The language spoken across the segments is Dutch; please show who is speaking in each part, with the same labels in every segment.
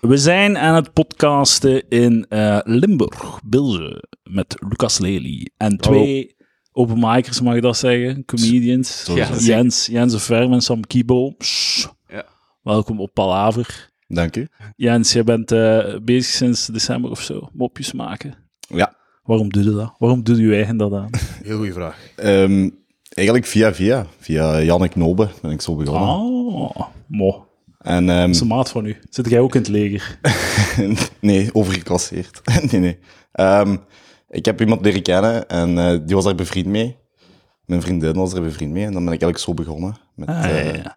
Speaker 1: We zijn aan het podcasten in eh, Limburg, Bilze, met Lucas Lely. En twee open makers, mag ik dat zeggen? Comedians.
Speaker 2: Ja, zeker.
Speaker 1: Jens, Jens de Verm en Sam Kibo. Psst.
Speaker 2: Ja.
Speaker 1: Welkom op Palaver.
Speaker 3: Dank u.
Speaker 1: Jens, jij bent eh, bezig sinds december of zo, mopjes maken.
Speaker 3: Ja.
Speaker 1: Waarom doe je dat? Waarom doe je eigen dat aan?
Speaker 4: Heel goede vraag.
Speaker 3: Ehm, eigenlijk via via. Via Jannik Nobe ben ik zo begonnen.
Speaker 1: Oh, mo. Dat
Speaker 3: En, ehm,
Speaker 1: is een maat van u. Zit jij ook in het leger?
Speaker 3: nee, overgeclasseerd. nee, nee. Ehm, ik heb iemand leren kennen en eh, die was daar bevriend mee. Mijn vriendin was er bevriend mee en dan ben ik eigenlijk zo begonnen. Met,
Speaker 1: Ah, ja,
Speaker 3: eh,
Speaker 1: ja.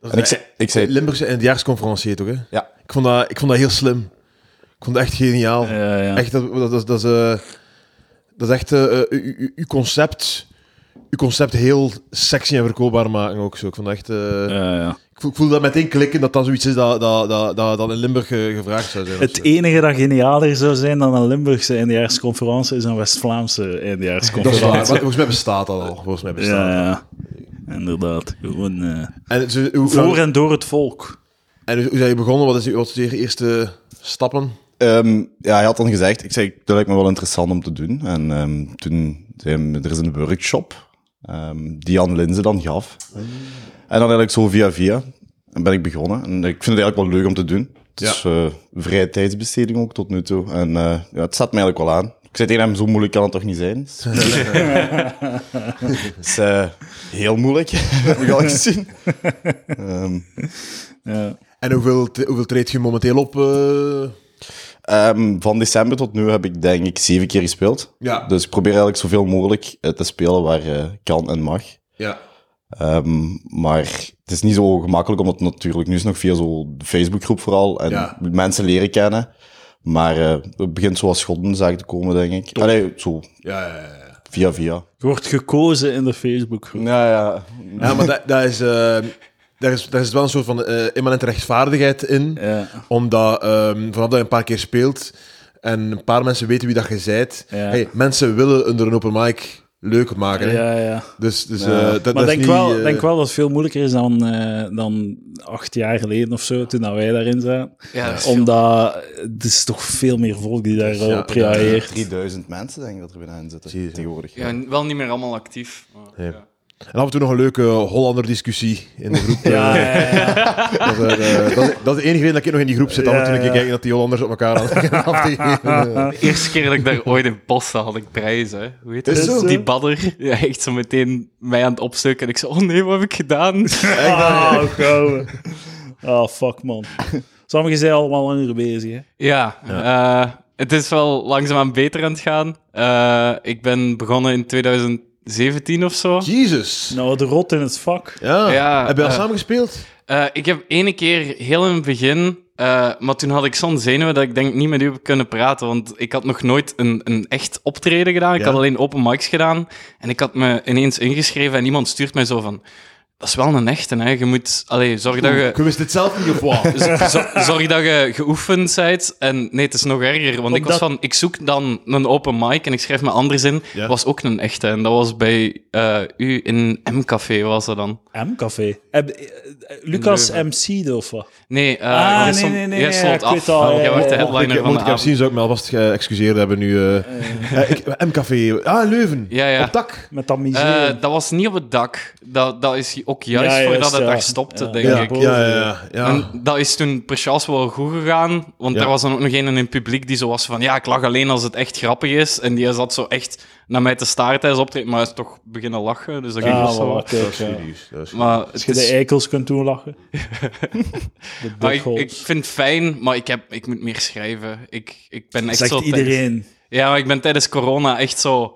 Speaker 4: Dat
Speaker 3: En ik zei- ik zei-
Speaker 4: Eh, Limburgse eindjaarsconferentie, toch? Hè?
Speaker 3: Ja.
Speaker 4: Ik, vond dat, ik vond dat heel slim. Ik vond dat echt geniaal.
Speaker 1: Ja, ja.
Speaker 4: Echt, dat, dat, dat, dat, is, eh, dat is echt eh, eh, u- u- u- uw concept, uw concept heel sexy en verkoopbaar maken ook zo. Ik vond dat echt... eh,
Speaker 1: Ja, ja.
Speaker 4: ik, voel, ik voel dat meteen klikken dat dat zoiets is dat, dat, dat, dat, dat in Limburg eh, gevraagd zou zijn. of
Speaker 1: Het e-
Speaker 4: zo.
Speaker 1: enige dat genialer zou zijn dan een Limburgse eindejaarsconferentie is een West-Vlaamse
Speaker 4: Dat is waar. want
Speaker 1: eindejaarsconferentie.
Speaker 4: Volgens mij bestaat dat al. Volgens mij bestaat
Speaker 1: Ja,
Speaker 4: dat.
Speaker 1: ja, inderdaad. Gewoon eh,
Speaker 4: En, zo- hoe,
Speaker 1: voor en door het volk.
Speaker 4: en hoe, hoe zijn je begonnen? Wat, is, wat zijn je eerste stappen?
Speaker 3: Ehm, ja, hij had dan gezegd, ik zei, dat lijkt me wel interessant om te doen. En ehm, toen zei hij, er is een workshop ehm, die Jan Linze dan gaf. En dan eigenlijk zo via via en ben ik begonnen. En ik vind het eigenlijk wel leuk om te doen. Het is eh, vrije tijdsbesteding ook tot nu toe. En eh, ja, het staat mij eigenlijk wel aan. Ik zei tegen hem, zo moeilijk kan het toch niet zijn? Dus- Het is eh, heel moeilijk, heb ik al gezien. Ehm,
Speaker 1: Ja.
Speaker 4: En hoeveel, t- hoeveel treed je momenteel op? eh?
Speaker 3: Ehm, van december tot nu heb ik denk ik zeven keer gespeeld.
Speaker 4: Ja.
Speaker 3: Dus ik probeer eigenlijk zoveel mogelijk eh, te spelen waar eh, kan en mag.
Speaker 4: Ja.
Speaker 3: Ehm, maar het is niet zo gemakkelijk, omdat het natuurlijk nu is nog via zo'n Facebookgroep vooral. En
Speaker 4: Ja.
Speaker 3: mensen leren kennen. Maar eh, het begint zo als schottenzaak te komen, denk ik. Allee, zo
Speaker 4: Ja, ja, ja, ja.
Speaker 3: via via.
Speaker 1: Je wordt gekozen in de Facebookgroep.
Speaker 3: Ja, ja.
Speaker 4: Ja, maar dat, dat is, eh, daar, is, daar is wel een soort van eh, immanente rechtvaardigheid in.
Speaker 1: Ja.
Speaker 4: Omdat ehm, vanaf dat je een paar keer speelt en een paar mensen weten wie dat je zijt,
Speaker 1: Ja.
Speaker 4: hey, mensen willen onder een open mic leuk maken. hè.
Speaker 1: Ja, ja.
Speaker 4: Dus, dus eh,
Speaker 3: Ja.
Speaker 4: dat,
Speaker 1: Maar
Speaker 4: dat is
Speaker 1: denk,
Speaker 4: niet,
Speaker 1: wel,
Speaker 4: eh,
Speaker 1: denk wel dat het veel moeilijker is dan, eh, dan acht jaar geleden of zo, toen dat wij daarin zaten.
Speaker 2: Ja, dat is veel-
Speaker 1: Omdat het is toch veel meer volk die daarop
Speaker 4: Ja,
Speaker 1: op reageert.
Speaker 3: 3000 Eh, mensen denk ik dat er binnen in zitten
Speaker 4: Jezus.
Speaker 3: tegenwoordig.
Speaker 2: ja, en wel niet meer allemaal actief. maar-
Speaker 4: Nee.
Speaker 2: ja.
Speaker 4: En af en toe nog een leuke Hollander-discussie in de groep.
Speaker 1: Ja,
Speaker 4: eh,
Speaker 1: ja, ja, ja.
Speaker 4: dat, is, eh, dat, is, dat is de enige reden dat ik nog in die groep zit. Af en toe
Speaker 1: Ja,
Speaker 4: een keer
Speaker 1: ja.
Speaker 4: kijken dat die Hollanders op elkaar aan af te geven.
Speaker 2: De eerste keer dat ik daar ooit in paste, had ik prijzen. hè. Hoe heet
Speaker 4: Is
Speaker 2: het?
Speaker 4: zo?
Speaker 2: Die badder. Ja, echt zo meteen mij aan het opstukken. En ik zei, oh nee, wat heb ik gedaan?
Speaker 1: Ah, gouden. Ah, fuck man. Sommigen zijn allemaal langer bezig. Hè?
Speaker 2: Ja, eh, het is wel langzaamaan beter aan het gaan. Eh, ik ben begonnen in 2017 of zo.
Speaker 4: Jezus.
Speaker 1: Nou, de rot in het vak.
Speaker 4: Ja.
Speaker 2: Ja,
Speaker 4: Heb je al
Speaker 2: eh,
Speaker 4: samen gespeeld?
Speaker 2: Eh, ik heb ene keer heel in het begin, eh, maar toen had ik zo'n zenuwen dat ik denk niet met u heb kunnen praten, want ik had nog nooit een, een echt optreden gedaan. Ik
Speaker 4: Ja.
Speaker 2: had alleen open mics gedaan en ik had me ineens ingeschreven en iemand stuurt mij zo van, dat is wel een echte, hè. Je moet, allee, zorg dat je...
Speaker 4: Je wist het zelf niet of wat?
Speaker 2: z- zo- Zorg dat je geoefend bent. En nee, het is nog erger. Want ik was
Speaker 1: Omdat-
Speaker 2: van, ik zoek dan een open mic en ik schrijf me anders in.
Speaker 4: Ja.
Speaker 2: was ook een echte. En dat was bij eh, u in M-café, was dat dan?
Speaker 1: M-café. Heb- eh, eh, Lucas
Speaker 2: Leuven.
Speaker 1: MC of wat?
Speaker 2: Nee, eh
Speaker 1: Ah,
Speaker 2: jij
Speaker 1: nee,
Speaker 2: stond-
Speaker 1: nee, nee,
Speaker 2: jij
Speaker 1: ja,
Speaker 2: sloot
Speaker 1: ik
Speaker 2: af.
Speaker 1: weet al, ja,
Speaker 2: Oh, jij
Speaker 1: ja,
Speaker 2: werd de
Speaker 1: ja.
Speaker 4: Mocht Oh, ik,
Speaker 2: headliner van
Speaker 4: mocht
Speaker 2: de
Speaker 4: ik heb
Speaker 2: avond.
Speaker 4: zien, zou ik me alvast geëxcuseerd hebben nu. eh Eh, ik, M-café. Ah, Leuven.
Speaker 2: Ja, ja.
Speaker 4: Op dak.
Speaker 1: Met dat
Speaker 2: Eh,
Speaker 1: museum.
Speaker 2: dat was niet op het dak. Dat, dat is ook juist
Speaker 1: Ja,
Speaker 2: voordat
Speaker 1: juist,
Speaker 2: het
Speaker 1: ja.
Speaker 2: daar stopte,
Speaker 1: Ja.
Speaker 2: denk
Speaker 4: Ja,
Speaker 2: ik.
Speaker 1: boven.
Speaker 4: ja, ja. ja.
Speaker 2: En dat is toen per chance wel goed gegaan, want
Speaker 4: Ja.
Speaker 2: er was dan ook nog een in het publiek die zo was van ja, ik lach alleen als het echt grappig is. En die zat zo echt naar mij te staren tijdens optreden, maar hij is toch beginnen lachen, dus dat ging
Speaker 1: Ah,
Speaker 2: best wel
Speaker 1: voilà,
Speaker 2: wat.
Speaker 1: kijk,
Speaker 4: Dat is
Speaker 1: ja.
Speaker 4: serieus. Dat is-
Speaker 2: Maar,
Speaker 1: Als
Speaker 2: het
Speaker 1: je de
Speaker 2: is-
Speaker 1: eikels kunt doen lachen. Dus- de
Speaker 2: maar ik, ik
Speaker 1: bokhols.
Speaker 2: vind het fijn, maar ik, heb, ik moet meer schrijven. Ik, ik ben echt
Speaker 1: Zegt
Speaker 2: zo tijd-
Speaker 1: iedereen.
Speaker 2: Ja, maar ik ben tijdens corona echt zo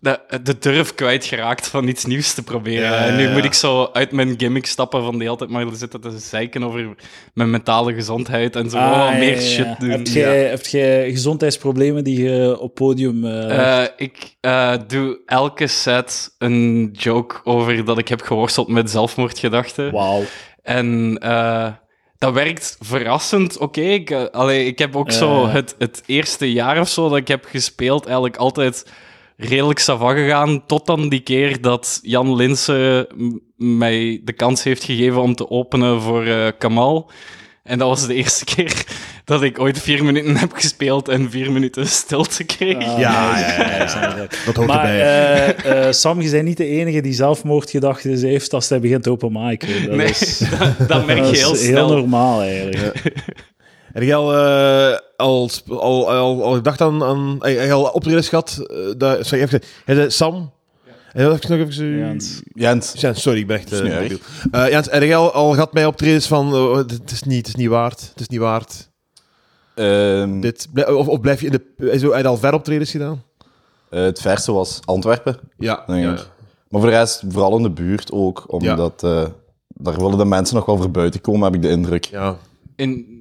Speaker 2: de, de durf kwijtgeraakt van iets nieuws te proberen.
Speaker 4: Ja, ja,
Speaker 2: En nu
Speaker 4: ja.
Speaker 2: moet ik zo uit mijn gimmick stappen van die altijd maar zitten te zeiken over mijn mentale gezondheid en zo
Speaker 1: Ah,
Speaker 2: wel
Speaker 1: ja, ja,
Speaker 2: Oh, meer
Speaker 1: ja.
Speaker 2: shit doen.
Speaker 1: Heb jij, heb jij gezondheidsproblemen die je op podium... eh,
Speaker 2: Eh, ik eh, doe elke set een joke over dat ik heb geworsteld met zelfmoordgedachten.
Speaker 1: Wauw.
Speaker 2: En eh, dat werkt verrassend oké. Ik, eh, allee, ik heb ook
Speaker 1: Ja,
Speaker 2: zo
Speaker 1: ja.
Speaker 2: het, het eerste jaar of zo dat ik heb gespeeld eigenlijk altijd redelijk savag gegaan. Tot dan die keer dat Jan Linsen m- mij de kans heeft gegeven om te openen voor eh, Kamal. En dat was de eerste keer dat ik ooit vier minuten heb gespeeld en vier minuten stilte kreeg.
Speaker 4: Ja, ja, ja, ja. dat hoort
Speaker 1: Maar
Speaker 4: erbij.
Speaker 1: eh, eh, Sam, je bent niet de enige die zelfmoordgedachten heeft als hij begint open mic. hè. Dat
Speaker 2: nee,
Speaker 1: is,
Speaker 2: dat, dat merk
Speaker 1: dat
Speaker 2: je
Speaker 1: is
Speaker 2: heel snel.
Speaker 1: normaal eigenlijk.
Speaker 4: Heb jij al, eh, al, sp- al, al, al gedacht aan... aan eh, heb je al optredens gehad? eh, dat, sorry, even, hij zei Sam. En dan heb ik nog even... zo-
Speaker 1: Jens.
Speaker 3: Jens.
Speaker 4: Jens, sorry, ik ben echt...
Speaker 3: Dat
Speaker 4: eh,
Speaker 3: is niet erg.
Speaker 4: debiel. Eh, Jens, heb jij al, al gehad mij optredens van... eh, het, het is niet, het is niet waard, het is niet waard.
Speaker 3: Ehm,
Speaker 4: Dit, blij- of, of blijf je in de... eh, Zo, heb je al ver optredens gedaan?
Speaker 3: eh, het verste was Antwerpen.
Speaker 4: Ja.
Speaker 3: denk ik. Maar voor de rest, vooral in de buurt ook, omdat eh, daar willen de mensen nog wel voor buiten komen, heb ik de indruk.
Speaker 4: ja.
Speaker 2: In,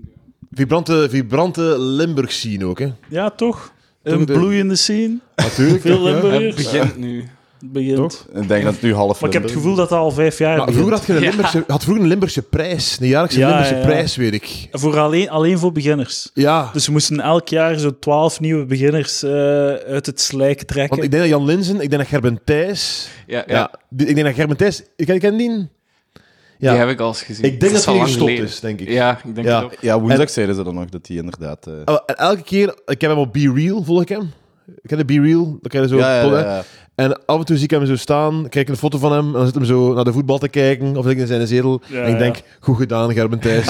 Speaker 4: Vibrante, vibrante Limburg scene ook, hè?
Speaker 1: Ja, toch?
Speaker 4: Toen
Speaker 1: Een
Speaker 4: de-
Speaker 1: bloeiende scene.
Speaker 4: Natuurlijk.
Speaker 1: Veel
Speaker 2: het
Speaker 1: Limburgers.
Speaker 2: begint nu.
Speaker 1: Begint.
Speaker 3: Ik denk dat het nu half
Speaker 1: Maar ik heb het
Speaker 3: Limburg
Speaker 1: gevoel dat dat al vijf jaar
Speaker 4: Maar
Speaker 1: begint.
Speaker 4: vroeger had je een
Speaker 2: Ja.
Speaker 4: Limburgse, had vroeger een Limburgse prijs. Een jaarlijkse
Speaker 1: Ja,
Speaker 4: Limburgse
Speaker 1: ja, ja.
Speaker 4: prijs, weet ik.
Speaker 1: Voor alleen, alleen voor beginners.
Speaker 4: Ja.
Speaker 1: Dus we moesten elk jaar zo'n twaalf nieuwe beginners eh, uit het slijk trekken.
Speaker 4: Want ik denk dat Jan Linzen, ik denk dat Gerben Thijs...
Speaker 2: Ja, ja,
Speaker 4: Ja. die- ik denk dat Gerben Thijs... Ken, ken die? Ja.
Speaker 2: die heb ik al eens gezien.
Speaker 4: Ik denk dat
Speaker 2: al
Speaker 4: hij
Speaker 2: lang
Speaker 4: gestopt
Speaker 2: geleden.
Speaker 4: is, denk ik.
Speaker 2: Ja, ik denk
Speaker 4: Ja.
Speaker 2: het ook.
Speaker 3: is. Ja, woensdag zeiden ze dan nog dat die inderdaad... eh,
Speaker 4: Oh, en elke keer... Ik heb hem op Be Real, volg ik hem. Ik ken de Be Real, dan krijg je zo...
Speaker 3: ja, ja,
Speaker 4: pot, hè.
Speaker 3: ja, ja.
Speaker 4: En af en toe zie ik hem zo staan, kijk ik een foto van hem, en dan zit hem zo naar de voetbal te kijken, of zit ik in zijn zetel.
Speaker 1: Ja,
Speaker 4: en ik denk,
Speaker 1: ja.
Speaker 4: goed gedaan, Gerben Thijs.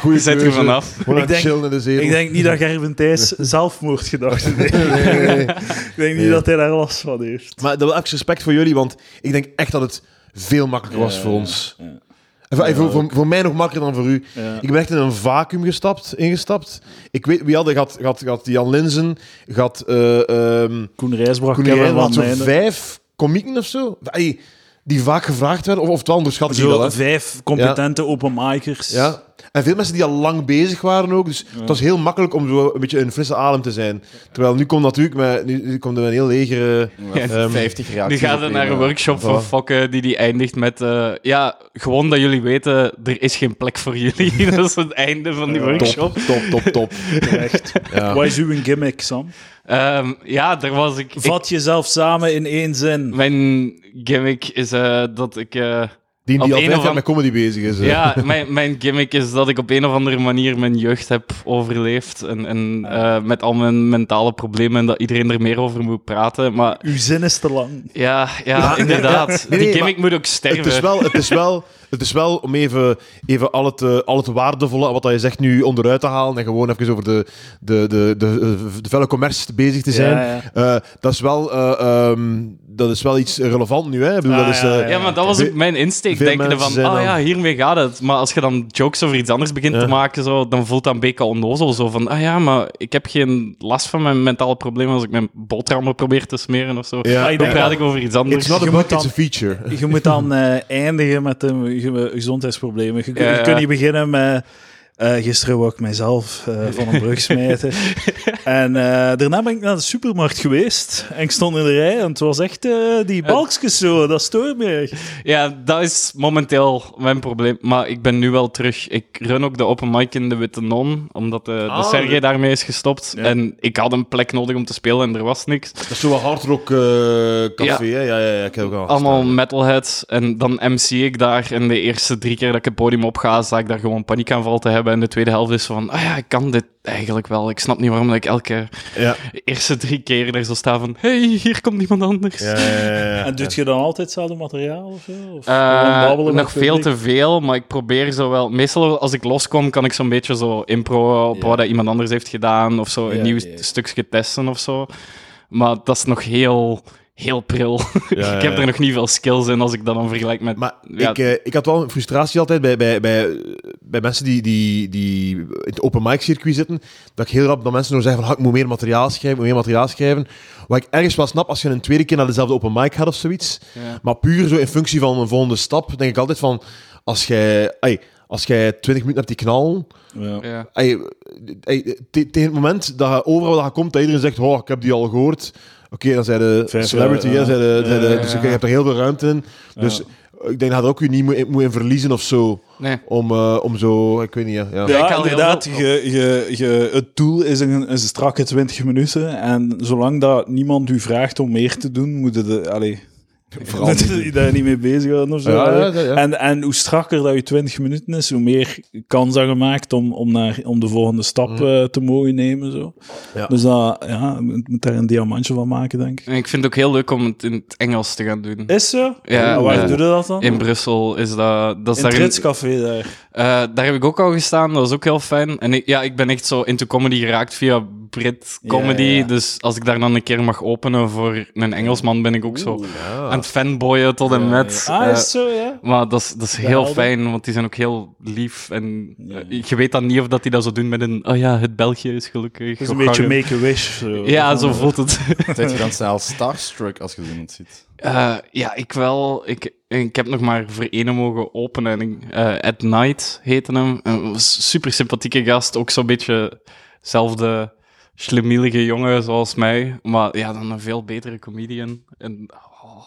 Speaker 4: Goeie
Speaker 2: Zet je
Speaker 4: keuze.
Speaker 2: vanaf.
Speaker 4: Gewoon aan
Speaker 1: Ik
Speaker 4: het
Speaker 1: denk-
Speaker 4: chillen in de zetel.
Speaker 1: Ik denk niet dat Gerben Thijs zelfmoordgedachten heeft. ik denk niet
Speaker 4: Nee.
Speaker 1: dat hij daar last van heeft.
Speaker 4: Maar dat wil even respect voor jullie, want ik denk echt dat het veel makkelijker was
Speaker 1: Ja,
Speaker 4: voor
Speaker 1: ja,
Speaker 4: ons.
Speaker 1: ja.
Speaker 4: En voor, en voor,
Speaker 1: Ja,
Speaker 4: voor, voor mij nog makkelijker dan voor u.
Speaker 1: Ja.
Speaker 4: Ik ben echt in een vacuüm gestapt, ingestapt. Ik weet, wie hadden gehad, gehad, gehad Jan Linzen, gehad eh ehm
Speaker 1: Koen Rijsbroek
Speaker 4: Koen
Speaker 1: kennen
Speaker 4: Rijden,
Speaker 1: we van
Speaker 4: had zo'n
Speaker 1: Mijnen.
Speaker 4: vijf komieken of zo. Ey, die vaak gevraagd werden, of, of het onderschat ik die wel.
Speaker 1: Zo
Speaker 4: hè.
Speaker 1: vijf competente open micers.
Speaker 4: Ja. En veel mensen die al lang bezig waren ook. Dus het was heel makkelijk om zo een beetje een frisse adem te zijn. Terwijl nu komt natuurlijk met, nu, nu komt er een heel leger...
Speaker 2: Ja,
Speaker 4: ehm,
Speaker 3: 50
Speaker 2: Nu
Speaker 3: reacties.
Speaker 2: gaat het
Speaker 3: op
Speaker 2: naar
Speaker 3: één,
Speaker 2: een
Speaker 3: ja.
Speaker 2: workshop van
Speaker 4: Voilà.
Speaker 2: Fokke die die eindigt met... eh, ja, gewoon dat jullie weten, er is geen plek voor jullie. dat is het einde van die
Speaker 1: Ja.
Speaker 2: workshop.
Speaker 3: Top, top, top, top.
Speaker 1: Terecht.
Speaker 4: ja.
Speaker 1: Wat is uw gimmick, Sam?
Speaker 2: Ehm, ja, daar was ik... ik-
Speaker 1: Vat jezelf samen in één zin.
Speaker 2: mijn gimmick is eh, dat ik... eh,
Speaker 4: Die,
Speaker 2: Op
Speaker 4: die al
Speaker 2: een
Speaker 4: vijf
Speaker 2: of
Speaker 4: jaar
Speaker 2: an-
Speaker 4: met comedy bezig is. eh. hè.
Speaker 2: ja, mijn, mijn gimmick is dat ik op een of andere manier mijn jeugd heb overleefd. En, en eh, met al mijn mentale problemen en dat iedereen er meer over moet praten. Maar
Speaker 1: Uw zin is te lang.
Speaker 2: ja, ja, inderdaad.
Speaker 4: nee,
Speaker 2: die
Speaker 4: maar
Speaker 2: gimmick moet ook sterven.
Speaker 4: Het is wel, het is wel, het is wel om even, even al, het, eh, al het waardevolle, wat dat je zegt, nu onderuit te halen en gewoon even over de, de, de, de, de felle commerce bezig te zijn.
Speaker 1: Ja,
Speaker 4: Eh, dat, is wel, eh, ehm, dat is wel iets relevant nu. Hè? Ik bedoel,
Speaker 1: Ah,
Speaker 4: dat is,
Speaker 1: ja,
Speaker 4: eh,
Speaker 1: ja,
Speaker 2: Ja, maar dat was ook
Speaker 4: Ve-
Speaker 2: mijn insteek.
Speaker 4: veel
Speaker 2: Denken
Speaker 4: mensen
Speaker 2: van,
Speaker 4: zijn
Speaker 2: ah
Speaker 4: dan-
Speaker 2: ja, hiermee gaat het. Maar als je dan jokes over iets anders begint
Speaker 4: Ja.
Speaker 2: te maken, zo, dan voelt dat een beetje onnozel. Zo van, ah ja, maar ik heb geen last van mijn mentale problemen als ik mijn boterhammen probeer te smeren of zo.
Speaker 4: Ja,
Speaker 1: Ah, ik
Speaker 2: Dan
Speaker 1: denk
Speaker 2: praat
Speaker 1: dat-
Speaker 2: ik over iets
Speaker 4: It's
Speaker 2: anders.
Speaker 4: not
Speaker 1: Je
Speaker 4: a
Speaker 1: moet
Speaker 4: bug, it's a
Speaker 1: dan-
Speaker 4: feature.
Speaker 1: Je moet dan eh, eindigen met de ge- gezondheidsproblemen. Je, kun-
Speaker 2: Ja,
Speaker 1: je
Speaker 2: ja.
Speaker 1: kunt niet beginnen met... eh, gisteren wou ik mijzelf eh, van een brug smijten. en eh, daarna ben ik naar de supermarkt geweest. En ik stond in de rij en het was echt eh, die balkjes zo. Dat stoort me echt.
Speaker 2: Ja, dat is momenteel mijn probleem. Maar ik ben nu wel terug. Ik run ook de open mic in de Witte Non, omdat eh, de, de
Speaker 4: Ah,
Speaker 2: Sergej
Speaker 4: de-
Speaker 2: daarmee is gestopt. En ik had een plek nodig om te spelen en er was niks.
Speaker 4: Dat is zo'n hardrock eh café. hè? Ja, ja, ja, ik heb ook al
Speaker 2: Allemaal
Speaker 4: gestaan.
Speaker 2: metalheads. En dan MC ik daar. En de eerste drie keer dat ik het podium opga, sta ik daar gewoon paniekaanval te hebben. En de tweede helft is van, ah ja, ik kan dit eigenlijk wel. Ik snap niet waarom dat ik elke
Speaker 4: Ja,
Speaker 2: eerste drie keer daar zo sta van, hey, hier komt iemand anders.
Speaker 4: ja, ja, ja, ja.
Speaker 1: En doet je dan altijd hetzelfde materiaal of zo? Of
Speaker 2: Eh,
Speaker 1: gewoon babbelen met
Speaker 2: nog
Speaker 1: het
Speaker 2: veel
Speaker 1: publiek?
Speaker 2: te veel, maar ik probeer zo wel. Meestal als ik loskom, kan ik zo'n beetje zo impro op
Speaker 1: Ja.
Speaker 2: wat dat iemand anders heeft gedaan of zo. Een
Speaker 1: Ja,
Speaker 2: nieuw
Speaker 1: ja.
Speaker 2: stukje testen of zo. Maar dat is nog heel, heel pril.
Speaker 4: ja,
Speaker 2: ik heb
Speaker 4: ja.
Speaker 2: er nog niet veel skills in als ik dat dan vergelijk met.
Speaker 4: Maar
Speaker 2: Ja.
Speaker 4: ik, eh, ik had wel een frustratie altijd bij, bij, bij, bij mensen die, die, die in het open mic circuit zitten. Dat ik heel rap dat mensen door zeggen van, "Ha, ik moet meer materiaal schrijven, ik moet meer materiaal schrijven. Wat ik ergens wel snap, als je een tweede keer naar dezelfde open mic gaat of zoiets.
Speaker 2: Ja.
Speaker 4: Maar puur zo in functie van een volgende stap, denk ik altijd van, als jij... ai, als jij 20 minuten hebt die knal,
Speaker 1: Ja.
Speaker 2: Ja.
Speaker 4: ai, ai, te- tegen het moment dat je overal dat je komt, dat iedereen zegt, oh, ik heb die al gehoord. Oké, dan zijn de
Speaker 1: Vijf
Speaker 4: celebrity,
Speaker 1: jaar,
Speaker 4: hè,
Speaker 1: ja.
Speaker 4: zijn de, zijn de-
Speaker 2: Ja, ja,
Speaker 4: dus
Speaker 2: ja.
Speaker 4: je hebt er heel veel ruimte in. Dus ik denk dat je er ook je niet moet in, moet in verliezen of zo.
Speaker 2: Nee.
Speaker 4: Om, eh, om zo, ik weet niet. Ja.
Speaker 1: Ja,
Speaker 2: ik haal
Speaker 1: inderdaad.
Speaker 2: heel
Speaker 1: Je, je, je, het doel is een, een strakke 20 minuten. En zolang dat niemand u vraagt om meer te doen, moeten de. Allee,
Speaker 3: Vooral
Speaker 1: Dat
Speaker 3: niet.
Speaker 1: je daar niet mee bezig bent of zo.
Speaker 4: Ja, ja, ja, ja.
Speaker 1: En, en hoe strakker dat je 20 minuten is, hoe meer kans dat je maakt om, om, naar, om de volgende stap eh, te mogen nemen. Zo.
Speaker 4: Mm. Ja.
Speaker 1: Dus dat, ja, je moet- moet daar een diamantje van maken, denk ik.
Speaker 2: En ik vind het ook heel leuk om het in het Engels te gaan doen.
Speaker 1: Is zo?
Speaker 2: Ja,
Speaker 1: En waar
Speaker 2: ja.
Speaker 1: doe je dat dan?
Speaker 2: In Brussel is dat... dat is
Speaker 1: In het
Speaker 2: daar een-
Speaker 1: Ritscafé daar.
Speaker 2: Eh, daar heb ik ook al gestaan, dat was ook heel fijn. En ik, ja, ik ben echt zo into comedy geraakt via Brit comedy.
Speaker 1: Ja, ja.
Speaker 2: Dus als ik daar dan een keer mag openen voor een Engelsman, ben ik ook zo aan het fanboyen tot en met.
Speaker 1: Ah,
Speaker 2: Eh,
Speaker 1: is zo, ja?
Speaker 2: maar dat is, dat is heel
Speaker 1: helden.
Speaker 2: fijn, want die zijn ook heel lief. En eh, je weet dan niet of dat die dat zo doen met een... Oh ja, het België is gelukkig.
Speaker 1: Dat is een
Speaker 2: of
Speaker 1: beetje
Speaker 2: gaan-
Speaker 1: make-a-wish. Zo.
Speaker 2: Ja, zo voelt het.
Speaker 3: Zijn je dan zelf starstruck als je iemand ziet?
Speaker 2: Eh, ja, ik wel. Ik, ik heb nog maar voor ene mogen openen. En, ik- eh, At Night heette hem. Een super sympathieke gast. Ook zo'n beetje zelfde schlemielige jongen zoals mij. Maar ja, dan een veel betere comedian. En oh,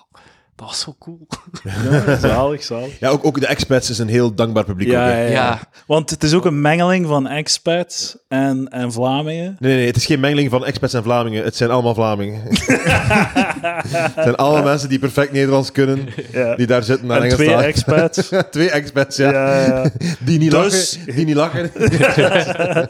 Speaker 2: dat was zo cool.
Speaker 1: Ja, zalig, zalig.
Speaker 4: Ja, ook, ook de expats is een heel dankbaar publiek. ook,
Speaker 1: Ja,
Speaker 4: hè.
Speaker 1: ja, ja.
Speaker 2: Ja.
Speaker 1: want het is ook een mengeling van expats en, en Vlamingen.
Speaker 4: Nee, nee, nee, het is geen mengeling van expats en Vlamingen. Het zijn allemaal Vlamingen. het zijn allemaal mensen die perfect Nederlands kunnen,
Speaker 1: Ja.
Speaker 4: die daar zitten naar
Speaker 1: En
Speaker 4: Engels
Speaker 1: twee
Speaker 4: taal.
Speaker 1: expats.
Speaker 4: twee expats, ja.
Speaker 1: ja, ja.
Speaker 4: Die niet
Speaker 1: Dus-
Speaker 4: lachen. Die niet lachen.
Speaker 1: En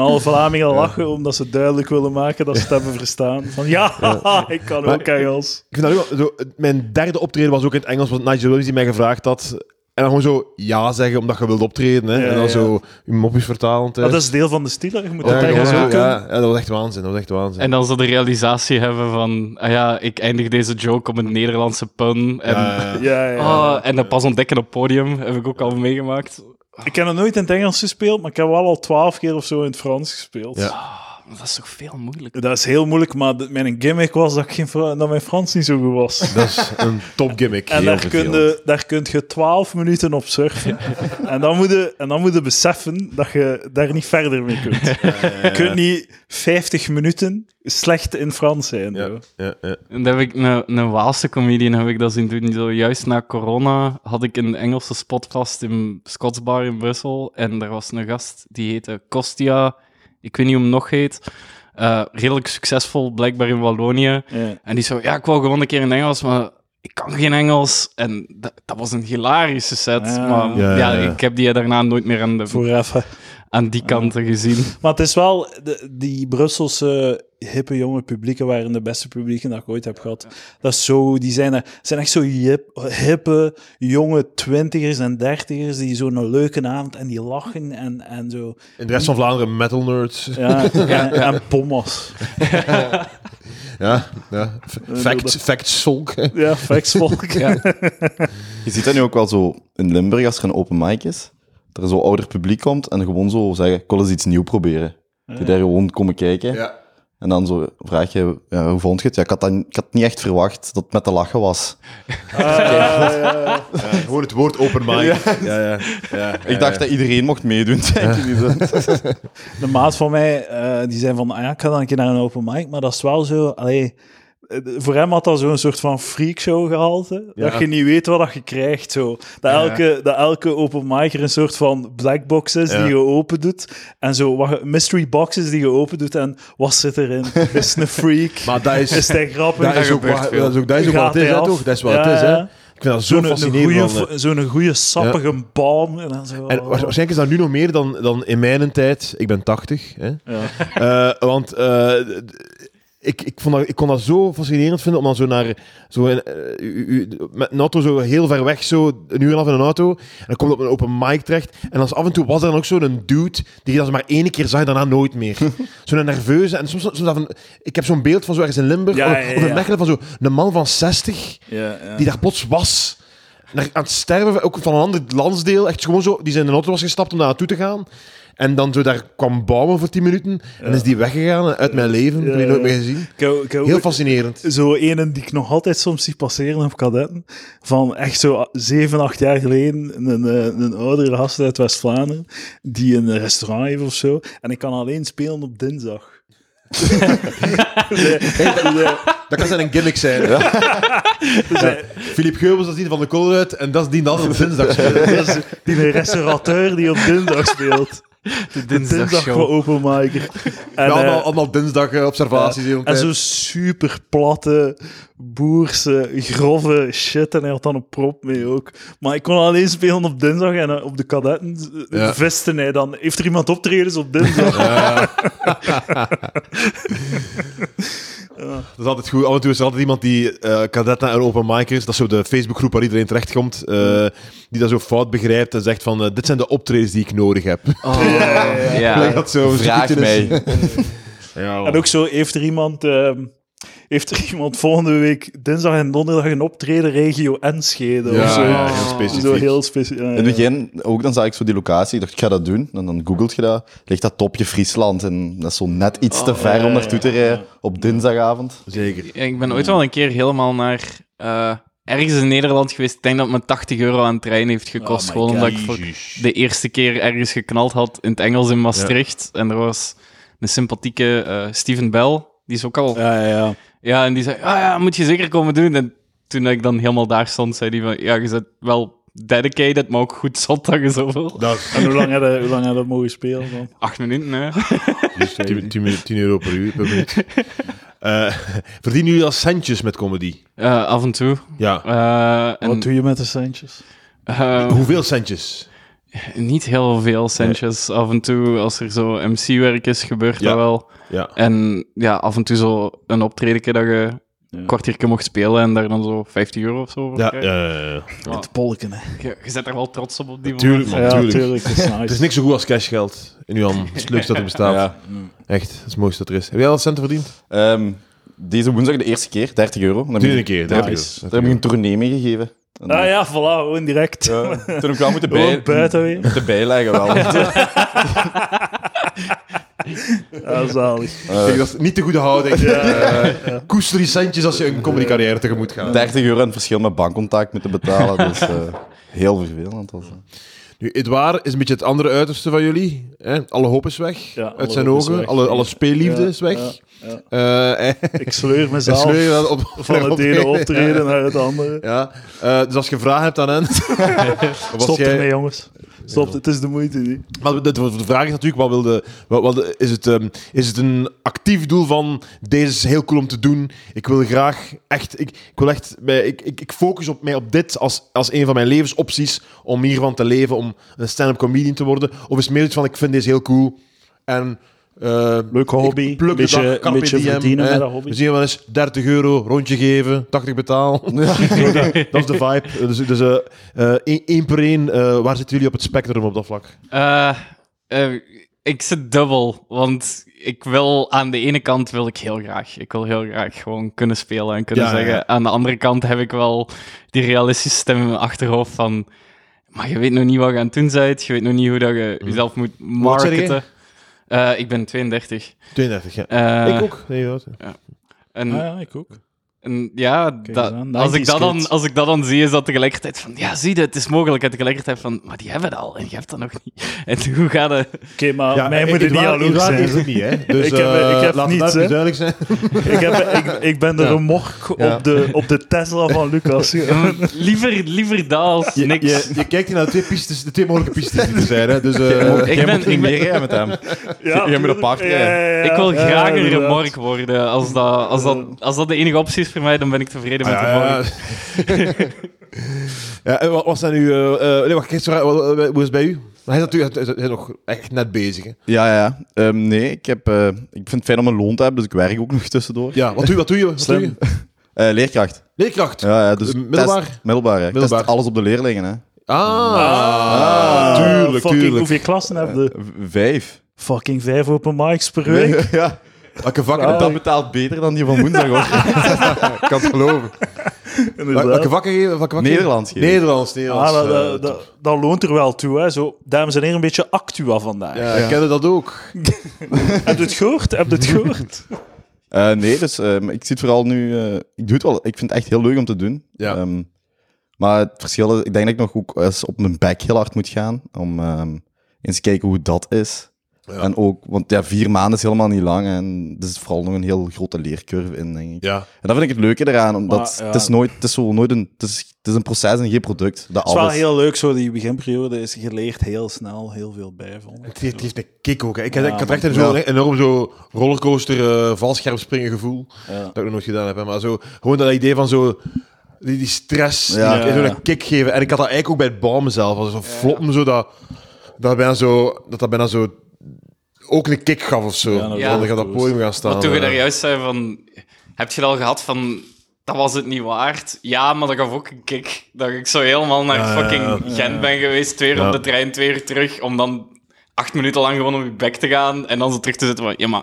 Speaker 1: alle Vlamingen lachen omdat ze duidelijk willen maken dat ze het hebben verstaan. Van ja, ik kan
Speaker 4: Maar- eh,
Speaker 1: ook Engels.
Speaker 4: Ik vind dat ook wel- zo, het- mijn derde optreden was ook in het Engels, want Nigel Williams die mij gevraagd had. En dan gewoon zo ja zeggen omdat je wilt optreden. Hè.
Speaker 1: Ja,
Speaker 4: en dan
Speaker 1: ja.
Speaker 4: zo je mopjes vertalen. thuis.
Speaker 1: Maar dat is deel van de stijl. Je moet
Speaker 4: ja,
Speaker 1: het Engels
Speaker 4: ja,
Speaker 1: ook
Speaker 4: ja,
Speaker 1: kunnen.
Speaker 4: ja, dat was echt waanzin. Dat was echt waanzin.
Speaker 2: En dan ze de realisatie hebben van... Ah ja, ik eindig deze joke op een Nederlandse pun. En,
Speaker 4: Ja,
Speaker 1: Ja, ja.
Speaker 2: Ah, en dat pas ontdekken op podium heb ik ook al meegemaakt.
Speaker 1: Ik heb nog nooit in het Engels gespeeld, maar ik heb wel al twaalf keer of zo in het Frans gespeeld.
Speaker 4: Ja.
Speaker 2: Ah, maar dat is toch veel moeilijker.
Speaker 1: Dat is heel moeilijk, maar de- mijn gimmick was dat, ik geen, Fra- dat mijn Frans niet zo goed was.
Speaker 4: Dat is een topgimmick.
Speaker 1: En
Speaker 3: Heel
Speaker 1: daar kun, je,
Speaker 3: vervelend.
Speaker 1: daar kun je twaalf minuten op surfen. en, dan moet je, en dan moet je beseffen dat je daar niet verder mee kunt. Je kunt niet 50 minuten slecht in Frans zijn.
Speaker 4: Ja,
Speaker 1: hoor.
Speaker 4: ja, ja.
Speaker 2: En dan heb ik een, een Waalse comedian heb ik dat zien doen. Zo, juist na corona had ik een Engelse spotvast in Scots Bar in Brussel. En daar was een gast die heette Kostia. Ik weet niet hoe hem nog heet. Eh, redelijk succesvol, blijkbaar in Wallonië.
Speaker 1: Ja.
Speaker 2: En die zo, ja, ik wou gewoon een keer in Engels, maar ik kan geen Engels. En dat, dat was een hilarische set.
Speaker 1: Ah.
Speaker 2: maar
Speaker 4: Ja,
Speaker 2: ja,
Speaker 4: ja, ja.
Speaker 2: ik heb die daarna nooit meer aan, de,
Speaker 1: Forever.
Speaker 2: aan die kanten gezien.
Speaker 1: Maar het is wel, de- die Brusselse hippe jonge publieken waren de beste publieken dat ik ooit heb gehad. Dat is zo, die zijn, er, zijn echt zo hip- hippe, jonge twintigers en dertigers die zo'n leuke avond en die lachen en, en zo.
Speaker 4: In de rest van Vlaanderen metal nerds.
Speaker 1: Ja, en, en pommas.
Speaker 4: Ja, ja. Fact,
Speaker 1: dat-
Speaker 4: fact solk.
Speaker 1: Ja, factsvolk.
Speaker 3: Je ziet dat nu ook wel zo in Limburg, als er een open mic is, dat er zo ouder publiek komt en gewoon zo zeggen, ik wil eens iets nieuw proberen. Die daar gewoon komen kijken.
Speaker 4: Ja.
Speaker 3: En dan zo vraag je, ja, hoe vond je het? Ja, ik, had dat, ik had niet echt verwacht dat het met te lachen was.
Speaker 4: Gewoon het woord open mic. Ja, ja, ja.
Speaker 3: ik dacht dat iedereen mocht meedoen, denk je niet zo?
Speaker 1: De maat van mij, eh, die zei van, ah ja, ik ga dan een keer naar een open mic, maar dat is wel zo, allee, eh, voor hem had dat zo'n soort van freakshow gehalte, dat je niet weet wat dat je krijgt, zo. Dat, elke, dat elke open micer een soort van black box is
Speaker 4: Ja.
Speaker 1: die je open doet, en zo, wat, mystery boxes die je open doet, en wat zit erin? Is het een freak?
Speaker 4: Maar dat is...
Speaker 1: is hij grappig?
Speaker 4: Dat is ook
Speaker 2: gebeurt
Speaker 4: wat
Speaker 2: veel.
Speaker 4: dat is ook- dat is ook
Speaker 1: Gaat
Speaker 4: wat het is,
Speaker 1: hij
Speaker 4: hè,
Speaker 1: af?
Speaker 4: toch? Dat is wat
Speaker 1: Ja,
Speaker 4: het is, hè?
Speaker 1: ja.
Speaker 4: Ik vind dat zo
Speaker 1: Zo'n een goeie-
Speaker 4: fascinerend. man.
Speaker 1: zo'n goede, sappige boom, en dan zo.
Speaker 4: En waars- waarschijnlijk is dat nu nog meer dan, dan in mijn tijd. Ik ben 80. Hè?
Speaker 1: Ja.
Speaker 4: Eh, want eh, d- ik, ik, vond dat, ik kon dat zo fascinerend vinden om dan zo naar zo een, eh, u- u- met een auto zo heel ver weg, zo een uur en een half in een auto. En dan komt op een open mic terecht. En dan af en toe was er dan ook zo'n dude die je dan maar één keer zag, daarna nooit meer. zo'n nerveuze. En soms, soms dat van, ik heb zo'n beeld van zo ergens in Limburg
Speaker 1: Ja,
Speaker 4: of-
Speaker 1: ja,
Speaker 4: of in
Speaker 1: ja.
Speaker 4: Mechelen van zo een man van 60
Speaker 1: Ja, ja.
Speaker 4: die daar plots was. Naar, aan het sterven, ook van een ander landsdeel. Echt gewoon zo, die zijn in de auto was gestapt om daar naartoe te gaan. En dan zo daar kwam bouwen voor 10 minuten. En is die weggegaan eh, uit mijn leven. Ik heb die nooit meer gezien.
Speaker 1: Ik heb- ik heb
Speaker 4: Heel
Speaker 1: ook-
Speaker 4: fascinerend.
Speaker 1: zo een die ik nog altijd soms zie passeren op kadetten, van echt zo zeven, acht jaar geleden, een, eh, een oudere gast uit West-Vlaanderen, die een restaurant heeft of zo, en ik kan alleen spelen op dinsdag.
Speaker 4: Dat kan zijn een gimmick zijn. Philippe Geubels, dat is die van de Colruyt. En dat is die dan op dinsdag.
Speaker 1: Dat is die een restaurateur die op dinsdag speelt.
Speaker 2: De
Speaker 1: Dinsdag
Speaker 2: dinsdagshow.
Speaker 1: voor openmaker. En, eh,
Speaker 4: allemaal, allemaal dinsdag eh, observaties. heel de
Speaker 1: en
Speaker 4: tijd.
Speaker 1: zo super platte, boerse, grove shit. En hij had dan een prop mee ook. Maar ik kon alleen spelen op dinsdag en eh, op de kadetten eh,
Speaker 4: Ja.
Speaker 1: vestte hij dan. Heeft er iemand optredens op dinsdag?
Speaker 4: Dat is altijd goed. Af en toe is er altijd iemand die eh kadetta en open mic is. Dat is zo de Facebookgroep waar iedereen terechtkomt.
Speaker 1: Mm.
Speaker 4: eh die dat zo fout begrijpt en zegt van... eh, dit zijn de optredens die ik nodig heb.
Speaker 2: Oh, ja.
Speaker 4: Lijkt dat zo
Speaker 3: Vraag
Speaker 4: zoektocht is.
Speaker 3: mij.
Speaker 4: Ja,
Speaker 1: En ook zo, heeft er iemand... ehm, heeft er iemand volgende week dinsdag en donderdag een optreden regio Enschede
Speaker 4: ja,
Speaker 1: of zo?
Speaker 4: ja, heel
Speaker 2: Zo
Speaker 4: specifiek.
Speaker 1: Zo heel eh. speciaal.
Speaker 3: In het begin, ook dan zag ik zo die locatie. Ik dacht, ik ga dat doen. En dan googelt je dat. Ligt dat topje Friesland. En dat is zo net iets
Speaker 1: Oh,
Speaker 3: te ver om naartoe te rijden op dinsdagavond.
Speaker 4: Zeker.
Speaker 2: Ja, ik ben ooit wel een keer helemaal naar eh, ergens in Nederland geweest. Ik denk dat het me 80 euro aan trein heeft gekost.
Speaker 1: Oh my
Speaker 2: gewoon
Speaker 1: God.
Speaker 2: omdat ik voor de eerste keer ergens geknald had in het Engels in Maastricht. En er was een sympathieke eh, Steven Bell. Die is ook al. Ja.
Speaker 1: Ja, ja, ja.
Speaker 2: en die zei: Ah ja, moet je zeker komen doen. En toen ik dan helemaal daar stond, zei hij: van, Ja, je bent wel dedicated, maar ook goed zot dat je zoveel.
Speaker 4: Dat is
Speaker 1: En hoe lang hebben hoe lang hebben we mogen spelen dan?
Speaker 2: Acht minuten, hè?
Speaker 4: 10, euro per uur. Per minuut. Eh, verdien jullie al centjes met comedy?
Speaker 2: Eh, af en toe.
Speaker 4: Ja.
Speaker 2: Eh, en,
Speaker 1: Wat doe je met de centjes?
Speaker 2: eh,
Speaker 4: Hoeveel centjes?
Speaker 2: Niet heel veel centjes. Af en toe, als er zo MC-werk is, gebeurt
Speaker 4: Ja.
Speaker 2: dat wel.
Speaker 4: Ja.
Speaker 2: En ja, af en toe zo een optredenke dat je een kwartiertje mocht spelen en daar dan zo 50 euro of zo voor
Speaker 4: Ja,
Speaker 2: krijgt.
Speaker 4: eh,
Speaker 2: Ja.
Speaker 1: Met de polken, hè.
Speaker 2: Je, je zet er wel trots op op die
Speaker 4: tuurlijk,
Speaker 2: moment.
Speaker 4: man,
Speaker 1: Ja,
Speaker 4: tuurlijk.
Speaker 1: natuurlijk. Dat is nice.
Speaker 4: Het is niks zo goed als cashgeld in uw hand. Het is het leukste dat er bestaat. Echt, dat is het mooiste dat er is. Heb jij al centen verdiend?
Speaker 3: Ehm, deze woensdag de eerste keer, 30 euro. Dan heb ik-
Speaker 4: Tweede keer,
Speaker 3: Daar heb, ik,
Speaker 4: 30 euro.
Speaker 3: daar heb ik een tournee mee gegeven. En,
Speaker 1: Ah ja, Oh, voilà, gewoon direct.
Speaker 3: eh, toen heb ik wel moeten, bij,
Speaker 1: Gewoon buiten weer.
Speaker 3: moeten bijleggen. Wel.
Speaker 1: Ja, zalig.
Speaker 3: Eh,
Speaker 4: Kijk, dat is niet de goede houding. Eh, Koester die centjes als je een comedycarrière tegemoet gaat.
Speaker 3: 30 euro en verschil met bankcontact moeten betalen. Dus eh, heel vervelend. was dat.
Speaker 4: Nu, Edouard is een beetje het andere uiterste van jullie. Hè? Alle hoop is weg
Speaker 1: Ja, alle
Speaker 4: uit zijn
Speaker 1: hoop is
Speaker 4: ogen.
Speaker 1: weg.
Speaker 4: Alle, alle speelliefde
Speaker 1: Ja,
Speaker 4: is weg.
Speaker 1: ja,
Speaker 4: Eh, eh,
Speaker 1: Ik sleur
Speaker 4: en
Speaker 1: mezelf
Speaker 4: sleur je wel op-
Speaker 1: van het ene optreden naar het andere.
Speaker 4: Ja. Eh, dus als je vragen hebt aan hen...
Speaker 1: Stop
Speaker 4: was jij-
Speaker 1: ermee, jongens. Stop, het is de moeite niet.
Speaker 4: Maar de, de- de vraag is natuurlijk, wat wilde, wat, wat- is, het, ehm, is het een actief doel van, deze is heel cool om te doen, ik wil graag echt, ik, ik wil echt, bij, ik, ik, ik focus op mij op dit als, als een van mijn levensopties, om hiervan te leven, om een stand-up comedian te worden, of is het meer iets van, ik vind deze heel cool, en... eh,
Speaker 1: Leuk hobby,
Speaker 4: ik pluk de
Speaker 1: beetje-
Speaker 4: dag, carpe
Speaker 1: beetje
Speaker 4: diem,
Speaker 1: verdienen
Speaker 4: eh,
Speaker 1: met dat hobby.
Speaker 4: We zien wel eens 30 euro, rondje geven, 80 betaal. dat is de vibe. Dus, dus eh, eh, één, één per één, eh, waar zitten jullie op het spectrum op dat vlak?
Speaker 2: Eh, eh, ik zit dubbel, want ik wil aan de ene kant wil ik heel graag. Ik wil heel graag gewoon kunnen spelen en kunnen
Speaker 4: Ja, ja, ja.
Speaker 2: zeggen. Aan de andere kant heb ik wel die realistische stem in mijn achterhoofd van. Maar je weet nog niet wat je aan het doen bent. Je weet nog niet hoe dat je jezelf moet
Speaker 4: Mm. oud zeg je?
Speaker 2: marketen. Eh, ik ben 32.
Speaker 4: 32, ja.
Speaker 2: Eh,
Speaker 4: ik ook. Nee, ja.
Speaker 1: oh,
Speaker 2: En,
Speaker 1: Ah, ja, ik ook.
Speaker 2: en ja,
Speaker 1: Kijk
Speaker 2: dat-
Speaker 1: eens aan,
Speaker 2: als, ik
Speaker 1: 90s
Speaker 2: dat dan,
Speaker 1: kids.
Speaker 2: als ik dat dan zie, is dat tegelijkertijd van... Ja, zie je, het is mogelijk. En tegelijkertijd van... Maar die hebben het al en je hebt dat nog niet. En hoe gaat het...
Speaker 1: Oké, maar
Speaker 4: eh,
Speaker 1: mij moet het niet
Speaker 4: Edouard-
Speaker 1: jaloers
Speaker 4: Edouard
Speaker 1: zijn.
Speaker 4: is het niet, hè? Dus
Speaker 1: Ik heb- ik heb
Speaker 4: eh, laat
Speaker 1: niets,
Speaker 4: het
Speaker 1: hè.
Speaker 4: even duidelijk zijn.
Speaker 1: Ik, heb, ik, ik ben de
Speaker 4: Ja.
Speaker 1: remork op,
Speaker 4: Ja.
Speaker 1: de, op de Tesla van Lucas. Ja.
Speaker 2: liever, liever dat als niks.
Speaker 4: Je, je kijkt hier naar de twee, pistes, de twee mogelijke pistes die er zijn, hè? Dus, eh,
Speaker 2: ik,
Speaker 3: Jij
Speaker 2: ben,
Speaker 3: moet niet
Speaker 2: ik, ben-
Speaker 3: meer rijden met hem.
Speaker 1: Ja,
Speaker 3: Jij moet op paard rijden.
Speaker 2: ik wil
Speaker 1: ja,
Speaker 2: graag een
Speaker 1: inderdaad.
Speaker 2: remork worden. Als dat, als, dat, als dat de enige optie is voor mij, dan ben ik tevreden met
Speaker 4: Ah,
Speaker 2: de
Speaker 4: ja,
Speaker 2: remork.
Speaker 4: ja. ja, en wat, wat zijn uw... eh, eh, nee, wacht, kijk, sorry, wat- wat- hoe is het bij u? Maar hij is natuurlijk hij is- hij is nog echt net bezig, hè?
Speaker 3: Ja, ja. ja. Ehm, nee, ik, heb, eh, ik vind het fijn om een loon te hebben, dus ik werk ook nog tussendoor.
Speaker 4: Ja, wat doe je? Wat doe je? Wat doe je?
Speaker 1: Slim.
Speaker 3: Eh, leerkracht.
Speaker 4: Leerkracht.
Speaker 3: Ja, ja, dus
Speaker 4: Eh, middelbaar?
Speaker 3: test- middelbaar, ja. Ik test
Speaker 4: Middelbaar.
Speaker 3: alles op de leerlingen, hè.
Speaker 4: Ah.
Speaker 1: Ah,
Speaker 4: Tuurlijk,
Speaker 1: fucking,
Speaker 4: tuurlijk.
Speaker 1: Hoeveel klassen heb je?
Speaker 3: Eh, V- Vijf.
Speaker 1: Fucking vijf open mics per week.
Speaker 3: ja.
Speaker 4: Welke vakken,
Speaker 3: En dat betaalt beter dan die van woensdag, hoor.
Speaker 4: ik kan het geloven.
Speaker 1: Inderdaad.
Speaker 4: Welke vakken geven? Welke vakken
Speaker 3: Nederlands geven.
Speaker 4: Nederlands, Nederlands.
Speaker 1: Ah, dat,
Speaker 4: eh,
Speaker 1: dat, dat, dat loont er wel toe, hè. Zo, dames en heren, een beetje actua vandaag.
Speaker 4: ja, ik kende dat ook.
Speaker 1: Heb je het gehoord? Heb je het gehoord?
Speaker 3: Eh, nee, dus ehm, ik zit vooral nu... eh, ik doe het wel. Ik vind het echt heel leuk om te doen.
Speaker 4: Ja.
Speaker 3: Ehm, maar het verschil is... Ik denk dat ik nog ook eens op mijn bek heel hard moet gaan. Om ehm, eens te kijken hoe dat is. En ook, want ja, vier maanden is helemaal niet lang en er zit vooral nog een heel grote leercurve in, denk ik.
Speaker 4: Ja.
Speaker 3: En dat vind ik het leuke eraan, omdat
Speaker 1: Maar, ja.
Speaker 3: het is nooit, het is zo nooit een, het is, het is een proces en geen product. Dat
Speaker 1: Het is wel
Speaker 3: alles.
Speaker 1: heel leuk, zo die beginperiode is geleerd heel snel heel veel bij. vond ik.
Speaker 4: Het heeft, het heeft een kick ook. Hè. Ik, had-
Speaker 1: Ja,
Speaker 4: ik had echt een,
Speaker 3: man.
Speaker 4: zo, een enorm zo rollercoaster eh valscherm springen gevoel.
Speaker 1: Ja.
Speaker 4: Dat ik nog nooit gedaan heb. Hè. Maar zo, gewoon dat idee van zo... Die, die stress,
Speaker 3: Ja.
Speaker 4: die, zo'n kick geven. En ik had dat eigenlijk ook bij het bouwen zelf. Als zo floppen, zo dat, dat, bijna zo, dat dat bijna zo ook een kick gaf of zo.
Speaker 1: Ja,
Speaker 4: dat
Speaker 1: dat
Speaker 4: ik op dat
Speaker 1: rollercoaster.
Speaker 4: podium gaan staan.
Speaker 2: Maar toen je
Speaker 4: eh.
Speaker 2: daar juist zei van... Heb je dat al gehad van... Dat was het niet waard. Ja, maar dat gaf ook een kick. Dat ik zo helemaal naar
Speaker 4: Ah, Ja,
Speaker 2: fucking
Speaker 4: ja,
Speaker 2: Gent ben geweest. Twee uur
Speaker 4: Ja.
Speaker 2: op de trein, twee uur terug. Om dan acht minuten lang gewoon op je bek te gaan. En dan zo terug te zitten van... Ja, maar...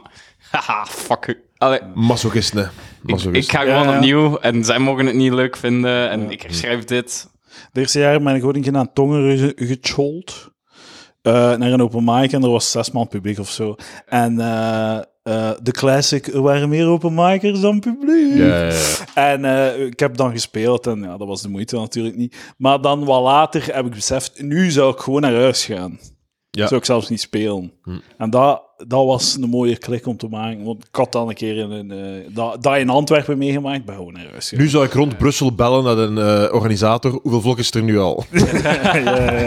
Speaker 2: Haha, fuck u. Allee,
Speaker 4: Masochist, hè.
Speaker 2: ik,
Speaker 4: Masochist.
Speaker 2: ik ga
Speaker 1: Ja,
Speaker 2: gewoon
Speaker 1: ja.
Speaker 2: opnieuw. En zij mogen het niet leuk vinden. En ik schrijf dit.
Speaker 1: Het eerste jaar ben ik gewoon een keer naar Tongeren ge- gechold. eh, naar een open mic en er was zes man publiek of zo. En eh, eh, de classic, er waren meer open micers dan publiek.
Speaker 4: Ja, ja, ja.
Speaker 1: En eh, ik heb dan gespeeld en ja, dat was de moeite natuurlijk niet. Maar dan wat later heb ik beseft, nu zou ik gewoon naar huis gaan.
Speaker 4: Ja.
Speaker 1: Zou ik zelfs niet spelen. En dat, dat was een mooie klik om te maken. Want ik had dan een keer in, een, eh, dat, dat in Antwerpen meegemaakt, ik ben gewoon naar huis gegaan.
Speaker 4: Nu zou ik rond Brussel bellen naar een eh, organisator. Hoeveel vlog is er nu al?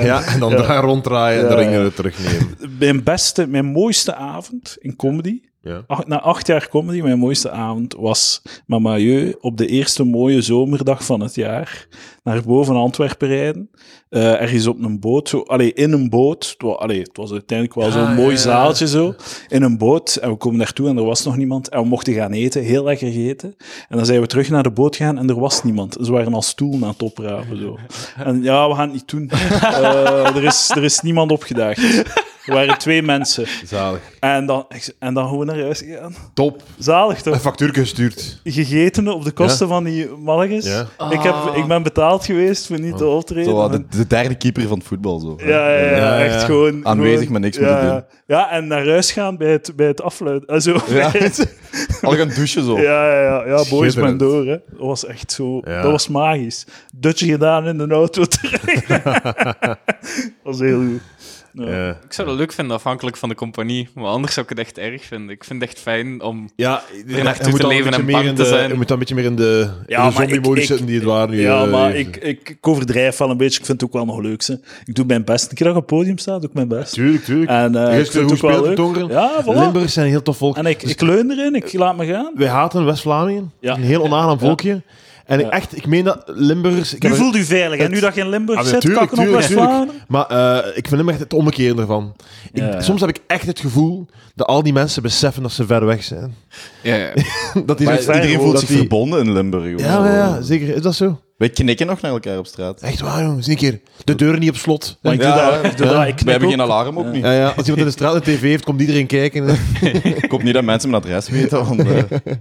Speaker 4: ja, en dan daar ronddraaien en de
Speaker 1: Ja,
Speaker 4: ringen weer terugnemen.
Speaker 1: Mijn beste, mijn mooiste avond in comedy,
Speaker 4: Ja.
Speaker 1: ach- na acht jaar comedy, mijn mooiste avond was met Mailleu op de eerste mooie zomerdag van het jaar naar boven Antwerpen rijden. Eh, ergens op een boot, zo, allee, in een boot. Het was, allee, het was uiteindelijk wel zo'n
Speaker 4: Ah,
Speaker 1: mooi
Speaker 4: ja, ja.
Speaker 1: zaaltje zo. In een boot. En we komen daartoe en er was nog niemand. En we mochten gaan eten, heel lekker eten. En dan zijn we terug naar de boot gegaan en er was niemand. Ze waren al stoelen aan het oprapen. Zo. En ja, we gaan het niet doen. Eh, er, is, er is niemand opgedaagd. Er waren twee mensen.
Speaker 4: Zalig.
Speaker 1: En dan, ik z- en dan gewoon naar huis gegaan.
Speaker 4: Top.
Speaker 1: Zalig
Speaker 4: Een
Speaker 1: toch?
Speaker 4: factuur gestuurd.
Speaker 1: Gegeten op de kosten van die mannetjes.
Speaker 4: Ja. Oh.
Speaker 1: Ik,
Speaker 4: Ah.
Speaker 1: heb, ik ben betaald geweest voor niet te optreden.
Speaker 3: Zo, de,
Speaker 1: En-
Speaker 3: de derde keeper van het voetbal. Zo.
Speaker 1: ja, ja, ja,
Speaker 4: Ja, ja.
Speaker 1: echt gewoon...
Speaker 3: Aanwezig,
Speaker 1: gewoon-
Speaker 3: maar niks
Speaker 1: ja,
Speaker 3: moeten
Speaker 1: ja. Ja, en naar huis gaan bij het, bij het afluiten. Ah, zo.
Speaker 3: Ja.
Speaker 1: bij het-
Speaker 3: Al gaan douchen zo.
Speaker 1: ja, ja, ja, ja boys, ben
Speaker 4: Schitterend.
Speaker 1: door. Hè. Dat was echt zo...
Speaker 4: Ja.
Speaker 1: Dat was magisch. Dutje gedaan in de auto terug. dat was heel goed. Ja.
Speaker 4: Ja,
Speaker 2: Ik zou dat leuk vinden, afhankelijk van de compagnie. Maar anders zou ik het echt erg vinden. Ik vind het echt fijn om...
Speaker 4: ja
Speaker 2: naartoe te leven en bang te
Speaker 4: de,
Speaker 2: zijn.
Speaker 4: Je moet dan een beetje meer in de,
Speaker 1: Ja,
Speaker 4: in
Speaker 1: maar
Speaker 4: de zombie-modus
Speaker 1: ik- ik-
Speaker 4: zitten die het waar nu.
Speaker 1: Ja,
Speaker 4: eh,
Speaker 1: maar
Speaker 4: heeft.
Speaker 1: ik, ik, ik overdrijf wel een beetje. Ik vind het ook wel nog leuk. Hè. Ik doe mijn best. Een keer dat ik op het podium sta, doe ik mijn best.
Speaker 4: Tuurlijk, tuurlijk.
Speaker 1: En eh ik
Speaker 4: Gisteren
Speaker 1: vind
Speaker 4: hoe
Speaker 1: het ook wel
Speaker 4: speelt
Speaker 1: leuk.
Speaker 4: het Tongeren?
Speaker 1: Ja, voilà.
Speaker 4: Limburgers zijn een heel tof volk.
Speaker 1: En ik, ik leun erin, ik laat me gaan.
Speaker 4: Wij haten West-Vlamingen.
Speaker 1: Ja.
Speaker 4: Een heel onaangenaam
Speaker 1: Ja.
Speaker 4: volkje. En ik
Speaker 1: Ja.
Speaker 4: echt, ik meen dat Limburgers... Ik
Speaker 1: Nu
Speaker 4: heb-
Speaker 1: voelt u veilig. En
Speaker 4: het-
Speaker 1: nu dat je in Limburg
Speaker 4: Ah,
Speaker 1: zit,
Speaker 4: natuurlijk,
Speaker 1: kakken op
Speaker 4: natuurlijk,
Speaker 1: West-Vlaanderen.
Speaker 4: Maar eh, ik vind hem echt het omgekeerde ervan. Ik-
Speaker 1: Ja, ja.
Speaker 4: Soms heb ik echt het gevoel dat al die mensen beseffen dat ze ver weg zijn.
Speaker 2: Ja, ja.
Speaker 4: Dat die
Speaker 3: Maar
Speaker 4: zo-
Speaker 3: iedereen voelt
Speaker 4: dat
Speaker 3: zich
Speaker 4: die-
Speaker 3: verbonden in Limburg.
Speaker 4: Ja,
Speaker 3: gewoon.
Speaker 4: maar
Speaker 1: Oh.
Speaker 4: ja, zeker. Is dat zo?
Speaker 3: Wij knikken nog naar elkaar op straat.
Speaker 4: Echt waar, jongens. Een keer. De deur niet op slot.
Speaker 1: Maar ik doe
Speaker 3: Ja,
Speaker 1: dat, ik doe dat,
Speaker 4: ja.
Speaker 1: ik
Speaker 3: Wij
Speaker 1: knik
Speaker 3: hebben geen
Speaker 1: ook.
Speaker 3: alarm ook niet.
Speaker 4: Ja, ja, als iemand in de straat een tv heeft, komt iedereen kijken.
Speaker 3: Ik hoop niet dat mensen mijn adres weten. Want, eh,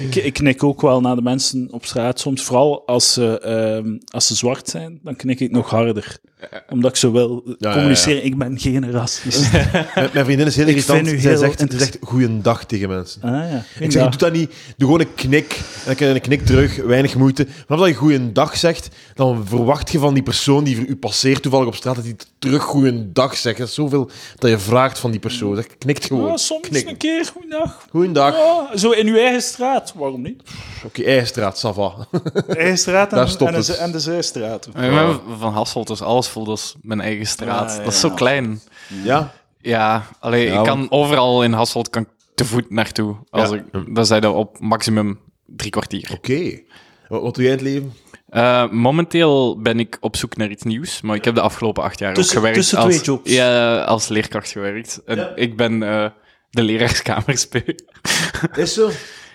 Speaker 1: Ik, ik knik ook wel naar de mensen op straat soms. Vooral als ze, ehm, als ze zwart zijn, dan knik ik nog harder. Omdat ik zo wil eh,
Speaker 4: ja, ja.
Speaker 1: communiceren. Ik ben geen racist. ah
Speaker 4: Mijn, mijn vriendin is heel
Speaker 1: Ik
Speaker 4: irritant.
Speaker 1: vind u
Speaker 4: Zij
Speaker 1: heel
Speaker 4: zegt, ze
Speaker 1: interessant.
Speaker 4: zegt goeiedag tegen mensen.
Speaker 1: ja.
Speaker 4: Ik zeg,
Speaker 1: Ja.
Speaker 4: doe dat niet. Doe gewoon een knik. En dan krijg je een knik terug. Weinig moeite. Vanaf dat je goeiedag zegt, dan verwacht je van die persoon die voor u passeert toevallig op straat, dat die terug goeiedag zegt. Dat is zoveel dat je vraagt van die persoon. Dat knikt gewoon.
Speaker 1: Ah, soms
Speaker 4: Knik.
Speaker 1: een keer, goeiedag.
Speaker 4: Goeiedag.
Speaker 1: Ah, zo in uw eigen straat, waarom niet?
Speaker 4: Oké, ijstraat, Sava.
Speaker 1: Eigen straat en,
Speaker 4: Daar stopt
Speaker 1: en,
Speaker 4: het.
Speaker 1: de, en de zijstraat.
Speaker 2: Maar ik ben Van Hasselt dus alles voelt als mijn eigen straat.
Speaker 1: Ja, ja,
Speaker 2: Dat is zo
Speaker 1: ja.
Speaker 2: klein.
Speaker 4: Ja?
Speaker 2: Ja, alleen
Speaker 3: Ja,
Speaker 2: ik kan overal in Hasselt kan ik te voet naartoe. Als
Speaker 4: Ja.
Speaker 2: ik, dan zijn dat op maximum drie kwartier.
Speaker 4: Oké. Wat, wat doe jij in het leven?
Speaker 2: Eh, momenteel ben ik op zoek naar iets nieuws, maar ik heb de afgelopen acht jaar
Speaker 1: Tussen-
Speaker 2: ook gewerkt
Speaker 1: tussen
Speaker 2: als,
Speaker 1: twee jobs.
Speaker 2: Ja, als leerkracht gewerkt. En ik ben eh, de leraarskamerspeu.
Speaker 4: Is zo?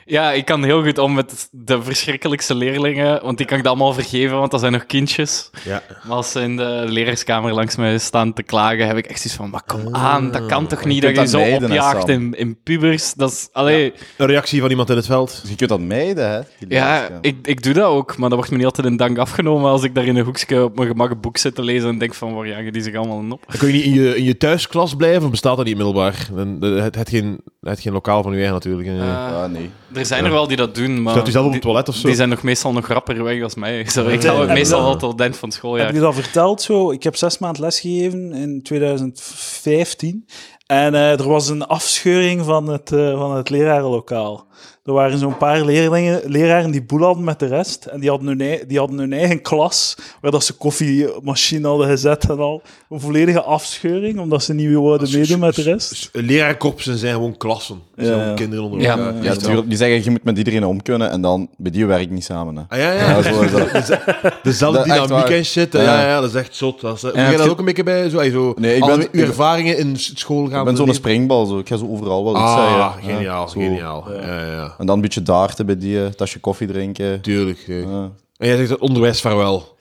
Speaker 2: Ja, ik kan heel goed om met de verschrikkelijkste leerlingen, want die kan ik dat allemaal vergeven, want dat zijn nog kindjes.
Speaker 4: Ja.
Speaker 2: Maar als ze in de leraarskamer langs mij staan te klagen, heb ik echt zoiets van, maar kom
Speaker 4: Ah,
Speaker 2: aan, dat kan toch niet
Speaker 3: je
Speaker 2: dat
Speaker 3: kunt
Speaker 2: je
Speaker 3: dat
Speaker 2: zo
Speaker 3: mijden, hè,
Speaker 2: opjaagt
Speaker 3: Sam?
Speaker 2: in, in pubers? Dat is, allee,
Speaker 4: Een reactie van iemand in het veld.
Speaker 3: dus je kunt dat mijden, hè? die
Speaker 2: ja,
Speaker 3: leerlingen.
Speaker 2: ik, ik doe dat ook, maar dat wordt me niet altijd in dank afgenomen als ik daar in een hoekje op mijn gemak een boek zit te lezen en denk van, waar jagen die zich allemaal in op?
Speaker 4: Dan kun je niet in je, in je thuisklas blijven, of bestaat dat niet middelbaar? Dan- de- Het het geen, het geen lokaal van je eigen natuurlijk. hè.
Speaker 2: Eh,
Speaker 3: Ah, nee.
Speaker 2: er zijn er wel die dat doen, maar
Speaker 4: Staat u zelf op het
Speaker 2: die,
Speaker 4: toilet of zo?
Speaker 2: die zijn nog meestal nog rapper weg als mij. Zo, ik hou het
Speaker 1: Heb je
Speaker 2: meestal
Speaker 1: dat-
Speaker 2: wel tot het eind van het schooljaar.
Speaker 1: Heb je dat verteld zo? Ik heb zes maanden lesgegeven in 2015. En eh, er was een afscheuring van het, eh, van het lerarenlokaal. Er waren zo'n paar leerlingen, leraren die boel hadden met de rest. En die hadden, hun, ei- die hadden hun eigen klas, waar dat ze koffiemachine hadden gezet en al. Een volledige afscheuring, omdat ze niet wilden meedoen met de rest.
Speaker 4: Dus, eh, Leraarkorpsen zijn gewoon klassen. Dat zijn
Speaker 1: Ja.
Speaker 4: gewoon kinderen onder
Speaker 2: Ja.
Speaker 4: elkaar. Dus
Speaker 2: Ja,
Speaker 3: Ja,
Speaker 4: Echt wel.
Speaker 3: natuurlijk. Die zeggen, je moet met iedereen om kunnen en dan, bij die werk niet samen. Hè.
Speaker 4: Ah, ja, ja.
Speaker 3: Ja, zo is dat.
Speaker 4: Dezelfde
Speaker 3: Dat- echt
Speaker 4: dynamiek
Speaker 3: waar.
Speaker 4: en shit. Ja.
Speaker 3: Ja.
Speaker 4: Ja, dat is echt zot. Dat is, Voel jij
Speaker 3: het
Speaker 4: dat
Speaker 3: ge-
Speaker 4: ook een beetje bij? Zo, ey, zo,
Speaker 3: Nee, ik
Speaker 4: alle-
Speaker 3: ben-
Speaker 4: uw ervaringen in s- school gaan
Speaker 3: Ik ben zo'n
Speaker 4: beleven?
Speaker 3: springbal, zo. ik ga zo overal wat ik zei.
Speaker 4: Ah,
Speaker 3: hè.
Speaker 4: geniaal,
Speaker 3: Ja, zo.
Speaker 4: geniaal. Ja, ja, ja.
Speaker 3: En dan een beetje daarten bij die, eh, tasje koffie drinken.
Speaker 4: Tuurlijk. tuurlijk.
Speaker 3: Ja.
Speaker 4: En jij zegt het onderwijs vaarwel.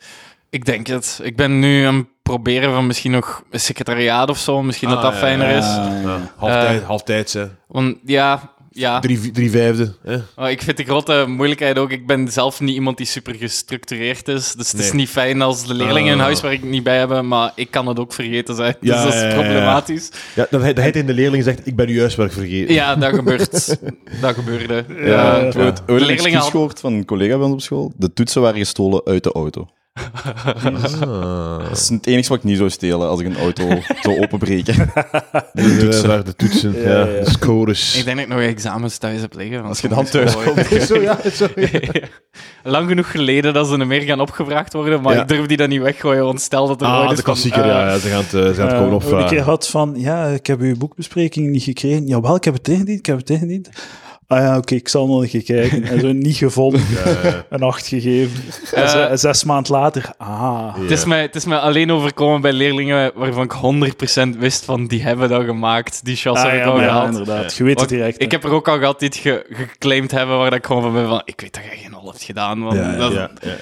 Speaker 2: Ik denk het. Ik ben nu aan het proberen van misschien nog een secretariaat of zo. Misschien dat dat fijner is.
Speaker 4: Ah, Ja. Halftijd, halftijds, hè.
Speaker 2: Want ja, ja.
Speaker 4: Drie, drie vijfde. Hè?
Speaker 2: Maar ik vind de grote moeilijkheid ook. Ik ben zelf niet iemand die super gestructureerd is. Dus het is
Speaker 4: Nee.
Speaker 2: niet fijn als de leerlingen in
Speaker 4: Ah.
Speaker 2: huis waar ik niet bij hebben. Maar ik kan het ook vergeten zijn.
Speaker 4: Ja,
Speaker 2: dus dat
Speaker 4: ja, ja,
Speaker 2: is
Speaker 4: ja.
Speaker 2: problematisch. Ja,
Speaker 4: Ja, dat hij, dat hij tegen de leerling zegt, ik ben uw huiswerk vergeten.
Speaker 2: dat gebeurt. dat gebeurde.
Speaker 3: Ja,
Speaker 2: Eh,
Speaker 3: ik heb ooit- ooit een
Speaker 2: Leerlingen
Speaker 3: excuus
Speaker 2: al-
Speaker 3: gehoord van een collega bij ons op school. De toetsen waren gestolen uit de auto.
Speaker 4: Ah.
Speaker 3: Dat is het enige wat ik niet zou stelen als ik een auto zou openbreken.
Speaker 4: De toetsen. Ja, de toetsen. Ja,
Speaker 1: ja.
Speaker 4: De scores.
Speaker 2: Ik denk dat ik nog examens thuis heb liggen.
Speaker 3: Als je dan thuis komt.
Speaker 4: Zo, ja, sorry.
Speaker 2: Lang genoeg geleden dat ze er meer gaan opgevraagd worden, maar
Speaker 4: Ja.
Speaker 2: ik durf die dan niet weggooien, want stel dat er ooit
Speaker 4: Ah,
Speaker 2: is
Speaker 4: de
Speaker 2: van,
Speaker 4: klassieker,
Speaker 2: eh,
Speaker 4: ja. ja, Ze gaan het, eh, ze gaan het komen
Speaker 1: Eh, een keer
Speaker 4: opvragen.
Speaker 1: had van, ja, ik heb uw boekbespreking niet gekregen. Jawel, ik heb het ingediend, ik heb het ingediend. Ah ja, oké, ik zal nog een keer kijken. En zo niet gevonden, een acht gegeven. En ze-
Speaker 2: Eh.
Speaker 1: en zes maanden later, ah.
Speaker 2: Het is, mij, het is mij alleen overkomen bij leerlingen waarvan ik 100% wist van die hebben dat gemaakt, die shots
Speaker 1: Ah,
Speaker 2: heb ik
Speaker 1: ja,
Speaker 2: al
Speaker 1: maar ja,
Speaker 2: gehaald.
Speaker 1: inderdaad. Je weet het
Speaker 2: Want
Speaker 1: direct. hè.
Speaker 2: Ik heb er ook al gehad die het ge- geclaimd hebben waar dat ik gewoon van ben van, ik weet dat jij geen hol hebt gedaan, want
Speaker 1: Ja, ja,
Speaker 2: dat,
Speaker 4: Ja, ja, ja.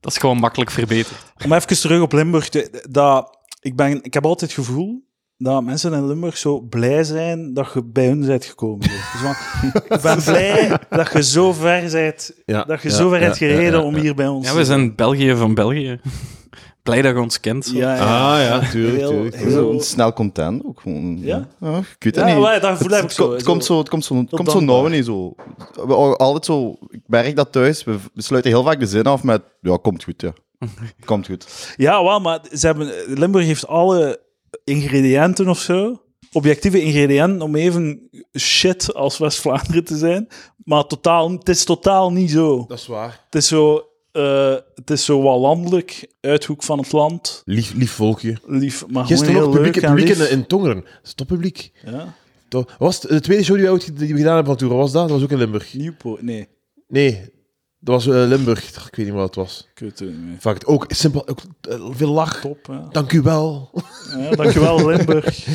Speaker 2: dat is gewoon makkelijk verbeterd.
Speaker 1: Om even terug op Limburg. te- dat, ik, ben, ik heb altijd het gevoel dat mensen in Limburg zo blij zijn dat je bij hun bent gekomen. Dus van, ik ben blij dat je zo ver bent,
Speaker 4: Ja,
Speaker 1: dat je
Speaker 4: ja,
Speaker 1: zo ver
Speaker 4: ja,
Speaker 1: hebt gereden om hier bij ons
Speaker 2: Ja, we zijn België van België. Blij dat je ons kent. zo.
Speaker 1: Ja, ja.
Speaker 4: Ah, ja, tuurlijk,
Speaker 1: Heel-
Speaker 4: tuurlijk.
Speaker 1: heel-
Speaker 3: Zo Snel content ook gewoon.
Speaker 1: Ja?
Speaker 3: ik weet
Speaker 1: Ja,
Speaker 3: het niet.
Speaker 1: maar dat voel
Speaker 3: Het-
Speaker 1: heb ik
Speaker 3: het
Speaker 1: zo,
Speaker 3: komt- Het komt zo, het komt zo, het
Speaker 1: Tot
Speaker 3: komt zo
Speaker 1: dan.
Speaker 3: nauw niet zo. We, altijd zo, ik merk dat thuis, we we sluiten heel vaak de zin af met, ja, komt goed, ja. Komt goed.
Speaker 1: Ja, wel, maar ze hebben, Limburg heeft alle ingrediënten of zo. Objectieve ingrediënten om even shit als West-Vlaanderen te zijn. Maar totaal, het is totaal niet zo.
Speaker 4: Dat is waar.
Speaker 1: Het is zo, eh, het is zo wat landelijk, uithoek van het land.
Speaker 4: Lief, lief volkje.
Speaker 1: Lief, maar
Speaker 4: Gisteren nog
Speaker 1: gewoon heel
Speaker 4: publiek,
Speaker 1: leuk en
Speaker 4: publiek in,
Speaker 1: lief.
Speaker 4: in Tongeren. Dat is toppubliek.
Speaker 1: Ja.
Speaker 4: Toch- wat Was het- de tweede show die we, ooit, ged- die we gedaan hebben van Tour, was dat? Dat was ook in Limburg.
Speaker 1: Nieuwpoort, nee,
Speaker 4: Nee, dat was eh, Limburg. Ik weet niet wat het was.
Speaker 1: ik weet het niet meer.
Speaker 4: Vaak ook simpel, ook, eh, veel lach.
Speaker 1: Top, ja.
Speaker 4: Dank u wel.
Speaker 1: ja. Dankjewel, Limburg.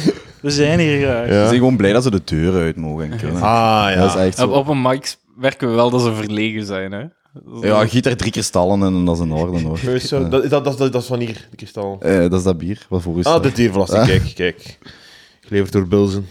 Speaker 1: We zijn hier graag.
Speaker 3: Ze zijn gewoon blij dat ze de deur uit mogen en kunnen.
Speaker 4: Ah,
Speaker 3: Dat is echt
Speaker 2: Op,
Speaker 3: zo.
Speaker 2: op een mic werken we wel dat ze verlegen zijn, hè. Ehm,
Speaker 3: Ja, giet er drie kristallen in en dat is in orde, hoor.
Speaker 4: First show. Dat, dat, dat, dat, dat is van hier, de kristal.
Speaker 3: Eh, dat is dat bier, wat voor is
Speaker 4: Ah,
Speaker 3: dat?
Speaker 4: de teerverlasting. Kijk, kijk. Geleverd door Bilzen.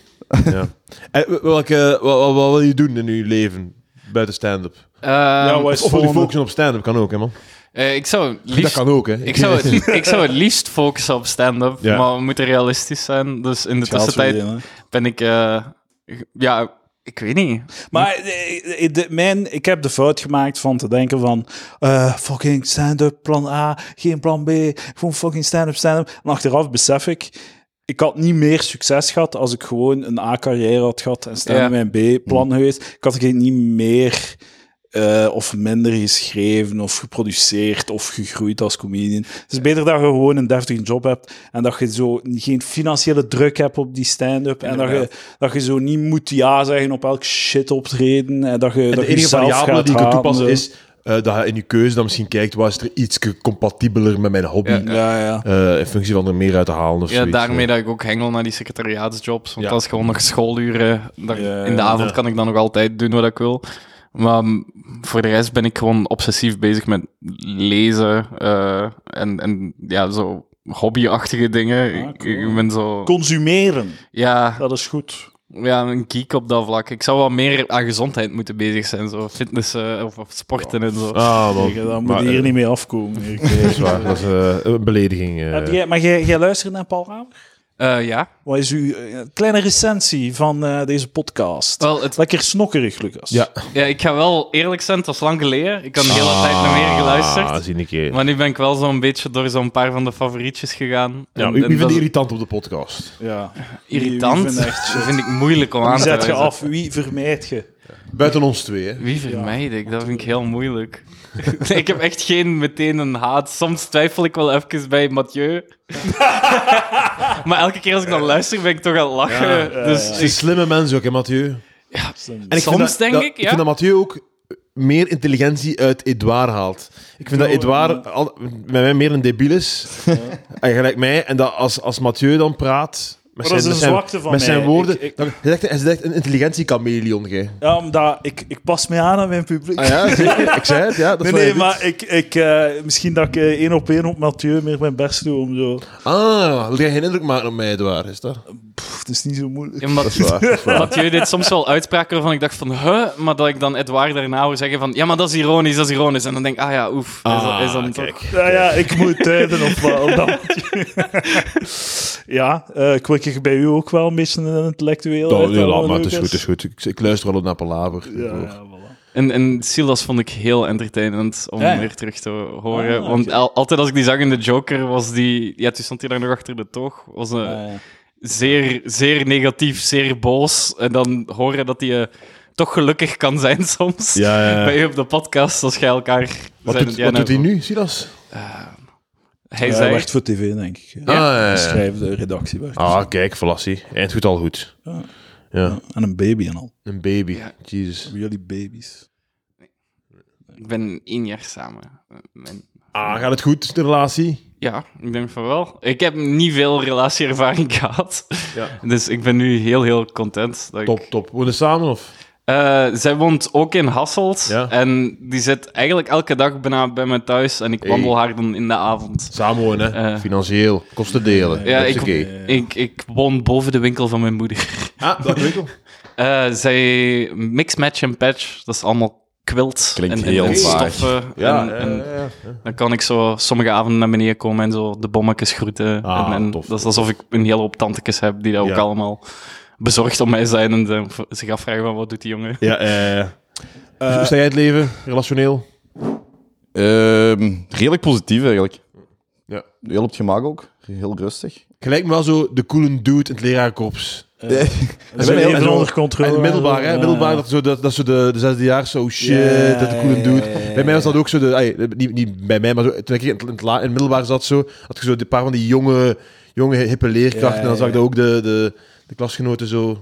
Speaker 4: ja. En w- welke, wat, wat, wat wil je doen in je leven? Buiten stand-up.
Speaker 2: Ehm,
Speaker 1: Ja, wat is
Speaker 4: Of wil je
Speaker 1: volgende?
Speaker 4: focussen op stand-up? Kan ook, hè, man.
Speaker 2: eh, ik zou liefst...
Speaker 4: Dat kan ook, hè.
Speaker 2: Ik zou, het, li- ik zou het liefst focussen op stand-up,
Speaker 4: Ja.
Speaker 2: maar we moeten realistisch zijn. Dus in de
Speaker 1: Schaalt zo
Speaker 2: tussentijd
Speaker 1: weer, hè.
Speaker 2: ben ik... eh, g- ja, ik weet niet.
Speaker 1: Maar eh, eh, de- mijn, ik heb de fout gemaakt van te denken van eh, fucking stand-up, plan A, geen plan B, gewoon fucking stand-up, stand-up. En achteraf besef ik, ik had niet meer succes gehad als ik gewoon een A-carrière had gehad en stand-up
Speaker 2: Ja.
Speaker 1: en B-plan geweest. Ik had geen- niet meer eh, of minder geschreven of geproduceerd of gegroeid als comedian. Het is beter dat je gewoon een deftige job hebt en dat je zo geen financiële druk hebt op die stand-up en dat je, dat je zo niet moet ja zeggen op elk shit optreden en dat je
Speaker 4: En
Speaker 1: dat
Speaker 4: de
Speaker 1: je
Speaker 4: enige
Speaker 1: jezelf
Speaker 4: variabele
Speaker 1: gaat
Speaker 4: die je kan
Speaker 1: haten,
Speaker 4: toepassen
Speaker 1: zo.
Speaker 4: is eh, dat je in je keuze dan misschien kijkt, waar is er iets compatibeler met mijn hobby?
Speaker 2: Ja.
Speaker 1: Ja, ja.
Speaker 4: Eh, in functie van er meer uit te halen of
Speaker 2: Ja,
Speaker 4: zoiets. eh.
Speaker 2: daarmee dat ik ook hengel naar die secretariaatsjobs. Want
Speaker 4: Ja.
Speaker 2: dat is gewoon nog schooluren. Daar-
Speaker 1: Ja,
Speaker 2: in de
Speaker 1: ja.
Speaker 2: avond kan ik dan nog altijd doen wat ik wil. Maar mm, voor de rest ben ik gewoon obsessief bezig met lezen. eh, en, en ja, zo hobbyachtige dingen.
Speaker 1: Ah,
Speaker 2: Ik-
Speaker 1: cool.
Speaker 2: Ik ben zo...
Speaker 1: Consumeren,
Speaker 2: Ja,
Speaker 1: dat is goed.
Speaker 2: Ja, een geek op dat vlak. Ik zou wel meer aan gezondheid moeten bezig zijn, zo fitnessen of, of sporten en zo.
Speaker 4: Ah, man.
Speaker 1: Tegen, Dan moet
Speaker 4: Maar,
Speaker 1: je hier
Speaker 4: eh,
Speaker 1: niet mee afkomen. Ik-
Speaker 4: Dat is waar. Dat is eh, een belediging. eh.
Speaker 1: Heb jij- maar jij, jij luistert naar Paul Ramer?
Speaker 2: Eh, ja,
Speaker 1: Wat is uw eh, kleine recensie van eh, deze podcast?
Speaker 2: wel, het,
Speaker 1: Lekker snokkerig, Lucas.
Speaker 4: Ja.
Speaker 2: ja, ik ga wel eerlijk zijn, dat is lang geleden. Ik had de hele tijd naar meer
Speaker 4: Ah,
Speaker 2: geluisterd.
Speaker 4: zie ik je.
Speaker 2: Maar nu ben ik wel zo'n beetje door zo'n paar van de favorietjes gegaan.
Speaker 4: Ja,
Speaker 2: En-
Speaker 4: u, u
Speaker 2: en
Speaker 4: vindt
Speaker 2: dat
Speaker 4: die
Speaker 2: is
Speaker 4: irritant op de podcast.
Speaker 1: ja.
Speaker 2: irritant.
Speaker 1: Wie- wie vindt echt
Speaker 2: Dat vind ik moeilijk om aan
Speaker 1: Wie
Speaker 2: te
Speaker 1: zet je
Speaker 2: wijzen.
Speaker 1: af? Wie vermijd je?
Speaker 4: Buiten ons twee. hè.
Speaker 2: Wie vermijd ik? Dat vind ik heel moeilijk. ik heb echt geen meteen een haat. Soms twijfel ik wel even bij Mathieu. maar elke keer als ik dan luister, ben ik toch al lachen. dus
Speaker 4: Het zijn slimme mensen ook, hè, Mathieu? En ik vind dat-
Speaker 2: Soms denk
Speaker 4: Dus dat-
Speaker 2: ik,
Speaker 4: Ik
Speaker 2: ja.
Speaker 4: vind dat Mathieu ook meer intelligentie uit Edouard haalt. Ik vind dat
Speaker 1: Ja,
Speaker 4: Edouard al, met mij meer een debiel is. En gelijk mij. En dat als, als Mathieu dan praat... Met
Speaker 1: Maar dat is
Speaker 4: zijn,
Speaker 1: een
Speaker 4: met
Speaker 1: zwakte van
Speaker 4: zijn, met
Speaker 1: mij.
Speaker 4: zijn woorden.
Speaker 1: Ik- ik-
Speaker 4: dan- hij, is echt, hij is echt een intelligentiekameleon, jij.
Speaker 1: Ja, omdat ik, ik pas me aan aan mijn publiek.
Speaker 4: Ah ja, zeker. Ik zei het, ja. Dat
Speaker 1: Nee,
Speaker 4: is wat
Speaker 1: nee,
Speaker 4: hij
Speaker 1: maar ik, ik, eh, misschien dat ik eh, één op één op Mathieu meer mijn best doe om zo...
Speaker 4: doet. Ah, wil jij geen indruk maken op mij, Edouard? Is
Speaker 1: Oh,
Speaker 4: dat?
Speaker 1: Pff, het is niet zo moeilijk.
Speaker 2: Ja, omdat-
Speaker 4: Dat is waar. Dat is waar.
Speaker 2: Mathieu deed soms wel uitspraken waarvan ik dacht van, huh? Maar dat ik dan Edouard daarna hoor zeggen van, ja, maar dat is ironisch, dat is ironisch. En dan denk ik, ah ja, oef. Is dat, is dan toch...
Speaker 1: Ja, ja, ik moet tijden op wat. op dat ja, eh kwikkig bij u ook wel een beetje een intellectueel.
Speaker 4: Oh,
Speaker 1: hè,
Speaker 4: nee,
Speaker 1: dat
Speaker 4: laat
Speaker 1: wel
Speaker 4: maar. Het is goed,
Speaker 1: leuk
Speaker 4: het is goed. Ik, ik luister wel op naar Palaver.
Speaker 1: Ja,
Speaker 4: Ik-
Speaker 1: ja, voilà.
Speaker 2: En, en Silas vond ik heel entertainend om
Speaker 1: Ja, ja.
Speaker 2: weer terug te horen.
Speaker 1: Ah,
Speaker 2: Want
Speaker 1: oké.
Speaker 2: al- altijd als ik die zag in de Joker, was die... Ja, toen stond hij daar nog achter de toog. Was
Speaker 4: Eh,
Speaker 2: een
Speaker 1: Eh,
Speaker 2: zeer, zeer negatief, zeer boos. En dan horen dat hij eh, toch gelukkig kan zijn soms.
Speaker 3: Ja, ja, ja.
Speaker 2: Bij je op de podcast, als jij elkaar...
Speaker 4: Wat
Speaker 2: zijn
Speaker 4: doet,
Speaker 2: jij
Speaker 4: wat
Speaker 2: nou-
Speaker 4: doet hij nu, Silas?
Speaker 2: Hij
Speaker 1: Ja, hij
Speaker 2: zei...
Speaker 1: werkt voor tv, denk ik. Ja.
Speaker 4: Ah, ja, ja.
Speaker 1: Schrijf de redactie werkt.
Speaker 4: ah, kijk, Velassie. Eind goed, al goed.
Speaker 1: Ja.
Speaker 4: Ja,
Speaker 1: En een baby en al.
Speaker 4: een baby.
Speaker 2: Ja.
Speaker 4: Jezus.
Speaker 1: Jullie baby's.
Speaker 2: Ik ben één jaar samen. eh, En-
Speaker 4: Ah, gaat het goed, de relatie?
Speaker 2: Ja, ik denk van wel. Ik heb niet veel relatieervaring gehad.
Speaker 4: Ja.
Speaker 2: Dus ik ben nu heel, heel content. Dat ik-
Speaker 4: Top, top. Wonen samen of?
Speaker 2: Eh, zij woont ook in Hasselt.
Speaker 4: Ja.
Speaker 2: En die zit eigenlijk elke dag bijna bij me thuis. En ik
Speaker 4: Hey.
Speaker 2: wandel haar dan in de avond.
Speaker 4: Samen wonen, hè?
Speaker 2: Eh.
Speaker 4: Financieel, kosten delen.
Speaker 2: Ja,
Speaker 4: dat is
Speaker 2: ik,
Speaker 4: oké.
Speaker 2: ik, ik woon boven de winkel van mijn moeder.
Speaker 4: Ah, dat weet ik wel.
Speaker 2: Eh, zij mix, match en patch. Dat is allemaal quilt.
Speaker 3: Klinkt
Speaker 2: en, en-
Speaker 3: heel
Speaker 2: en
Speaker 3: vaag.
Speaker 2: stoffen.
Speaker 4: Ja,
Speaker 2: en,
Speaker 4: ja,
Speaker 2: en
Speaker 4: ja, ja.
Speaker 2: dan kan ik zo sommige avonden naar beneden komen en zo de bommetjes groeten.
Speaker 4: Ah,
Speaker 2: en, en
Speaker 4: tof,
Speaker 2: dat is alsof ik een hele hoop tantekes heb die dat ook
Speaker 4: Ja.
Speaker 2: allemaal bezorgd om mij zijn. En eh, zich afvragen van wat doet die jongen.
Speaker 4: ja eh, dus hoe sta jij het leven, relationeel?
Speaker 3: Ehm, redelijk positief eigenlijk.
Speaker 4: Ja.
Speaker 3: Heel op het gemak ook. Heel rustig.
Speaker 4: Gelijk me wel zo de coole dude in het Eh, lerarenkorps.
Speaker 1: Ze
Speaker 4: ben
Speaker 1: zijn
Speaker 4: heel-
Speaker 1: even
Speaker 4: zo-
Speaker 1: onder controle.
Speaker 4: En middelbaar, hè?
Speaker 1: Ja.
Speaker 4: Middelbaar, dat, zo, dat, dat zo de, de zesde jaar zo, oh shit,
Speaker 1: Ja,
Speaker 4: dat het cool
Speaker 1: ja,
Speaker 4: doet.
Speaker 1: ja, ja,
Speaker 4: Bij mij was dat ook zo, de, ay, niet, niet bij mij, maar zo, toen ik in het, in het la- in het middelbaar zat, zo, had ik zo een paar van die jonge, jonge hippe leerkrachten.
Speaker 1: Ja,
Speaker 4: En dan zag ik
Speaker 1: ja.
Speaker 4: dat ook de, de, de klasgenoten zo.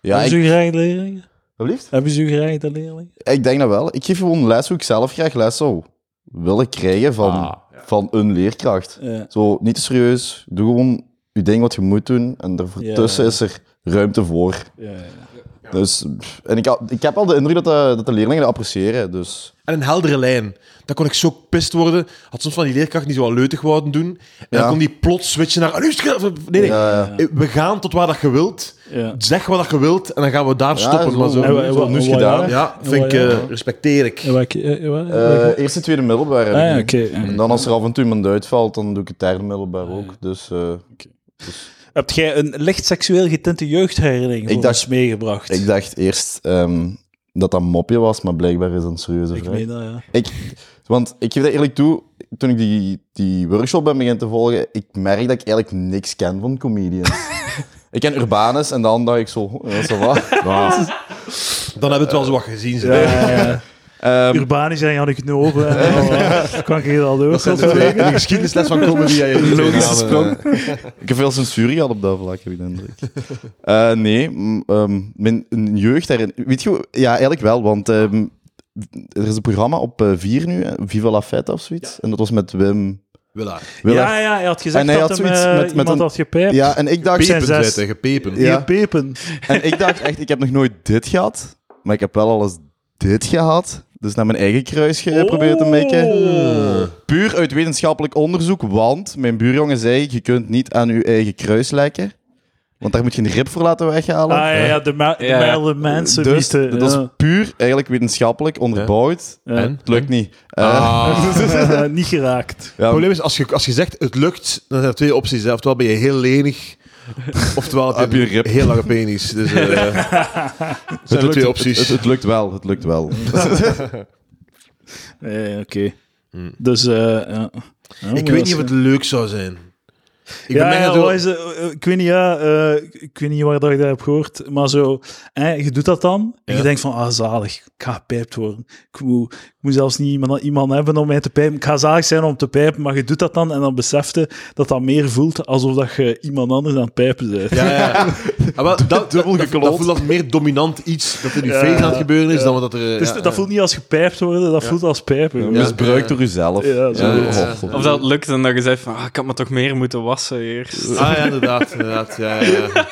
Speaker 3: Ja,
Speaker 1: Hebben ze
Speaker 3: ik,
Speaker 1: u graag leerlingen?
Speaker 3: Alsjeblieft.
Speaker 1: Hebben ze u graag de leerlingen?
Speaker 3: ik denk dat wel. Ik geef gewoon les hoe ik zelf graag les zou willen krijgen van,
Speaker 1: Ah,
Speaker 3: van een leerkracht.
Speaker 1: Ja.
Speaker 3: Zo, niet te serieus. Doe gewoon je ding wat je moet doen. En daartussen
Speaker 1: Ja.
Speaker 3: is er ruimte voor.
Speaker 1: Ja, ja.
Speaker 3: Dus, pff, en ik, had- ik heb al de indruk dat de, dat de leerlingen dat appreciëren. Dus
Speaker 4: En een heldere lijn. Dan kon ik zo pist worden. Had soms van die leerkrachten die zo wel leutig wouden doen. En dan
Speaker 3: Ja.
Speaker 4: kon die plots switchen naar... "Ah, "Allee, scherp." Nee, nee.
Speaker 3: Ja,
Speaker 4: We gaan tot waar dat je wilt.
Speaker 1: Ja.
Speaker 4: Zeg wat dat je wilt. En dan gaan we daar stoppen.
Speaker 3: zo.
Speaker 4: Maar zo,
Speaker 3: En
Speaker 1: wa- en wa-
Speaker 3: nu is
Speaker 1: en wa-
Speaker 3: gedaan.
Speaker 4: Ja,
Speaker 1: En
Speaker 4: vind
Speaker 1: wat-
Speaker 4: ik... eh,
Speaker 1: ja.
Speaker 4: respecteer ik.
Speaker 1: En welke- eh, wat-
Speaker 3: eh eerste, tweede middelbaar. heb
Speaker 1: Ah, ja,
Speaker 3: ik nu.
Speaker 1: oké. Ja.
Speaker 3: En dan als er af en toe iemand uitvalt, dan doe ik het derde middelbaar
Speaker 1: Ah,
Speaker 3: ook. Dus eh,
Speaker 1: Heb jij een licht seksueel getinte jeugdherinnering voor
Speaker 3: Ik dacht-
Speaker 1: ons meegebracht?
Speaker 3: ik dacht eerst ehm, dat dat een mopje was, maar blijkbaar is dat een serieuze
Speaker 1: Ik
Speaker 3: vraag.
Speaker 1: meen dat, ja.
Speaker 3: Ik, want ik geef dat eerlijk toe, toen ik die, die workshop ben beginnen te volgen, ik merk dat ik eigenlijk niks ken van comedians. ik ken Urbanus en dan dacht ik zo, oh, ja, ça va.
Speaker 4: Dan hebben we het wel zo wat gezien. Ze.
Speaker 3: Ehm,
Speaker 1: Urbanisch en Janneke Noven. en al, eh, Kwam ik hier al door?
Speaker 4: Dat zijn zo de, de geschiedenisles van comedy. ja, je doet
Speaker 3: Logische
Speaker 4: die
Speaker 3: sprong.
Speaker 4: namen, eh.
Speaker 3: Ik heb veel censuur gehad op dat vlak, heb ik de indruk. Eh, nee, mm, ehm, mijn een jeugd daarin. Weet je, hoe- ja, eigenlijk wel, want ehm, er is een programma op eh, Vier nu, eh, Viva la Fête of zoiets. En dat was met Wim.
Speaker 4: Willaar.
Speaker 3: Willem.
Speaker 1: Ja, ja, hij had gezegd
Speaker 3: En hij
Speaker 1: dat
Speaker 3: had
Speaker 1: hem,
Speaker 3: zoiets
Speaker 1: eh,
Speaker 3: met- met
Speaker 1: iemand
Speaker 3: een-
Speaker 1: had gepijpt.
Speaker 3: Ja, en ik dacht,
Speaker 1: Piep.
Speaker 4: Pepen
Speaker 1: zes.
Speaker 4: zei tegen Pepen.
Speaker 3: Ja.
Speaker 1: Die pepen.
Speaker 3: en ik dacht echt, ik heb nog nooit dit gehad, maar ik heb wel al eens dit gehad. Dus naar mijn eigen kruis geprobeerd te
Speaker 1: Oh.
Speaker 3: mikken. Puur uit wetenschappelijk onderzoek, want mijn buurjongen zei, je kunt niet aan je eigen kruis lekken. Want daar moet je een rib voor laten weghalen.
Speaker 1: Ah, ja, ja, de, ma- de
Speaker 2: Ja.
Speaker 1: mijle mensen.
Speaker 3: Dus
Speaker 1: wisten,
Speaker 3: dat is
Speaker 1: ja.
Speaker 3: puur eigenlijk wetenschappelijk onderbouwd.
Speaker 1: Ja.
Speaker 4: En?
Speaker 3: Het lukt niet. Eh,
Speaker 4: Ah.
Speaker 1: Eh, niet geraakt.
Speaker 4: Het probleem is, als je, als je zegt het lukt, dan zijn er twee opties. hè. Oftewel ben je heel lenig Oftewel heb
Speaker 3: Heb
Speaker 4: je
Speaker 3: je
Speaker 4: een
Speaker 3: een rib?
Speaker 4: heel lange penis. Dus eh, dat zijn de twee opties.
Speaker 3: Het, het lukt wel, het lukt wel.
Speaker 1: Eh, Oké. Dus, eh, ja. Ja,
Speaker 4: Hmm. ik
Speaker 1: maar
Speaker 4: weet
Speaker 1: als-
Speaker 4: niet of het leuk zou zijn. Ik
Speaker 1: ja,
Speaker 4: ben
Speaker 1: ja,
Speaker 4: mij door-
Speaker 1: wat is het? Eh, ik weet niet, ja, eh, ik weet niet waar dat ik dat heb gehoord, maar zo, hè, je doet dat dan en
Speaker 4: Ja.
Speaker 1: je denkt van, ah, zalig, ik ga gepijpt worden. Ik moet, ik moet zelfs niet iemand, iemand hebben om mij te pijpen. Ik ga zalig zijn om te pijpen, maar je doet dat dan en dan beseft je dat dat meer voelt alsof dat je iemand anders aan het pijpen bent.
Speaker 4: Ja, ja. ja. Ah, wel, dat, dat, dat,
Speaker 3: gekloot.
Speaker 4: voelt als meer dominant iets dat er nu
Speaker 1: Ja,
Speaker 4: feest aan het gebeuren is dan wat dat er...
Speaker 1: Dus
Speaker 4: ja,
Speaker 1: dat voelt niet als gepijpt worden, dat voelt als pijpen. Dus
Speaker 4: Ja.
Speaker 3: Misbruikt door jezelf.
Speaker 1: Ja, zo.
Speaker 3: Oh,
Speaker 4: Ja, ja.
Speaker 3: god.
Speaker 2: Of dat lukt en dat je zegt van, ah, ik had me toch meer moeten wassen eerst.
Speaker 4: Ah ja, inderdaad. inderdaad ja, ja, ja.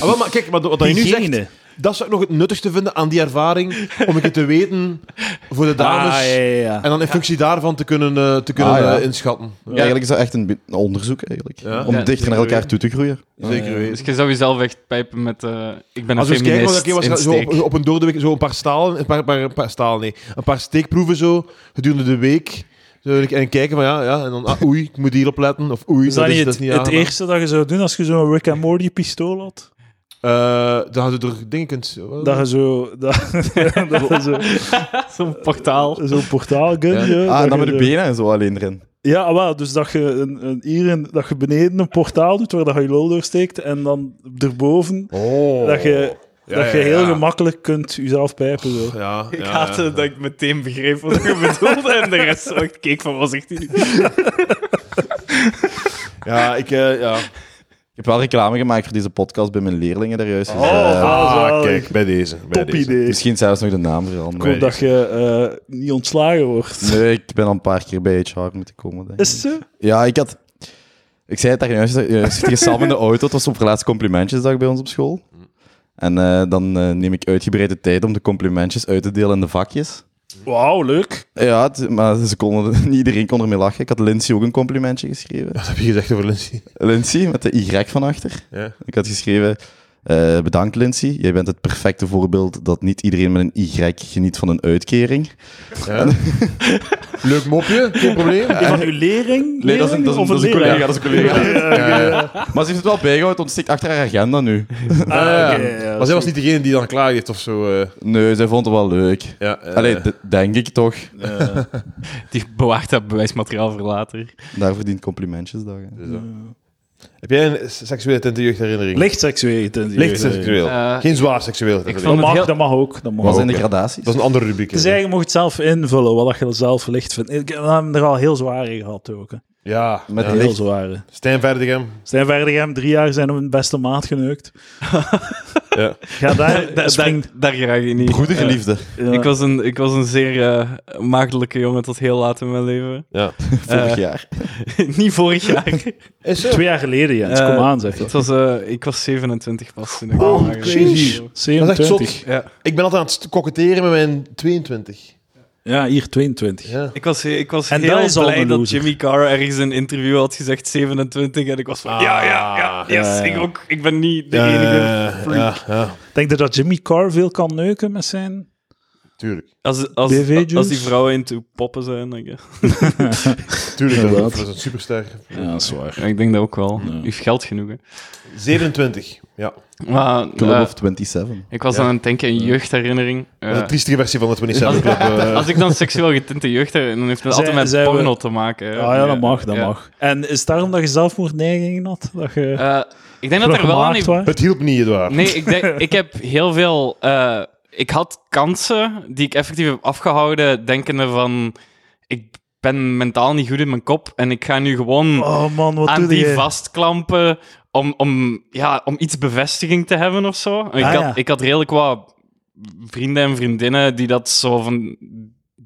Speaker 4: Ah, wel, maar kijk, maar wat je nu
Speaker 1: Hygiëne.
Speaker 4: zegt, dat zou ik nog het nuttigste vinden aan die ervaring, om een keer te weten voor de dames,
Speaker 1: Ah, ja, ja, ja.
Speaker 4: en dan in functie daarvan te kunnen, eh, te kunnen
Speaker 3: Ah, ja.
Speaker 4: eh, inschatten.
Speaker 3: Eigenlijk is dat echt een bi- een onderzoek, eigenlijk.
Speaker 4: Ja.
Speaker 3: Om
Speaker 2: Ja,
Speaker 3: dichter naar elkaar toe te groeien.
Speaker 1: Eh,
Speaker 4: Zeker weten.
Speaker 2: Dus je zou jezelf echt pijpen met, eh, ik ben een
Speaker 4: Als we eens kijken, want
Speaker 2: feminist
Speaker 4: oké, was
Speaker 2: in
Speaker 4: het zo op,
Speaker 2: steek.
Speaker 4: op een door de week zo een paar stalen, een paar, paar, paar stalen, nee, een paar steekproeven zo gedurende de week. Zo, en en kijken van ja, ja en dan ah, oei, ik moet hierop letten of oei,
Speaker 1: Is dat, niet
Speaker 4: dus
Speaker 1: het,
Speaker 4: dat is niet
Speaker 1: het
Speaker 4: aangenaam.
Speaker 1: eerste dat je zou doen als je zo'n Rick and Morty pistool had?
Speaker 4: Eh, dan hadden we er dingen kunt. wat-
Speaker 1: Dat je zo... Dat, dat je zo
Speaker 2: Zo'n portaal.
Speaker 1: Zo'n portaal gun je.
Speaker 3: Ah, en dan met de
Speaker 1: je-
Speaker 3: benen en zo alleen erin.
Speaker 1: Ja, wel, dus dat je, een, een, hier een, dat je beneden een portaal doet waar dat je je lol doorsteekt en dan erboven
Speaker 4: Oh.
Speaker 1: dat je,
Speaker 4: Ja,
Speaker 1: dat
Speaker 4: ja,
Speaker 1: je heel
Speaker 4: ja.
Speaker 1: gemakkelijk kunt jezelf pijpen. Zo.
Speaker 4: Ja,
Speaker 2: Ik
Speaker 4: ja,
Speaker 2: haatte
Speaker 4: ja.
Speaker 2: dat ik meteen begreep wat je bedoelde en de rest zo echt keek van, wat zegt hij nu?
Speaker 3: Ja, ik, eh, ja. ik heb wel reclame gemaakt voor deze podcast bij mijn leerlingen daar juist. Dus, eh,
Speaker 1: ah,
Speaker 4: Ah,
Speaker 1: zalig.
Speaker 4: kijk, bij deze. Bij
Speaker 1: Top
Speaker 4: deze.
Speaker 1: idee. Ik
Speaker 3: misschien zelfs nog de naam veranderen.
Speaker 1: hoop dat je eh, niet ontslagen wordt.
Speaker 3: Nee, ik ben al een paar keer bij HR moeten komen. Denk ik.
Speaker 1: Is het zo?
Speaker 3: Ja, ik had... Ik zei het daar juist, eh, juist tegen Sam in de auto. Het was op de laatste complimentjesdag bij ons op school. En eh, dan eh, neem ik uitgebreide tijd om de complimentjes uit te delen in de vakjes.
Speaker 1: Wauw, leuk.
Speaker 3: Ja, het- maar ze konden, niet iedereen kon ermee lachen. Ik had Lindsay ook een complimentje geschreven.
Speaker 4: Wat heb je gezegd over Lindsay?
Speaker 3: Lindsay, met de Y van achter.
Speaker 4: Ja.
Speaker 3: Ik had geschreven, eh, bedankt Lindsay, jij bent het perfecte voorbeeld dat niet iedereen met een Y geniet van een uitkering.
Speaker 4: Ja. Leuk mopje, geen probleem.
Speaker 1: Een van uw lering?
Speaker 3: Eh. Nee, dat is een, dat is een,
Speaker 1: Of
Speaker 3: dat is een collega,
Speaker 1: leraar?
Speaker 3: dat is een collega.
Speaker 4: Ja.
Speaker 3: Maar ze heeft het wel bijgehouden, want het stikt achter haar agenda nu.
Speaker 1: Ah, oké,
Speaker 4: Ja.
Speaker 1: ja,
Speaker 4: Maar zij was niet degene die dan klaar heeft of zo. eh.
Speaker 3: Nee, zij vond het wel leuk.
Speaker 4: ja, eh.
Speaker 3: Allee, d- denk ik toch.
Speaker 2: Die bewaart dat bewijsmateriaal voor later.
Speaker 3: Daar verdient complimentjes dag. hè.
Speaker 4: Dus, eh. Heb jij een seksuele tinte jeugdherinnering?
Speaker 1: Licht seksueel. intensief.
Speaker 4: Licht seksueel.
Speaker 2: Eh,
Speaker 4: Geen zwaar seksueel. herinnering.
Speaker 1: Dat
Speaker 2: vond het
Speaker 1: mag,
Speaker 2: heel-
Speaker 1: dat mag ook. Dat mag
Speaker 3: Wat
Speaker 1: ook.
Speaker 3: zijn de
Speaker 4: ja.
Speaker 3: gradaties?
Speaker 4: Dat is een andere rubriek. hè.
Speaker 1: Het is eigenlijk, je mocht het zelf invullen wat dat je er zelf licht vindt. Ik heb hem er al heel zwaar in gehad ook. Hè.
Speaker 4: Ja.
Speaker 3: Met
Speaker 1: Ja, heel
Speaker 3: licht.
Speaker 1: zware.
Speaker 4: Stijn Verdegem.
Speaker 1: Stijn Verdegem, drie jaar zijn op hun beste maat geneukt.
Speaker 4: Ja.
Speaker 1: Ga daar,
Speaker 2: daar,
Speaker 1: daar
Speaker 2: daar,
Speaker 1: springt.
Speaker 2: daar raak je niet.
Speaker 3: Broederliefde.
Speaker 1: Ja.
Speaker 2: Ik was, een, ik was een zeer eh, maagdelijke jongen tot heel laat in mijn leven.
Speaker 4: ja.
Speaker 3: Vorig jaar.
Speaker 2: Niet vorig jaar.
Speaker 4: Is
Speaker 1: Twee jaar geleden, Jens.
Speaker 2: Eh,
Speaker 1: Kom aan, zeg
Speaker 2: Het
Speaker 1: dat.
Speaker 2: was, eh, ik was 27 pas toen ik
Speaker 4: Oh,
Speaker 2: maagdelijk-
Speaker 4: jeez. Dat is echt
Speaker 1: 27.
Speaker 4: zot.
Speaker 2: Ja.
Speaker 4: Ik ben altijd aan het koketteren met mijn 22.
Speaker 1: Ja, hier 22.
Speaker 4: Ja.
Speaker 2: Ik was, eh, ik was
Speaker 1: En
Speaker 2: heel
Speaker 1: dat is al
Speaker 2: blij
Speaker 1: een
Speaker 2: dat
Speaker 1: loser.
Speaker 2: Jimmy Carr ergens in een interview had gezegd 27 en ik was van
Speaker 4: Ah,
Speaker 2: ja, ja, ja, yes,
Speaker 1: ja, ja.
Speaker 2: ik ook. Ik ben niet de
Speaker 4: Ja,
Speaker 2: enige
Speaker 4: ja,
Speaker 2: freak.
Speaker 4: ja, ja.
Speaker 1: Denk je dat Jimmy Carr veel kan neuken met zijn...
Speaker 4: Tuurlijk.
Speaker 2: Als, als,
Speaker 1: BV
Speaker 2: als,
Speaker 1: juice?
Speaker 2: die vrouwen into poppen zijn, denk ik.
Speaker 4: Tuurlijk. dat-
Speaker 1: Inderdaad.
Speaker 4: Dat is een superster.
Speaker 1: Ja, dat is waar.
Speaker 2: ik denk dat ook wel. U heeft geld genoeg, hè.
Speaker 4: 27. Ja.
Speaker 2: Maar,
Speaker 3: Club
Speaker 2: eh,
Speaker 3: of 27.
Speaker 2: ik was
Speaker 4: Ja.
Speaker 2: aan het denken, een jeugdherinnering.
Speaker 4: Dat is
Speaker 2: eh,
Speaker 4: een triestige versie van de 27 Club. eh.
Speaker 2: Als ik dan seksueel getinte jeugd heb, dan heeft het
Speaker 1: Zij-
Speaker 2: altijd met
Speaker 1: zij we-
Speaker 2: porno te maken. hè.
Speaker 1: Ah, Ja, ja, dat mag, dat
Speaker 2: Ja.
Speaker 1: mag. En is het daarom dat je zelfmoordneigingen had? Dat je
Speaker 2: Eh, ik denk dat
Speaker 1: dat
Speaker 2: er wel aan
Speaker 1: gemaakt
Speaker 2: heeft...
Speaker 1: was?
Speaker 4: Het hielp niet, Edouard.
Speaker 2: Nee, ik, denk, ik heb heel veel... eh, ik had kansen die ik effectief heb afgehouden, denkende van... Ik ben mentaal niet goed in mijn kop en ik ga nu gewoon
Speaker 1: Oh man, wat
Speaker 2: aan
Speaker 1: doe
Speaker 2: die
Speaker 1: je?
Speaker 2: vastklampen om, om, ja, om iets bevestiging te hebben of zo. Ik,
Speaker 1: Ah,
Speaker 2: had,
Speaker 1: ja.
Speaker 2: ik had redelijk wat vrienden en vriendinnen die dat zo van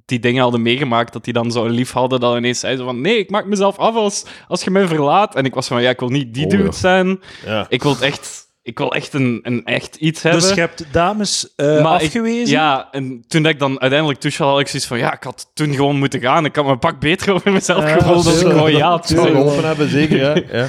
Speaker 2: die dingen hadden meegemaakt, dat die dan zo lief hadden, dat ineens zeiden van nee, ik maak mezelf af als, als je mij verlaat. En ik was van ja, ik wil niet die
Speaker 3: Oh, ja.
Speaker 2: dude zijn.
Speaker 4: Ja.
Speaker 2: Ik wil het echt, ik wil echt een, een echt iets hebben.
Speaker 1: Dus je hebt dames eh,
Speaker 2: Maar ik-
Speaker 1: afgewezen?
Speaker 2: ja, en toen dat ik dan uiteindelijk douche had, had ik zoiets van ja, ik had toen gewoon moeten gaan. Ik had me een pak beter over mezelf
Speaker 1: Ja,
Speaker 2: gevoeld als ik
Speaker 4: tuurlijk.
Speaker 2: gewoon ja
Speaker 4: Het
Speaker 2: had
Speaker 4: zou
Speaker 2: gezegd.
Speaker 4: geholpen hebben, zeker. hè. Ja.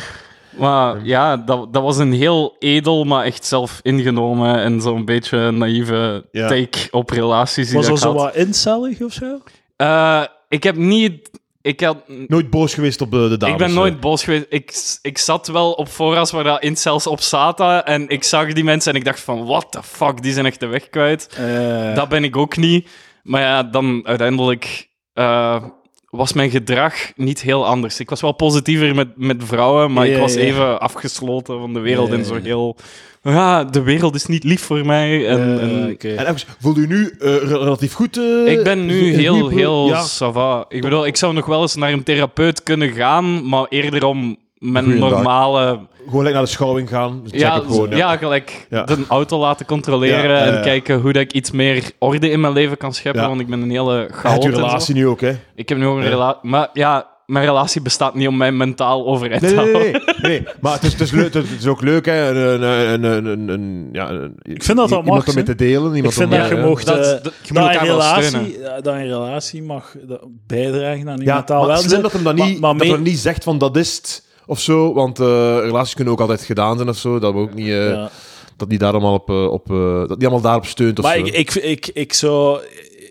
Speaker 2: Maar ja, dat, dat was een heel edel, maar echt zelf ingenomen en zo'n beetje naïeve
Speaker 4: Ja.
Speaker 2: take op relaties die
Speaker 1: Was
Speaker 2: dat
Speaker 1: dat
Speaker 2: ik
Speaker 1: zo
Speaker 2: had.
Speaker 1: wat incellig of zo?
Speaker 2: Eh, ik heb niet ik, had,
Speaker 4: Nooit boos geweest op de, de dames.
Speaker 2: ik ben
Speaker 4: eh.
Speaker 2: nooit boos geweest. Ik, ik zat wel op voorras waar dat incels op zaten. En ik zag die mensen en ik dacht van, what the fuck, die zijn echt de weg kwijt.
Speaker 1: Eh,
Speaker 2: Dat ben ik ook niet. Maar ja, dan uiteindelijk eh, was mijn gedrag niet heel anders. Ik was wel positiever met, met vrouwen, maar
Speaker 1: Ja,
Speaker 2: ik was
Speaker 1: ja.
Speaker 2: even afgesloten van de wereld.
Speaker 1: Ja,
Speaker 2: en
Speaker 1: ja.
Speaker 2: zo heel... Ja, de wereld is niet lief voor mij. En,
Speaker 1: eh,
Speaker 2: en
Speaker 1: oké.
Speaker 4: En even, voel je nu eh, re- relatief goed? eh,
Speaker 2: ik ben nu
Speaker 4: goed-
Speaker 2: heel,
Speaker 4: goed-
Speaker 2: heel
Speaker 4: Ja.
Speaker 2: sava. Ik bedoel, ik zou nog wel eens naar een therapeut kunnen gaan, maar eerder om mijn
Speaker 3: Goeiedag.
Speaker 2: normale...
Speaker 4: Gewoon lekker naar de schouwing gaan. Check
Speaker 2: Ja,
Speaker 4: het gewoon.
Speaker 2: ja.
Speaker 4: ja.
Speaker 2: gelijk
Speaker 4: Ja.
Speaker 2: de auto laten controleren
Speaker 4: Ja, ja,
Speaker 2: en
Speaker 4: ja.
Speaker 2: kijken hoe dat ik iets meer orde in mijn leven kan scheppen,
Speaker 4: Ja.
Speaker 2: want ik ben een hele
Speaker 4: Je hebt
Speaker 2: chaot.
Speaker 4: je
Speaker 2: en zo.
Speaker 4: relatie nu ook, hè?
Speaker 2: Ik heb nu ook een
Speaker 4: Ja.
Speaker 2: relatie. Maar ja, mijn relatie bestaat niet om mij mentaal overeind te
Speaker 4: Nee, nee,
Speaker 2: houden.
Speaker 4: nee. nee. nee. Maar het is, het, is leuk, het is- het is ook leuk, hè? Een, een, een, een, een, een- ja, een-
Speaker 1: Ik vind dat dat
Speaker 4: Iemand
Speaker 1: mag,
Speaker 4: om mee
Speaker 1: hè.
Speaker 4: te delen. Iemand
Speaker 1: Ik vind
Speaker 4: om,
Speaker 1: dat
Speaker 4: eh,
Speaker 1: je mocht,
Speaker 2: dat-
Speaker 1: eh,
Speaker 2: dat- je moet
Speaker 1: dat, een
Speaker 2: elkaar wel
Speaker 1: relatie,
Speaker 2: steunen.
Speaker 1: ja, dat een relatie mag eh, bijdragen aan die
Speaker 4: Ja,
Speaker 1: mentaal
Speaker 4: maar
Speaker 1: welzijn.
Speaker 4: slim dat hem dan
Speaker 1: Maar-
Speaker 4: niet,
Speaker 1: maar
Speaker 4: dat
Speaker 1: mee-
Speaker 4: hem niet zegt van dat is het, of zo. Want eh, relaties kunnen ook altijd gedaan zijn of zo. Dat we ook niet... eh,
Speaker 1: Ja.
Speaker 4: Dat die daar allemaal op... eh, op eh, dat die allemaal daarop steunt of
Speaker 1: Maar
Speaker 4: zo.
Speaker 1: ik, ik, ik, ik, zou,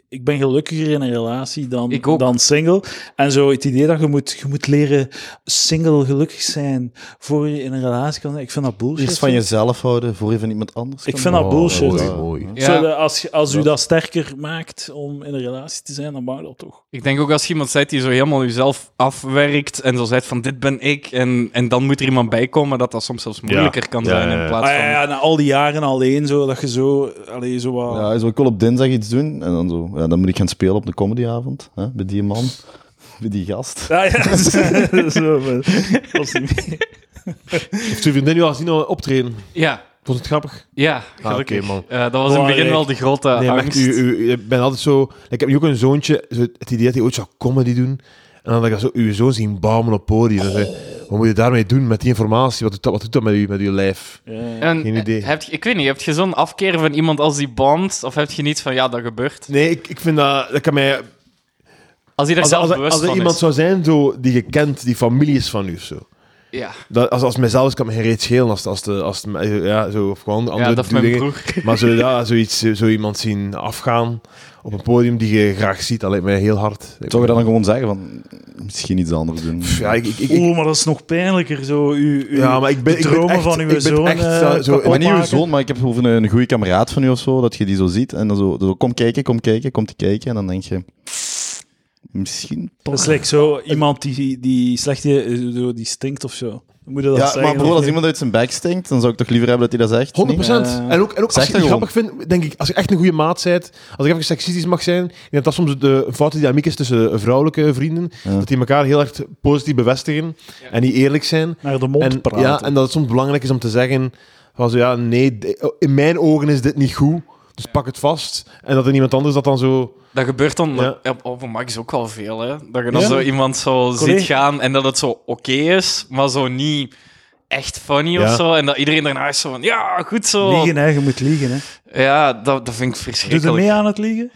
Speaker 1: ik ben gelukkiger in een relatie dan,
Speaker 2: Ik ook.
Speaker 1: dan single. En zo het idee dat je moet, je moet leren single gelukkig zijn voor je in een relatie kan zijn, ik vind dat bullshit.
Speaker 3: Eerst van jezelf houden voor je van iemand anders.
Speaker 1: Ik
Speaker 3: kan
Speaker 1: vind
Speaker 3: doen.
Speaker 1: dat bullshit.
Speaker 4: Oh, Mooi,
Speaker 3: Ah.
Speaker 4: mooi.
Speaker 2: Ja.
Speaker 1: Zo, de- als, je- als u dat sterker maakt om in een relatie te zijn, dan mag dat toch.
Speaker 2: Ik denk ook als je iemand zegt die zo helemaal jezelf afwerkt en zo zegt van dit ben ik en, en dan moet er iemand bij komen, dat dat soms zelfs moeilijker kan
Speaker 4: Ja,
Speaker 2: zijn
Speaker 4: ja, ja.
Speaker 2: in plaats
Speaker 1: Ah,
Speaker 2: van...
Speaker 1: ja, ja, na al die jaren alleen, zo, dat je zo... Allee, zo
Speaker 4: Oh.
Speaker 1: wat,
Speaker 3: Ja, zo, ik wil op dinsdag iets doen en dan zo. Ja, dan moet ik gaan spelen op de comedyavond hè, bij die man, bij die gast.
Speaker 1: Ah, Ja, ja, zo, zo, maar- dat is niet meer.
Speaker 4: Heeft uw vriendin nu al gezien al optreden?
Speaker 2: Ja,
Speaker 4: Vond het grappig?
Speaker 2: ja,
Speaker 4: Ah,
Speaker 2: gelukkig.
Speaker 4: oké, man.
Speaker 2: Eh, dat was in
Speaker 1: Wow,
Speaker 2: het begin
Speaker 1: ik-
Speaker 2: wel de grote
Speaker 4: Nee, maar
Speaker 2: Ah, angst.
Speaker 4: u, u, ik ben altijd zo... Ik heb nu ook een zoontje, zo het idee dat hij ooit zou comedy doen. En dan had ik dat zo, uw zoon zien bouwen op podium. En zei, wat moet je daarmee doen met die informatie? Wat doet dat, wat doet dat met, u, met uw lijf?
Speaker 1: Ja, ja.
Speaker 2: En,
Speaker 4: Geen idee.
Speaker 2: eh, heb je- ik weet niet, heb je zo'n afkeer van iemand als die bond? Of heb je niet van, ja, dat gebeurt?
Speaker 4: Nee, ik, ik vind dat... Dat kan mij...
Speaker 2: Als hij er
Speaker 4: Als,
Speaker 2: zelf
Speaker 4: als, als,
Speaker 2: bewust
Speaker 4: er
Speaker 2: van
Speaker 4: iemand
Speaker 2: is.
Speaker 4: zou zijn zo, die je kent, die familie is van u of zo.
Speaker 2: Ja,
Speaker 4: Dat, als, als mijzelf is, kan het me geen reet schelen. Als, als, de, als de, ja, zo, of gewoon andere
Speaker 2: ja dat van mijn
Speaker 4: dingen.
Speaker 2: broer.
Speaker 4: Maar zo, ja, zoiets, eh, zo iemand zien afgaan op een podium die je graag ziet, dat lijkt mij heel hard.
Speaker 3: Zou je dan gewoon zeggen van misschien iets anders doen?
Speaker 4: Pff, Ja, ik, ik, ik,
Speaker 1: Oeh, maar dat is nog pijnlijker, zo. U, u,
Speaker 4: Ja, maar ik ben-
Speaker 1: de
Speaker 4: ik ben
Speaker 1: dromen
Speaker 4: echt-
Speaker 1: van
Speaker 4: ik
Speaker 1: uw
Speaker 4: ben
Speaker 1: zoon.
Speaker 4: echt,
Speaker 1: eh,
Speaker 4: zo- zo-
Speaker 1: kapot
Speaker 3: maar niet uw
Speaker 1: maken.
Speaker 3: zoon, maar ik heb over een, een goede kameraad van u of zo, dat je die zo ziet en dan zo, zo, kom kijken, kom kijken, komt die kijken en dan denk je misschien.
Speaker 1: Dat is like zo iemand die, die slecht eh, zo, die stinkt of zo. Moet je dat
Speaker 3: Ja,
Speaker 1: zeggen?
Speaker 3: maar
Speaker 1: of
Speaker 3: bro, als
Speaker 1: niet?
Speaker 3: iemand uit zijn bek stinkt, dan zou ik toch liever hebben dat hij dat zegt.
Speaker 4: 100%.
Speaker 3: niet?
Speaker 1: niet?
Speaker 4: en ook, en ook
Speaker 3: Zeg
Speaker 4: als je
Speaker 3: dat
Speaker 4: het
Speaker 3: gewoon.
Speaker 4: grappig vindt, denk ik, als je echt een goede maat bent, als ik even seksistisch mag zijn, ik denk dat dat soms de foute dynamiek is tussen vrouwelijke vrienden,
Speaker 3: Ja.
Speaker 4: dat die elkaar heel erg positief bevestigen en niet eerlijk zijn.
Speaker 1: naar de mond
Speaker 4: en,
Speaker 1: praten.
Speaker 4: ja, en dat het soms belangrijk is om te zeggen van zo, ja, nee, d- in mijn ogen is dit niet goed, dus pak het vast. En dat er iemand anders dat dan zo...
Speaker 2: Dat gebeurt dan
Speaker 4: Ja.
Speaker 2: op, op een max ook wel veel, hè? Dat je dan
Speaker 1: Ja.
Speaker 2: zo iemand zo
Speaker 1: Collega-
Speaker 2: ziet gaan en dat het zo oké is, maar zo niet echt funny
Speaker 4: Ja.
Speaker 2: of zo. En dat iedereen daarna is zo van, ja, goed zo.
Speaker 1: Liegen, hè. Je moet liegen, hè.
Speaker 2: Ja, dat, dat vind ik
Speaker 1: Doe je
Speaker 2: verschrikkelijk.
Speaker 1: mee aan het liegen?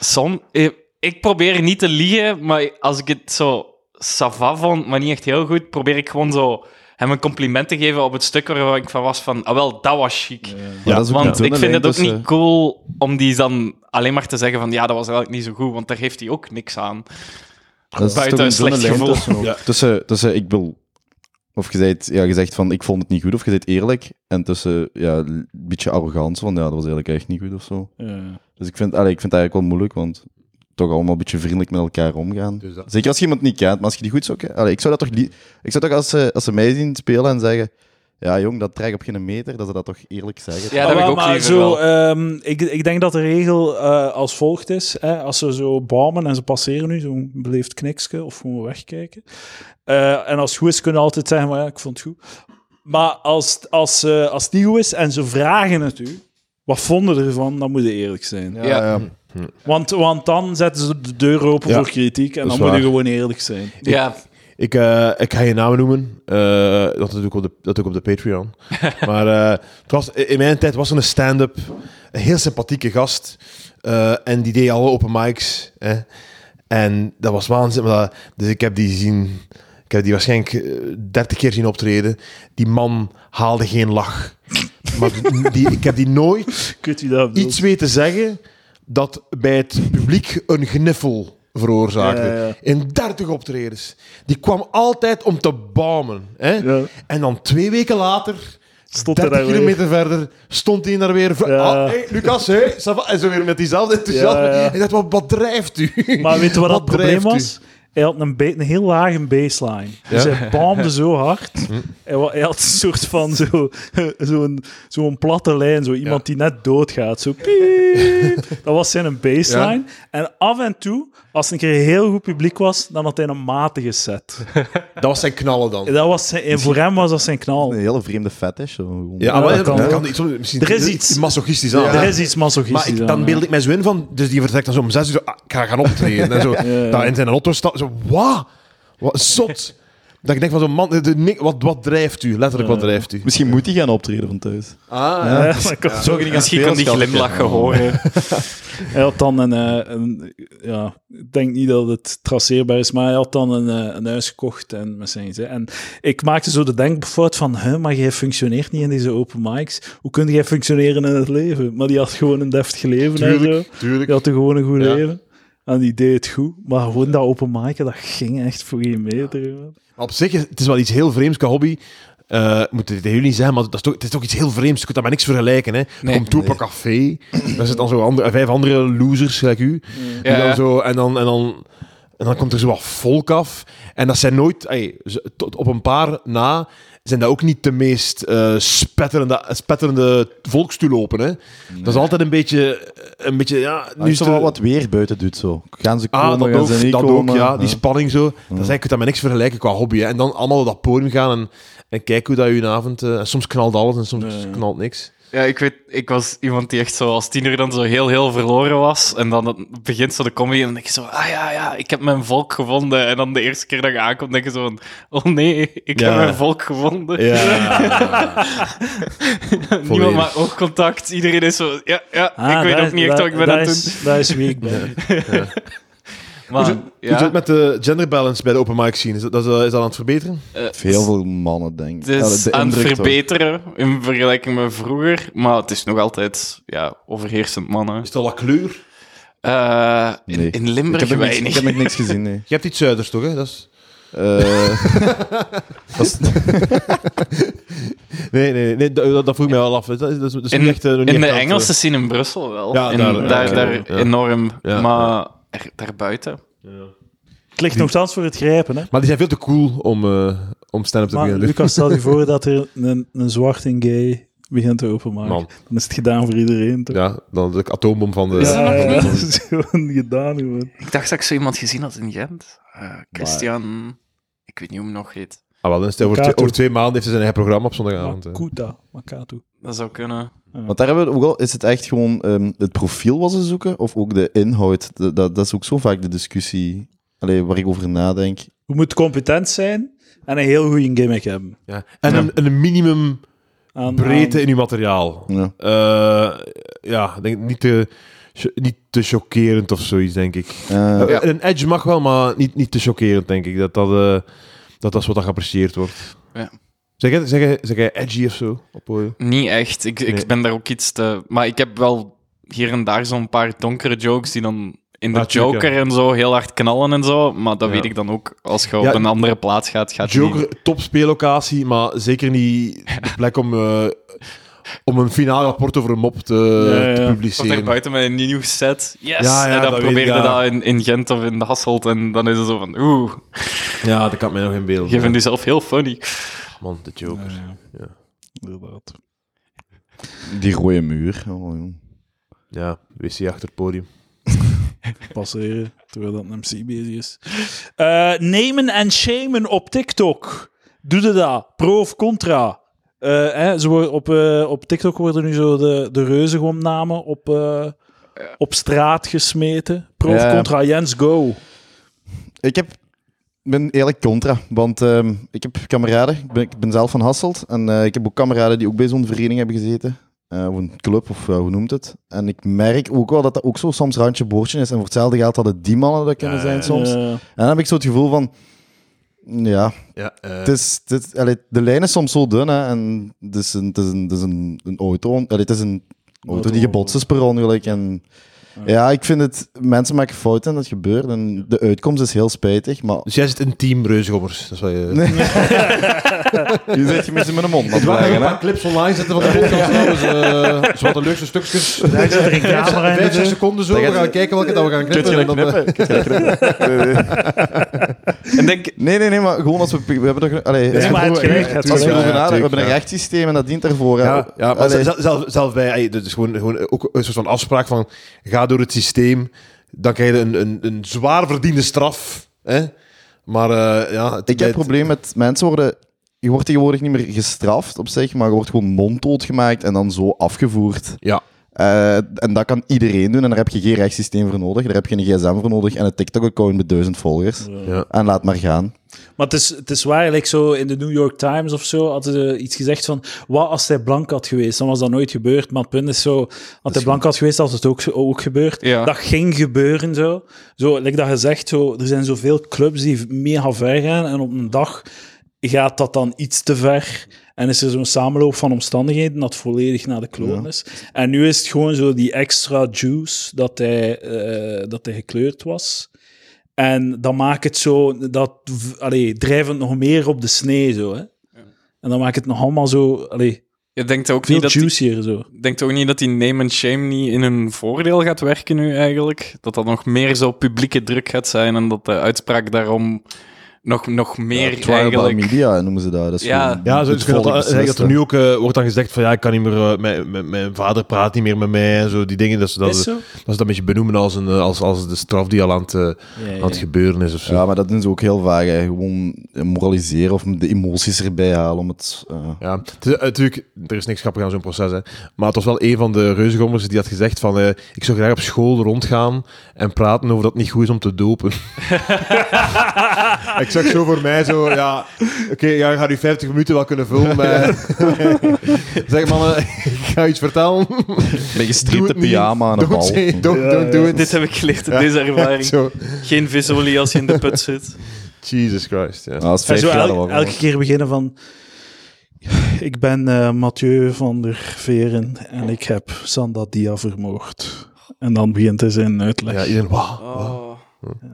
Speaker 2: Som, ik, ik probeer niet te liegen, maar als ik het zo sava vond, maar niet echt heel goed, probeer ik gewoon zo hem een compliment te geven op het stuk waar ik van was van, ah wel, dat was chic.
Speaker 3: Maar dat is eh, ook een dus,
Speaker 2: Want
Speaker 3: dunne
Speaker 2: ik vind
Speaker 3: lijn
Speaker 2: het ook
Speaker 3: tussen-
Speaker 2: niet cool om die dan alleen maar te zeggen van ja, dat was eigenlijk niet zo goed, want daar heeft hij ook niks aan.
Speaker 3: Dat is
Speaker 2: Buiten
Speaker 3: toch
Speaker 2: een
Speaker 3: dunne
Speaker 2: slecht
Speaker 3: lijn
Speaker 2: gevoel.
Speaker 3: Tussen, ook. tussen, tussen ik wil... Of je zegt, ja, je zegt van, ik vond het niet goed, of je zegt eerlijk. En tussen, ja, een beetje arrogant, van, ja, dat was eigenlijk echt niet goed of zo.
Speaker 1: Ja.
Speaker 3: Dus ik vind, allee, ik vind het eigenlijk wel moeilijk, want toch allemaal een beetje vriendelijk met elkaar omgaan.
Speaker 4: Dus dat-
Speaker 3: Zeker als je iemand niet kent, maar als je die goed zou kennen... Allee, ik zou dat toch... lie- Ik zou toch, als ze, als ze mij zien spelen en zeggen... Ja, jong, dat trekt op geen meter, dat ze dat toch eerlijk zeggen.
Speaker 2: Ja, dat heb ik ook
Speaker 1: maar
Speaker 2: liever
Speaker 1: zo,
Speaker 2: wel.
Speaker 1: ehm, ik, ik denk dat de regel eh, als volgt is. Hè, als ze zo bomen en ze passeren nu, zo'n beleefd kniksje of gewoon wegkijken. Eh, en als het goed is, kunnen we altijd zeggen, maar ja, ik vond het goed. Maar als, het- als, eh, als het niet goed is en ze vragen het u, wat vonden ze ervan, dan moet je eerlijk zijn.
Speaker 3: Ah,
Speaker 2: Ja.
Speaker 1: Want, want dan zetten ze de deur open
Speaker 4: Ja,
Speaker 1: voor kritiek en
Speaker 4: dat
Speaker 1: dan
Speaker 4: is
Speaker 1: moet je
Speaker 4: waar.
Speaker 1: gewoon eerlijk zijn.
Speaker 2: Ja,
Speaker 4: Ik, eh, ik ga je namen noemen. eh, dat, doe ik op de, dat doe ik op de Patreon. maar eh, het was, in mijn tijd was er een stand-up. Een heel sympathieke gast. eh, en die deed alle open mics. Hè. En dat was waanzinnig. maar dat- Dus ik heb die zien... Ik heb die waarschijnlijk eh, dertig keer zien optreden. Die man haalde geen lach. Maar die, ik heb die nooit
Speaker 1: Kunt u dat
Speaker 4: iets weten zeggen dat bij het publiek een gniffel veroorzaakte.
Speaker 1: Ja, ja, ja.
Speaker 4: In 30 optredens. Die kwam altijd om te bommen. Hè?
Speaker 1: Ja.
Speaker 4: En dan twee weken later,
Speaker 1: Stond hij
Speaker 4: 30
Speaker 1: daar weer.
Speaker 4: kilometer verder, stond hij daar weer. van,
Speaker 1: Ja.
Speaker 4: Ah, hey, Lucas, hey, ça va?" en zo weer met diezelfde enthousiasme.
Speaker 1: Ja, ja.
Speaker 4: Ik dacht, wat, wat drijft u?
Speaker 1: Maar weet je wat, het probleem
Speaker 4: drijft u?
Speaker 1: was? Hij had een, be- een heel lage baseline. Dus
Speaker 4: Ja. Hm.
Speaker 1: hij baamde zo hard. Hij, wa- hij had een soort van zo- zo'n zo platte lijn. Zo iemand die net doodgaat. Zo piep. Dat was zijn baseline. En af en toe, als het een keer heel goed publiek was, dan had hij een matige set.
Speaker 4: Dat was zijn knallen dan.
Speaker 1: Dat was zijn, en voor hem was dat zijn knal.
Speaker 3: Een hele vreemde fetish. zo gewoon.
Speaker 4: Ja, maar
Speaker 1: dat
Speaker 4: dat
Speaker 1: kan
Speaker 4: kan,
Speaker 1: ook.
Speaker 4: niet. Soms- misschien
Speaker 1: Er is iets.
Speaker 4: masochistisch aan.
Speaker 1: Er is iets masochistisch
Speaker 4: Maar ik,
Speaker 1: aan,
Speaker 4: dan
Speaker 1: ja.
Speaker 4: beeld ik mij zo in van, dus die vertrekt dan zo om zes uur, ah, ik ga gaan optreden. En zo, daar in zijn auto stapt, zo, wat? Wat zot. Dat ik denk van zo'n man, de- de- Nick, wat, wat drijft u? Letterlijk, wat drijft u?
Speaker 3: Misschien moet hij gaan optreden van thuis.
Speaker 4: Ah,
Speaker 1: Ja, dat kan zo.
Speaker 2: Misschien kan die glimlachen horen.
Speaker 1: Hij had dan een, eh, een- Ja, ik denk niet dat het traceerbaar is, maar hij had dan een, eh, een huis gekocht en met zijn gezin. En ik maakte zo de denkfout van... Hè, maar jij functioneert niet in deze open mics. Hoe kun jij functioneren in het leven? Maar die had gewoon een deftig leven en zo.
Speaker 4: tuurlijk, tuurlijk.
Speaker 1: Die had gewoon een goed
Speaker 4: Ja.
Speaker 1: leven. En die deed het goed. Maar gewoon dat open micen, dat ging echt voor geen meter. jongen.
Speaker 4: Maar op zich, is, het is wel iets heel vreemds qua hobby. Eh, ik moet het tegen jullie zeggen, maar dat is toch, het is toch iets heel vreemds. Je kunt dat maar niks vergelijken. Hè.
Speaker 2: Nee.
Speaker 4: Komt toe op een café, daar zitten dan zo andere, vijf andere losers, gelijk u. Die
Speaker 2: Mm. Ja, ja.
Speaker 4: dan zo, en, dan, en, dan, en dan komt er zo wat volk af. En dat zijn nooit, ey, ze- tot op een paar na, zijn dat ook niet de meest eh, spetterende, spetterende volkstoelopen. Hè. Dat is altijd een beetje, een beetje ja,
Speaker 3: Nu is
Speaker 4: de-
Speaker 3: er wel wat weer buiten doet zo. Gaan ze komen,
Speaker 4: Ah, dat
Speaker 3: gaan
Speaker 4: ook,
Speaker 3: ze niet
Speaker 4: dat
Speaker 3: komen.
Speaker 4: ook, ja. Die spanning zo. Dat is eigenlijk, je kunt dat met niks vergelijken qua hobby. Hè. En dan allemaal op dat podium gaan en, en kijken hoe dat je een avond... eh, en soms knalt alles en soms knalt niks.
Speaker 2: Ja, ik weet, ik was iemand die echt zo als tiener dan zo heel, heel verloren was. En dan dat- begint zo de comedy en dan denk je zo, ah ja, ja, ik heb mijn volk gevonden. En dan de eerste keer dat je aankomt, denk je zo van, oh nee, ik
Speaker 4: Ja.
Speaker 2: heb mijn volk gevonden. Niemand
Speaker 3: volledig.
Speaker 2: maakt oogcontact, iedereen is zo, ja, ja,
Speaker 1: Ah,
Speaker 2: ik weet
Speaker 1: dat
Speaker 2: ook
Speaker 1: is-
Speaker 2: niet echt
Speaker 1: dat-
Speaker 2: wat ik ben
Speaker 1: dat
Speaker 2: aan het doen.
Speaker 1: is- Dat is wie ik ben.
Speaker 2: Maar,
Speaker 4: Hoe Hoe
Speaker 2: ja,
Speaker 4: zit het met de gender balance bij de open mic scene? Is dat, dat is, eh, is dat aan het verbeteren?
Speaker 3: Heel veel mannen, denk ik.
Speaker 2: Dus het
Speaker 3: Ja,
Speaker 2: is
Speaker 3: de
Speaker 2: aan het
Speaker 3: indruk toch.
Speaker 2: verbeteren in vergelijking met vroeger. Maar het is nog altijd, ja, overheersend mannen.
Speaker 4: Is dat wat kleur?
Speaker 2: Eh, in,
Speaker 3: Nee.
Speaker 2: in
Speaker 3: Ik
Speaker 2: Limburg
Speaker 3: heb, nog niks, ik
Speaker 2: weinig.
Speaker 3: heb nog niks gezien, nee.
Speaker 4: Je hebt iets zuiders, toch? Hè? Dat is...
Speaker 3: Eh, dat is-
Speaker 4: Nee, nee, nee dat, dat- dat vroeg mij wel af. Dat is, dat is, dat is
Speaker 2: In,
Speaker 4: niet echt, eh, nog niet
Speaker 2: in
Speaker 4: echt
Speaker 2: de
Speaker 4: aan het,
Speaker 2: Engelse scene in Brussel wel.
Speaker 4: Ja,
Speaker 2: in,
Speaker 4: daar,
Speaker 2: daar,
Speaker 4: ja,
Speaker 2: daar,
Speaker 4: ja, ja.
Speaker 2: enorm.
Speaker 4: Ja,
Speaker 2: maar er- daarbuiten.
Speaker 1: Het ligt nogthans voor het grijpen, hè.
Speaker 4: eh, Maar die zijn veel te cool om, eh, om stand-up te
Speaker 1: Maar
Speaker 4: beginnen.
Speaker 1: Lucas, stel je voor dat er een, een zwart en gay begint te openmaken.
Speaker 4: Man.
Speaker 1: Dan is het gedaan voor iedereen, toch?
Speaker 4: Ja, dan de atoombom van de...
Speaker 1: Ja, ja, dat is gewoon gedaan, gewoon.
Speaker 2: Ik dacht dat ik zo iemand gezien had in Gent. Eh, Christian, ik weet niet hoe hem nog heet.
Speaker 4: Ah, wel, dan is het over, twee,
Speaker 1: Kato.
Speaker 4: over twee maanden heeft ze zijn eigen programma op zondagavond. hè.
Speaker 1: Makuta, Makatu.
Speaker 2: Dat zou kunnen.
Speaker 3: Want daar hebben we het ook al, is het echt gewoon ehm, het profiel wat ze zoeken of ook de inhoud? Dat, dat, dat is ook zo vaak de discussie allee, waar ik over nadenk.
Speaker 1: Je moet competent zijn en een heel goede gimmick hebben.
Speaker 4: Ja. En Een, een minimum
Speaker 1: Aan,
Speaker 4: breedte
Speaker 1: aan-
Speaker 4: in uw materiaal.
Speaker 3: Ja.
Speaker 4: Eh, ja, ik denk niet te, niet te chockerend of zoiets, denk ik.
Speaker 3: Eh,
Speaker 4: Eh, Een edge mag wel, maar niet, niet te chockerend, denk ik. Dat dat, eh, dat, dat is wat dat geapprecieerd wordt.
Speaker 2: Ja.
Speaker 4: Zeg, jij- zeg, jij- zeg jij edgy of zo? Op, eh,
Speaker 2: Niet echt. Ik,
Speaker 4: Nee.
Speaker 2: ik ben daar ook iets te. Maar ik heb wel hier en daar zo'n paar donkere jokes die dan in de
Speaker 4: Ah, tuurlijk,
Speaker 2: Joker en zo heel hard knallen en zo. Maar dat
Speaker 4: Ja.
Speaker 2: weet ik dan ook. Als je
Speaker 4: Ja,
Speaker 2: op een andere plaats gaat, gaat je niet-
Speaker 4: Joker, top speellocatie, maar zeker niet de plek om, eh, om een finaal rapport over een mop te,
Speaker 1: Ja, ja.
Speaker 4: te
Speaker 2: Of daar
Speaker 4: publiceren.
Speaker 2: buiten met een nieuw set. Yes!
Speaker 4: Ja, ja,
Speaker 2: en
Speaker 4: dat
Speaker 2: dan probeerde
Speaker 4: weet ik, ja.
Speaker 2: dat in, in Gent of in Hasselt. En dan is het zo van, oeh,
Speaker 4: Ja, dat kan ik mij nog in beeld.
Speaker 2: je vindt jezelf heel funny.
Speaker 4: Man, de Joker.
Speaker 1: Inderdaad.
Speaker 3: die rode muur. Oh, jong.
Speaker 4: Ja, wc achter het podium.
Speaker 1: Passeren, terwijl dat een MC bezig is. Eh, nemen en shamen op TikTok. Doe je dat? Pro of contra? Eh, hè, ze worden op, eh, op TikTok worden nu zo de, de reuzenopnamen op, eh, op straat gesmeten. Pro of
Speaker 3: Ja.
Speaker 1: contra? Jens, go.
Speaker 3: Ik heb, ben eerlijk contra, want ehm, ik heb kameraden, ik ben, ik ben zelf van Hasselt en eh, ik heb ook kameraden die ook bij zo'n vereniging hebben gezeten. eh, of een club, of eh, hoe noemt het? En ik merk ook wel dat dat ook zo soms randje boordje is. En voor hetzelfde geld hadden die mannen dat kunnen zijn soms.
Speaker 1: Eh,
Speaker 3: En dan heb ik zo het gevoel van... Ja,
Speaker 4: Ja,
Speaker 2: eh.
Speaker 3: het is, het is- allee, de lijn is soms zo dun, hè. En het is een, het is een, het is een, een auto... Allee, het is een auto die gebotst is per ongeluk. En Ja, ik vind het... Mensen maken fouten en dat gebeurt. En de uitkomst is heel spijtig, maar...
Speaker 4: Dus jij zit in team Reusgommers. Dat is wat je...
Speaker 3: Nee. Je zet je misschien met een mond aan
Speaker 4: Het
Speaker 3: het
Speaker 4: waren
Speaker 3: leggen,
Speaker 4: een
Speaker 3: hè.
Speaker 4: paar clips online zetten van de podcast trouwens. eh, zo wat de leukste stukjes. Vijf,
Speaker 1: zit er een camera in,
Speaker 4: vijf,
Speaker 1: dus,
Speaker 4: zes
Speaker 1: hè?
Speaker 4: seconden zo.
Speaker 3: Dan
Speaker 4: We
Speaker 3: gaat-
Speaker 4: gaan kijken welke dat we gaan
Speaker 3: Kun
Speaker 4: knippen.
Speaker 3: je
Speaker 4: en
Speaker 3: dat
Speaker 4: dan, eh,
Speaker 3: knippen? Kun je dat knippen? Nee, nee, nee.
Speaker 2: En denk,
Speaker 3: Nee, nee, nee, maar gewoon als we... We hebben toch... Allee,
Speaker 1: Nee,
Speaker 3: eh,
Speaker 1: maar het gelijk,
Speaker 4: tuurlijk,
Speaker 1: het
Speaker 3: Als je
Speaker 1: gelijk.
Speaker 3: erover
Speaker 4: Ja,
Speaker 3: nadenkt, we
Speaker 4: tuurlijk,
Speaker 3: hebben een
Speaker 4: ja.
Speaker 3: rechtssysteem en dat dient daarvoor. hè.
Speaker 4: Ja, ja maar
Speaker 3: Allee,
Speaker 4: zelf, zelf, zelf bij, ey, dat is gewoon, gewoon ook een soort van afspraak van ga door het systeem, dan krijg je een, een, een zwaar verdiende straf. Hè? Maar eh, ja, het-
Speaker 3: ik heb
Speaker 4: het-
Speaker 3: een probleem met mensen worden... Je wordt tegenwoordig niet meer gestraft op zich, maar je wordt gewoon monddood gemaakt en dan zo afgevoerd.
Speaker 4: Ja,
Speaker 3: Eh, en dat kan iedereen doen en daar heb je geen rechtssysteem voor nodig, daar heb je een gsm voor nodig en een TikTok-account met duizend volgers.
Speaker 4: Ja.
Speaker 3: En laat maar gaan.
Speaker 1: Maar het is, het is waar, like zo in de New York Times of zo hadden ze iets gezegd van wat als hij blank had geweest, dan was dat nooit gebeurd. Maar het punt is zo, als hij blank had geweest, had het ook, ook gebeurd.
Speaker 2: Ja.
Speaker 1: Dat ging gebeuren zo. Zo, like dat gezegd, zo, er zijn zoveel clubs die mega ver gaan en op een dag gaat dat dan iets te ver. En is er zo'n samenloop van omstandigheden dat volledig naar de kloon is. En nu is het gewoon zo die extra juice dat hij, eh, dat hij gekleurd was. En dan maakt het zo, dat v- allee, drijvend nog meer op de snee zo. Hè? En dan maakt het nog allemaal zo, allee,
Speaker 2: je denkt ook
Speaker 1: veel
Speaker 2: niet dat die,
Speaker 1: juicier zo.
Speaker 2: denkt ook niet dat die name and shame niet in hun voordeel gaat werken nu eigenlijk? Dat dat nog meer zo publieke druk gaat zijn en dat de uitspraak daarom nog, nog meer
Speaker 3: Trial by
Speaker 2: eigenlijk...
Speaker 3: media noemen ze dat. dat is
Speaker 2: Ja.
Speaker 3: gewoon
Speaker 4: ja zo,
Speaker 3: het
Speaker 4: dus ik vind
Speaker 3: volk
Speaker 4: dat, eh, dat
Speaker 3: beslist,
Speaker 4: er
Speaker 3: hè.
Speaker 4: nu ook eh, wordt dan gezegd van ja, ik kan niet meer, eh, mijn, mijn, mijn vader praat niet meer met mij en zo, die dingen, dat ze dat,
Speaker 1: is
Speaker 4: dat,
Speaker 1: zo?
Speaker 4: ze dat een beetje benoemen als, een, eh, als, als de straf die al aan het, eh,
Speaker 1: Ja, ja.
Speaker 4: aan het gebeuren is of zo.
Speaker 3: Ja, maar dat doen ze ook heel vaak. Hè. Gewoon moraliseren of de emoties erbij halen om het... eh,
Speaker 4: Ja, het is, eh, natuurlijk, er is niks grappig aan zo'n proces, hè. Maar het was wel een van de reuzegommers die had gezegd van... eh, ik zou graag op school rondgaan en praten over dat het niet goed is om te dopen. ik zag zo voor mij zo, ja... Oké, ja, ik ga die 50 minuten wel kunnen vullen, maar... zeg mannen, ik ga iets vertellen.
Speaker 3: Met
Speaker 4: Doe
Speaker 3: gestreepte
Speaker 4: het niet.
Speaker 3: pyjama en een
Speaker 4: Don't
Speaker 3: bal.
Speaker 4: say it, don't, don't do it.
Speaker 2: Dit heb ik geleerd in deze ervaring.
Speaker 4: Zo,
Speaker 2: Geen visolie als je in de put zit.
Speaker 4: Jesus Christ, ja.
Speaker 3: Ja, dat
Speaker 1: En
Speaker 3: is vijf
Speaker 1: zo
Speaker 3: jaar
Speaker 1: el- elke keer beginnen van... Ik ben eh, Mathieu van der Veren en ik heb Sanda Dia vermoord. En dan begint hij zijn uitleg.
Speaker 4: Ja, iedereen, wauw. wauw.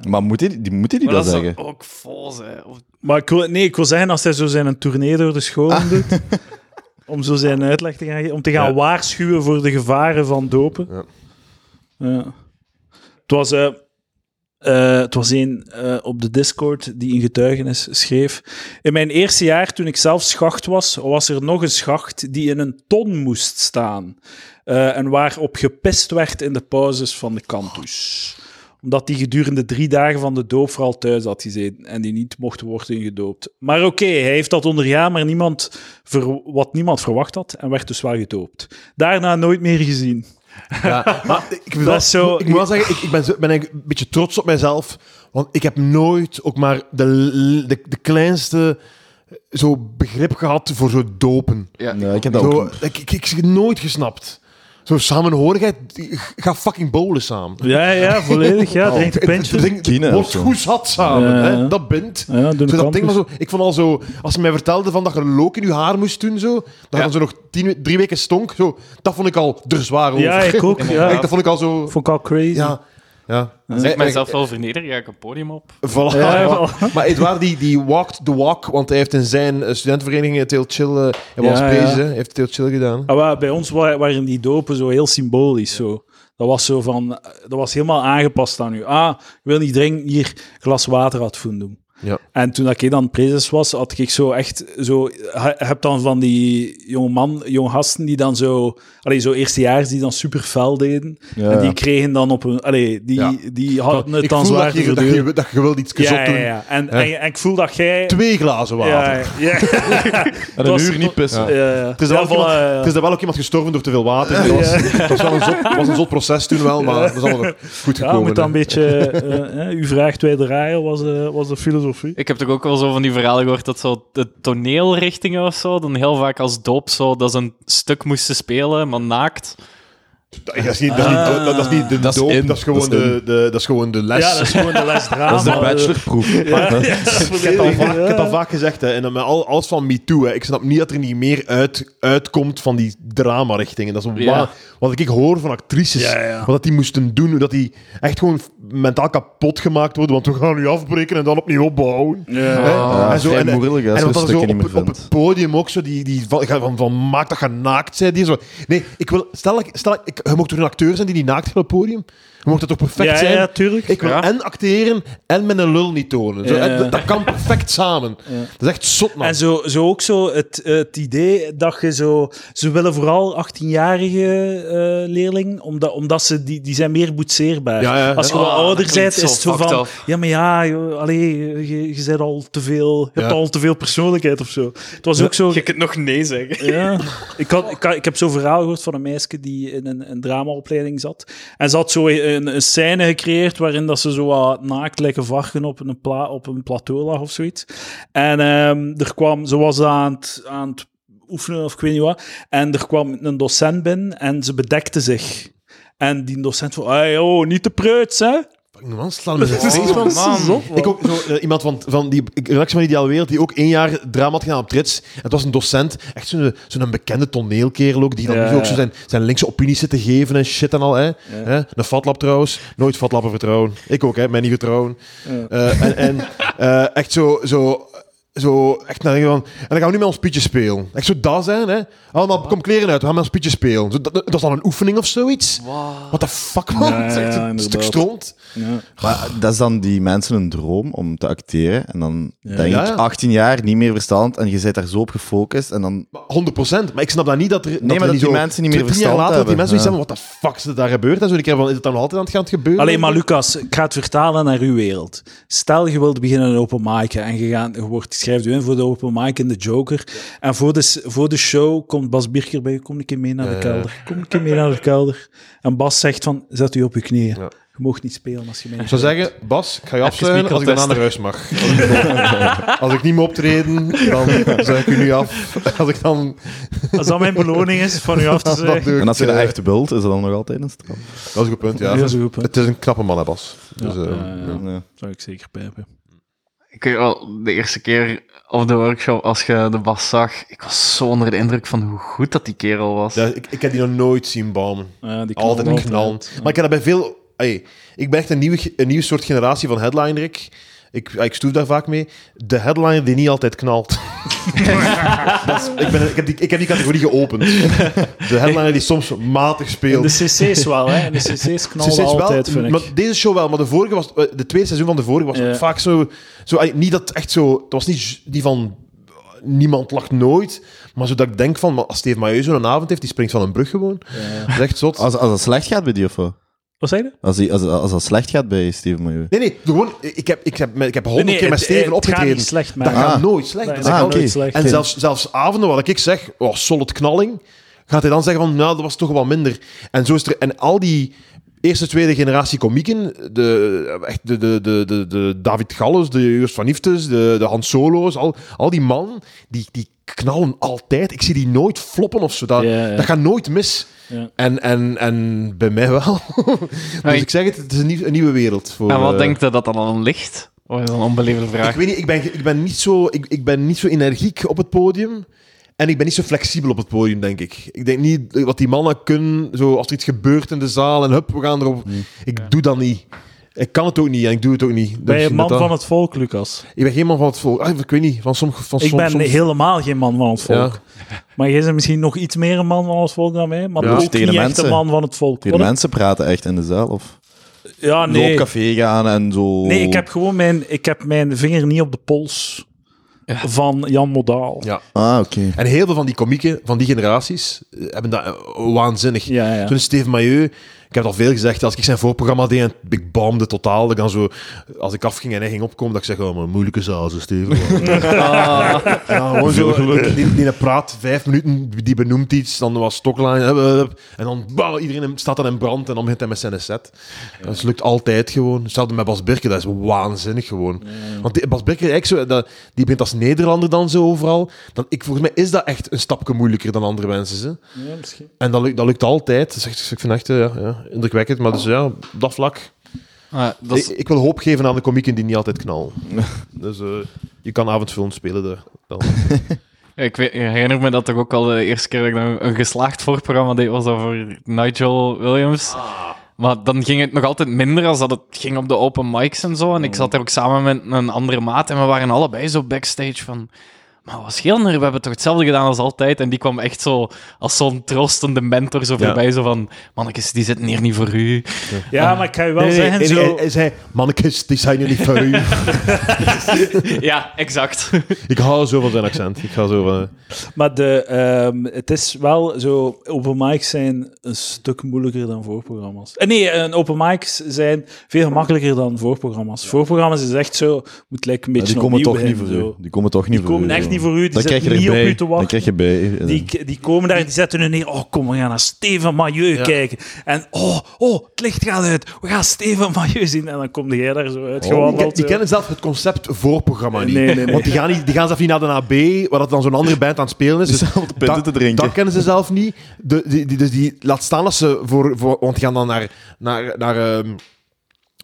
Speaker 3: Maar moet hij, die, moet hij die
Speaker 2: Maar
Speaker 3: dat,
Speaker 2: Oh. dat is
Speaker 3: zeggen?
Speaker 2: dan ook vol, hè. Of-
Speaker 1: Maar ik wil, nee, ik wil zeggen, als hij zo zijn een tournee door de scholen doet... Om zo zijn uitleg te gaan geven, om te gaan
Speaker 4: Ja.
Speaker 1: waarschuwen voor de gevaren van dopen.
Speaker 4: Ja.
Speaker 1: Ja. Het was... eh, eh, het was een eh, op de Discord die een getuigenis schreef. In mijn eerste jaar, toen ik zelf schacht was, was er nog een schacht die in een ton moest staan. eh, en waarop gepist werd in de pauzes van de kantus. Omdat die gedurende drie dagen van de doop vooral thuis had gezeten en die niet mocht worden gedoopt. Maar oké, hij heeft dat ondergaan, maar niemand ver- wat niemand verwacht had en werd dus wel gedoopt. Daarna nooit meer gezien.
Speaker 4: Ja, maar ik, wil
Speaker 1: Dat is zo-
Speaker 4: ik moet wel zeggen, ik, ik ben, zo- ben eigenlijk een beetje trots op mezelf. Want ik heb nooit ook maar de, l- de, de kleinste zo begrip gehad voor zo dopen.
Speaker 2: Ja,
Speaker 3: Nee, ik heb dat
Speaker 4: Zo,
Speaker 3: ook.
Speaker 4: ik, ik, ik heb nooit gesnapt. Zo samenhorigheid, ga fucking bowlen samen.
Speaker 1: Ja, ja, volledig.
Speaker 4: Oh.
Speaker 1: Ja, drinkt een pintje.
Speaker 4: Drink-
Speaker 3: Kine of
Speaker 4: Word
Speaker 3: zo.
Speaker 4: goed zat samen,
Speaker 1: Ja, ja.
Speaker 4: hè? dat bindt.
Speaker 1: Ja, doe
Speaker 4: Zo,
Speaker 1: een
Speaker 4: dat ding
Speaker 1: campus.
Speaker 4: was zo, ik vond al zo, als ze mij vertelden van dat je look in je haar moest doen, zo, dat je
Speaker 2: Ja.
Speaker 4: dan zo nog tien, drie weken stonk, zo, dat vond ik al er zwaar over.
Speaker 1: Ja, ik ook. Ja.
Speaker 4: Echt, dat vond ik al zo...
Speaker 1: Vond ik al crazy.
Speaker 4: Ja. Ja. Eh,
Speaker 2: Zeg mijzelf wel vernederen, ga ik een podium op.
Speaker 4: Voilà.
Speaker 1: Ja,
Speaker 4: maar-
Speaker 1: voilà.
Speaker 4: Maar Edouard, die, die walked the walk, want hij heeft in zijn eh, studentenvereniging het heel chill... eh, Hij was
Speaker 1: Ja,
Speaker 4: prezen,
Speaker 1: ja.
Speaker 4: hè, heeft het heel chill gedaan.
Speaker 1: Ah, wel, bij ons wa- waren die dopen zo heel symbolisch. Zo. Dat was zo van, eh, dat was helemaal aangepast aan u. Ah, ik wil niet drinken, hier glas water had voen doen.
Speaker 4: Ja.
Speaker 1: En toen ik dan prezes was, had ik zo echt zo, he- heb dan van die jonge man, jonge gasten die dan zo, allee, zo eerstejaars die dan super fel deden.
Speaker 3: Ja,
Speaker 1: en die
Speaker 3: ja.
Speaker 1: kregen dan op hun, allee, die,
Speaker 4: Ja.
Speaker 1: die hadden het
Speaker 4: ik
Speaker 1: dan
Speaker 4: voel
Speaker 1: zwaar
Speaker 4: dat
Speaker 1: te
Speaker 4: je, dat,
Speaker 1: verduren.
Speaker 4: je, dus dat je wilde iets zot
Speaker 1: Ja, ja,
Speaker 4: doen.
Speaker 1: ja. En, en, en ik voel dat jij...
Speaker 4: Twee glazen water.
Speaker 1: ja, ja.
Speaker 3: En
Speaker 1: was-
Speaker 3: pissen.
Speaker 1: Ja, ja.
Speaker 4: Het is, er
Speaker 1: Ja,
Speaker 4: wel ook iemand,
Speaker 1: voilà, ja.
Speaker 4: het is er wel ook iemand gestorven door te veel water. Dat was, dat was wel een zot, was een zot proces toen wel, maar dat is allemaal nog goed
Speaker 1: Ja,
Speaker 4: gekomen.
Speaker 1: moet dan
Speaker 4: hè.
Speaker 1: een beetje. eh, eh, u vraagt, wij draaien, was, eh, was de filosofie.
Speaker 2: Ik heb toch ook wel zo van die verhalen gehoord dat zo de toneelrichtingen of zo, dan heel vaak als doop zo, dat ze een stuk moesten spelen, maar naakt.
Speaker 4: Dat dat is niet, dat is niet, dat- dat is niet de
Speaker 3: Dat is
Speaker 4: doop,
Speaker 3: in.
Speaker 4: Ah. dat is gewoon
Speaker 3: Dat is in.
Speaker 4: de, de, dat is gewoon de les.
Speaker 1: Ja, dat is gewoon de les drama. eh.
Speaker 3: Dat is de
Speaker 4: Ah,
Speaker 3: bachelorproef.
Speaker 1: Ja, ja, dat is
Speaker 4: ik, heb al
Speaker 1: volledig,
Speaker 4: vaak, ik heb
Speaker 1: ja.
Speaker 4: al vaak gezegd, hè, en dan met al, alles van MeToo, hè, ik snap niet dat er niet meer uit, uitkomt van die drama-richtingen. Dat is een
Speaker 2: Ja.
Speaker 4: wa- Wat ik hoor van actrices,
Speaker 1: Ja, ja.
Speaker 4: wat dat die moesten doen, hoe dat die echt gewoon f- mentaal kapot gemaakt worden, want we gaan nu afbreken en dan opnieuw opbouwen.
Speaker 1: Ja.
Speaker 4: Hè?
Speaker 2: Ah,
Speaker 4: en zo, en,
Speaker 3: moeilijk
Speaker 4: en
Speaker 3: als je
Speaker 4: wat
Speaker 3: een
Speaker 4: dan zo
Speaker 3: stukje niet meer
Speaker 4: op, op het
Speaker 3: vindt.
Speaker 4: podium ook zo, die, die van, van, van maak dat je naakt bent. Die zo. Nee, ik wil, stel, ik, stel ik, je mocht toch een acteur zijn die niet naakt gaat op het podium? Je mocht dat toch perfect
Speaker 1: Ja,
Speaker 4: zijn?
Speaker 1: ja, tuurlijk.
Speaker 4: Ik wil
Speaker 2: Ja.
Speaker 4: en acteren en met een lul niet tonen. Zo,
Speaker 1: Ja.
Speaker 4: en dat, dat kan perfect samen. Dat is echt zot, man.
Speaker 1: En zo, zo ook zo het, het idee dat je zo... Ze willen vooral 18-jarige eh leerlingen, omdat, omdat ze, die, die zijn meer boetseerbaar.
Speaker 4: Ja, ja.
Speaker 1: Als je wat
Speaker 2: Ah,
Speaker 1: ouder bent,
Speaker 2: dat klinkt
Speaker 1: is
Speaker 2: zo
Speaker 1: het zo
Speaker 2: fucked
Speaker 1: van...
Speaker 2: up.
Speaker 1: Ja, maar ja, joh, allee, je, je bent al te veel... Je hebt
Speaker 4: Ja.
Speaker 1: al te veel persoonlijkheid of zo. Het was ook zo...
Speaker 2: Je kunt nog nee zeggen.
Speaker 1: Ja. Ik, had, ik, had- ik heb zo'n verhaal gehoord van een meisje die in een, een dramaopleiding zat. En ze had zo een, een scène gecreëerd waarin dat ze zo wat naakt lekker varken op een, pla, op een plateau lag of zoiets. En ehm, er kwam, ze was aan het, aan het oefenen of ik weet niet wat. En er kwam een docent binnen en ze bedekte zich. En die docent van, hey, oh, niet te preuts, hè?
Speaker 4: Fucking Man, slaan met zijn face, man.
Speaker 2: man.
Speaker 4: Ik ook zo, eh, iemand van, van die ik- reactie van Ideaal Wereld, die ook één jaar drama had gedaan op Trits. Het was een docent, echt zo'n zo'n bekende toneelkerel ook, die dan
Speaker 1: Ja,
Speaker 4: nu ook
Speaker 1: ja.
Speaker 4: zo zijn, zijn linkse opinies zit te geven en shit en al. Hè. Hè? Een fatlap trouwens. Nooit fatlappen vertrouwen. Ik ook, hè. Mij niet vertrouwen. Eh, en en eh, echt zo... zo zo, echt naar van. En dan gaan we nu met ons pietje spelen. Echt zo dat zijn, hè? Allemaal, kom kleren uit, we gaan met ons pietje spelen. Zo, dat, dat is dan een oefening of zoiets? What the fuck, man?
Speaker 1: Ja,
Speaker 4: Het is echt
Speaker 1: ja,
Speaker 4: een stuk
Speaker 1: inderdaad.
Speaker 4: stront.
Speaker 1: Ja.
Speaker 3: Maar dat is dan die mensen een droom om te acteren. En dan denk
Speaker 4: Ja,
Speaker 3: ik,
Speaker 4: ja.
Speaker 3: 18 jaar, niet meer verstand. En je bent daar zo op gefocust. En dan...
Speaker 4: Maar 100%. Maar ik snap dat niet dat er. dat
Speaker 3: maar
Speaker 4: er
Speaker 3: dat
Speaker 4: niet
Speaker 3: die
Speaker 4: zo,
Speaker 3: mensen niet meer
Speaker 4: 10 jaar
Speaker 3: verstand
Speaker 4: later dat die
Speaker 3: hebben.
Speaker 4: mensen zoiets
Speaker 3: Ja.
Speaker 4: hebben: wat de fuck is er daar gebeurd? En zo, ik heb van: is het dan nog altijd aan het gaan gebeuren?
Speaker 1: Alleen maar, Lucas, ik ga het vertalen naar uw wereld. Stel, je wilt beginnen een open mic en je, gaat, je wordt, schrijft u in voor de open mic in de Joker. En voor de, s- voor de show komt Bas Bierker bij je, kom een keer mee naar de kelder. Kom een keer mee naar de kelder. En Bas zegt van, zet u op je knieën.
Speaker 4: Ja.
Speaker 1: Je mag niet spelen als je mee
Speaker 4: Ik zou zeggen: Bas, ik ga je afsluiten als ik daarna naar huis mag. als ik niet meer optreden, dan zeg ik u nu af. Als ik dan.
Speaker 1: Als dat mijn beloning is, van u af te
Speaker 4: Als, dat
Speaker 1: zeggen.
Speaker 4: doe ik,
Speaker 3: En als je dat
Speaker 4: eh,
Speaker 3: echt wilt, is dat dan nog altijd een straf.
Speaker 4: Dat is een goed punt, ja.
Speaker 1: Dat is een goed punt.
Speaker 4: Het is een knappe man, hè, Bas. Dus, eh,
Speaker 1: ja.
Speaker 3: Ja.
Speaker 1: Zou ik zeker pijpen.
Speaker 2: Ik weet wel, de eerste keer op de workshop, als je de Bas zag, ik was zo onder de indruk van hoe goed dat die kerel was.
Speaker 4: ja, ik, ik heb die nog nooit zien bomen.
Speaker 1: Ja, die
Speaker 4: Altijd een
Speaker 1: knalt
Speaker 4: knal. Maar ik heb dat bij veel... ey, ik ben echt een nieuwe, ge- een nieuwe soort generatie van headliner. Ik, ik, ik stoef daar vaak mee. De headliner die niet altijd knalt. Dat is- ik, ben, ik, heb die, ik heb die categorie geopend. De headliner die soms matig
Speaker 1: In
Speaker 4: speelt.
Speaker 1: de cc's wel, hè. In de cc's knallen
Speaker 4: Ze steeds wel-
Speaker 1: altijd, vind ik.
Speaker 4: Maar deze show wel, maar de vorige was... eh, De tweede seizoen van de vorige was
Speaker 1: Ja.
Speaker 4: vaak zo... zo ey, niet dat echt zo... Het was niet j- die van... Niemand lacht nooit. Maar zodat ik denk van... maar Als Steve Mailleu zo'n avond heeft, die springt van een brug gewoon.
Speaker 1: Ja.
Speaker 4: Dat is echt zot.
Speaker 3: Als, als dat slecht gaat bij die of wat?
Speaker 1: Wat zei je?
Speaker 3: Als, die, als, als dat slecht gaat bij Steven Milieu.
Speaker 4: Nee, nee, gewoon, ik heb, ik heb, ik heb
Speaker 1: Nee,
Speaker 4: honderd
Speaker 1: nee,
Speaker 4: keer met
Speaker 1: het-
Speaker 4: Steven
Speaker 1: het gaat
Speaker 4: opgetreden.
Speaker 1: niet slecht,
Speaker 4: dat
Speaker 1: maar-
Speaker 4: gaat
Speaker 3: Ah.
Speaker 4: nooit slecht.
Speaker 1: Nee, dat
Speaker 4: Dat is
Speaker 1: gaat
Speaker 3: ah,
Speaker 4: altijd-
Speaker 3: oké.
Speaker 1: nooit slecht.
Speaker 4: En zelfs, zelfs avonden waar ik zeg, oh, solid knalling, gaat hij dan zeggen van, nou, dat was toch wel minder. En zo is er, en al die eerste, tweede generatie komieken, de, echt de, de, de, de, de David Gallus, de Joost van Iftes, de, de Han Solo's, al, al die mannen, die, die knallen altijd. Ik zie die nooit floppen of zo. Dat,
Speaker 1: Ja, ja.
Speaker 4: dat gaat nooit mis.
Speaker 1: Ja.
Speaker 4: En, en, en bij mij wel. dus
Speaker 2: Maar ik-
Speaker 4: ik zeg het, het is een, nieuw- een nieuwe wereld. Voor,
Speaker 2: en wat
Speaker 4: eh,
Speaker 2: denkt je dat dat dan ligt? Oh, dat is een onbeleefde vraag.
Speaker 4: ik weet niet, ik ben, ge- ik, ben niet zo, ik, ik ben niet zo energiek op het podium. En ik ben niet zo flexibel op het podium, denk ik. Ik denk niet eh, wat die mannen kunnen, zo als er iets gebeurt in de zaal en hup, we gaan erop.
Speaker 1: Mm.
Speaker 4: Ik doe dat niet. Ik kan het ook niet en ik doe het ook niet. Dus
Speaker 1: Ben je
Speaker 4: misschien
Speaker 1: man
Speaker 4: dat dat-
Speaker 1: van het volk, Lucas?
Speaker 4: Ik ben geen man van het volk. Ah, ik weet niet, van sommige... Van
Speaker 1: Ik
Speaker 4: soms-
Speaker 1: ben
Speaker 4: soms-
Speaker 1: helemaal geen man van het volk. Maar jij bent misschien nog iets meer een man van het volk dan mij, maar
Speaker 3: Ja.
Speaker 1: ook
Speaker 3: Dus
Speaker 1: niet
Speaker 3: tegen de
Speaker 1: echt
Speaker 3: mensen.
Speaker 1: een man van het volk.
Speaker 3: Tegen de
Speaker 1: Wat-
Speaker 3: mensen praten echt in de zaal? Of
Speaker 1: Ja,
Speaker 3: zo op
Speaker 1: nee.
Speaker 3: café gaan en zo...
Speaker 1: Nee, ik heb gewoon mijn, ik heb mijn vinger niet op de pols van Jan Modaal.
Speaker 4: Ja.
Speaker 3: Ah, oké.
Speaker 1: Mm.
Speaker 4: En heel veel van die komieken, van die generaties, eh, hebben dat eh, waanzinnig.
Speaker 1: Ja, ja.
Speaker 4: Zo'n Steve Mailleu, Ik heb het al veel gezegd. Als ik zijn voorprogramma deed en ik baamde totaal, dat ik dan zo... Als ik afging en hij ging opkomen, dat ik zeg, oh, maar moeilijke zaal, zo Steven.
Speaker 1: Ah.
Speaker 4: Ja, gewoon zo. Die, die praat vijf minuten, die benoemt iets, dan was stoklijn. hup, hup, hup. eh, En dan bam, iedereen staat dan in brand en dan begint hij met zijn set. Dat is- lukt altijd gewoon. Hetzelfde met Bas Birker, dat is waanzinnig gewoon. Want die- Bas Birker, eigenlijk zo, dat, die bent als Nederlander dan zo overal. Dan, ik, volgens mij is dat echt een stapje moeilijker dan andere mensen. Ze.
Speaker 1: Ja, misschien.
Speaker 4: En dat lukt, dat lukt altijd. Dat is echt, ik vind het echt eh, ja, ja, indrukwekkend. Maar dus ja, op dat vlak.
Speaker 2: Ah, dat is-
Speaker 4: Ik, ik wil hoop geven aan de komieken die niet altijd knallen. dus eh, je kan avondvullend spelen daar. Dan.
Speaker 2: Ja, Ik, weet- ik herinner me dat toch ook al de eerste keer dat ik dan een geslaagd voorprogramma deed, was over Nigel Williams.
Speaker 1: Ah.
Speaker 2: Maar dan ging het nog altijd minder als dat het ging op de open mics en zo. En
Speaker 1: Mm.
Speaker 2: ik zat er ook samen met een andere maat en we waren allebei zo backstage van... Maar wat scheelt er? We hebben toch hetzelfde gedaan als altijd? En die kwam echt zo als zo'n troostende mentor zo
Speaker 4: Ja.
Speaker 2: voorbij. Zo van, mannetjes, die zitten hier niet voor u.
Speaker 1: Ja, maar ik kan je wel
Speaker 4: Nee, nee,
Speaker 1: zeggen,
Speaker 4: nee,
Speaker 1: zo...
Speaker 4: nee, hij zei, mannekes, die zijn jullie voor u.
Speaker 2: ja, exact.
Speaker 4: ik hou zo van zijn accent. Ik ga zo van...
Speaker 1: Maar de, ehm, het is wel zo, open mics zijn een stuk moeilijker dan voorprogramma's. Eh, nee, een open mics zijn veel gemakkelijker dan voorprogramma's. Voorprogramma's is echt zo, moet lijkt een
Speaker 3: Ja,
Speaker 1: beetje
Speaker 3: die komen
Speaker 1: opnieuw
Speaker 3: toch niet voor
Speaker 1: beginnen,
Speaker 3: u.
Speaker 1: zo.
Speaker 3: Die komen toch niet
Speaker 1: Die
Speaker 3: voor u.
Speaker 1: komen echt
Speaker 3: zo.
Speaker 1: niet voor u, die
Speaker 3: Dan krijg je
Speaker 1: zitten niet op
Speaker 3: erbij.
Speaker 1: u te
Speaker 3: Dan krijg je bij.
Speaker 1: Die, die komen daar en die zetten hun neer. Oh, kom, we gaan naar Steven Mailleu
Speaker 4: Ja.
Speaker 1: kijken. En oh, oh, het licht gaat uit. We gaan Steven Mailleu zien. En dan kom jij daar zo uitgewandeld.
Speaker 4: Oh, Die
Speaker 1: zo.
Speaker 4: kennen zelf het concept voorprogramma niet.
Speaker 1: Nee, nee, nee.
Speaker 4: Want die gaan, niet, die gaan zelf niet naar de AB, waar dat dan zo'n andere band aan het spelen is. Dus
Speaker 3: Zelf de punten
Speaker 4: dat-
Speaker 3: te drinken.
Speaker 4: Dat kennen ze zelf niet. De, die, die- dus die laat staan als ze voor... voor want die gaan dan naar... naar, naar ehm,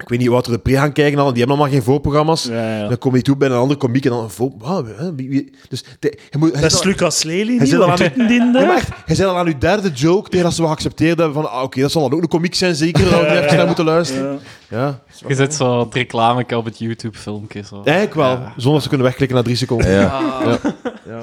Speaker 4: ik weet niet, Wouter de Pre gaan kijken. al, Die hebben allemaal geen voorprogramma's.
Speaker 1: Ja, ja.
Speaker 4: Dan kom je toe bij een andere komiek en dan een voor... wauw, hè, wie- wie- dus de- je moet,
Speaker 1: Dat is Lucas Lely.
Speaker 4: zit
Speaker 1: Die
Speaker 4: al aan
Speaker 1: wat
Speaker 4: het-
Speaker 1: doet die daar?
Speaker 4: Ja, maar echt, hij zei al aan uw derde joke tegen dat ze wel geaccepteerd hebben van, ah, oké, dat zal dan ook een komiek zijn, zeker, dat we even naar moeten luisteren.
Speaker 1: Ja.
Speaker 4: Ja,
Speaker 2: Je zit zo het reclame op het YouTube-filmpje. Zo.
Speaker 4: eigenlijk wel. Zonder dat ze kunnen wegklikken na drie seconden. Ja,
Speaker 3: Ja.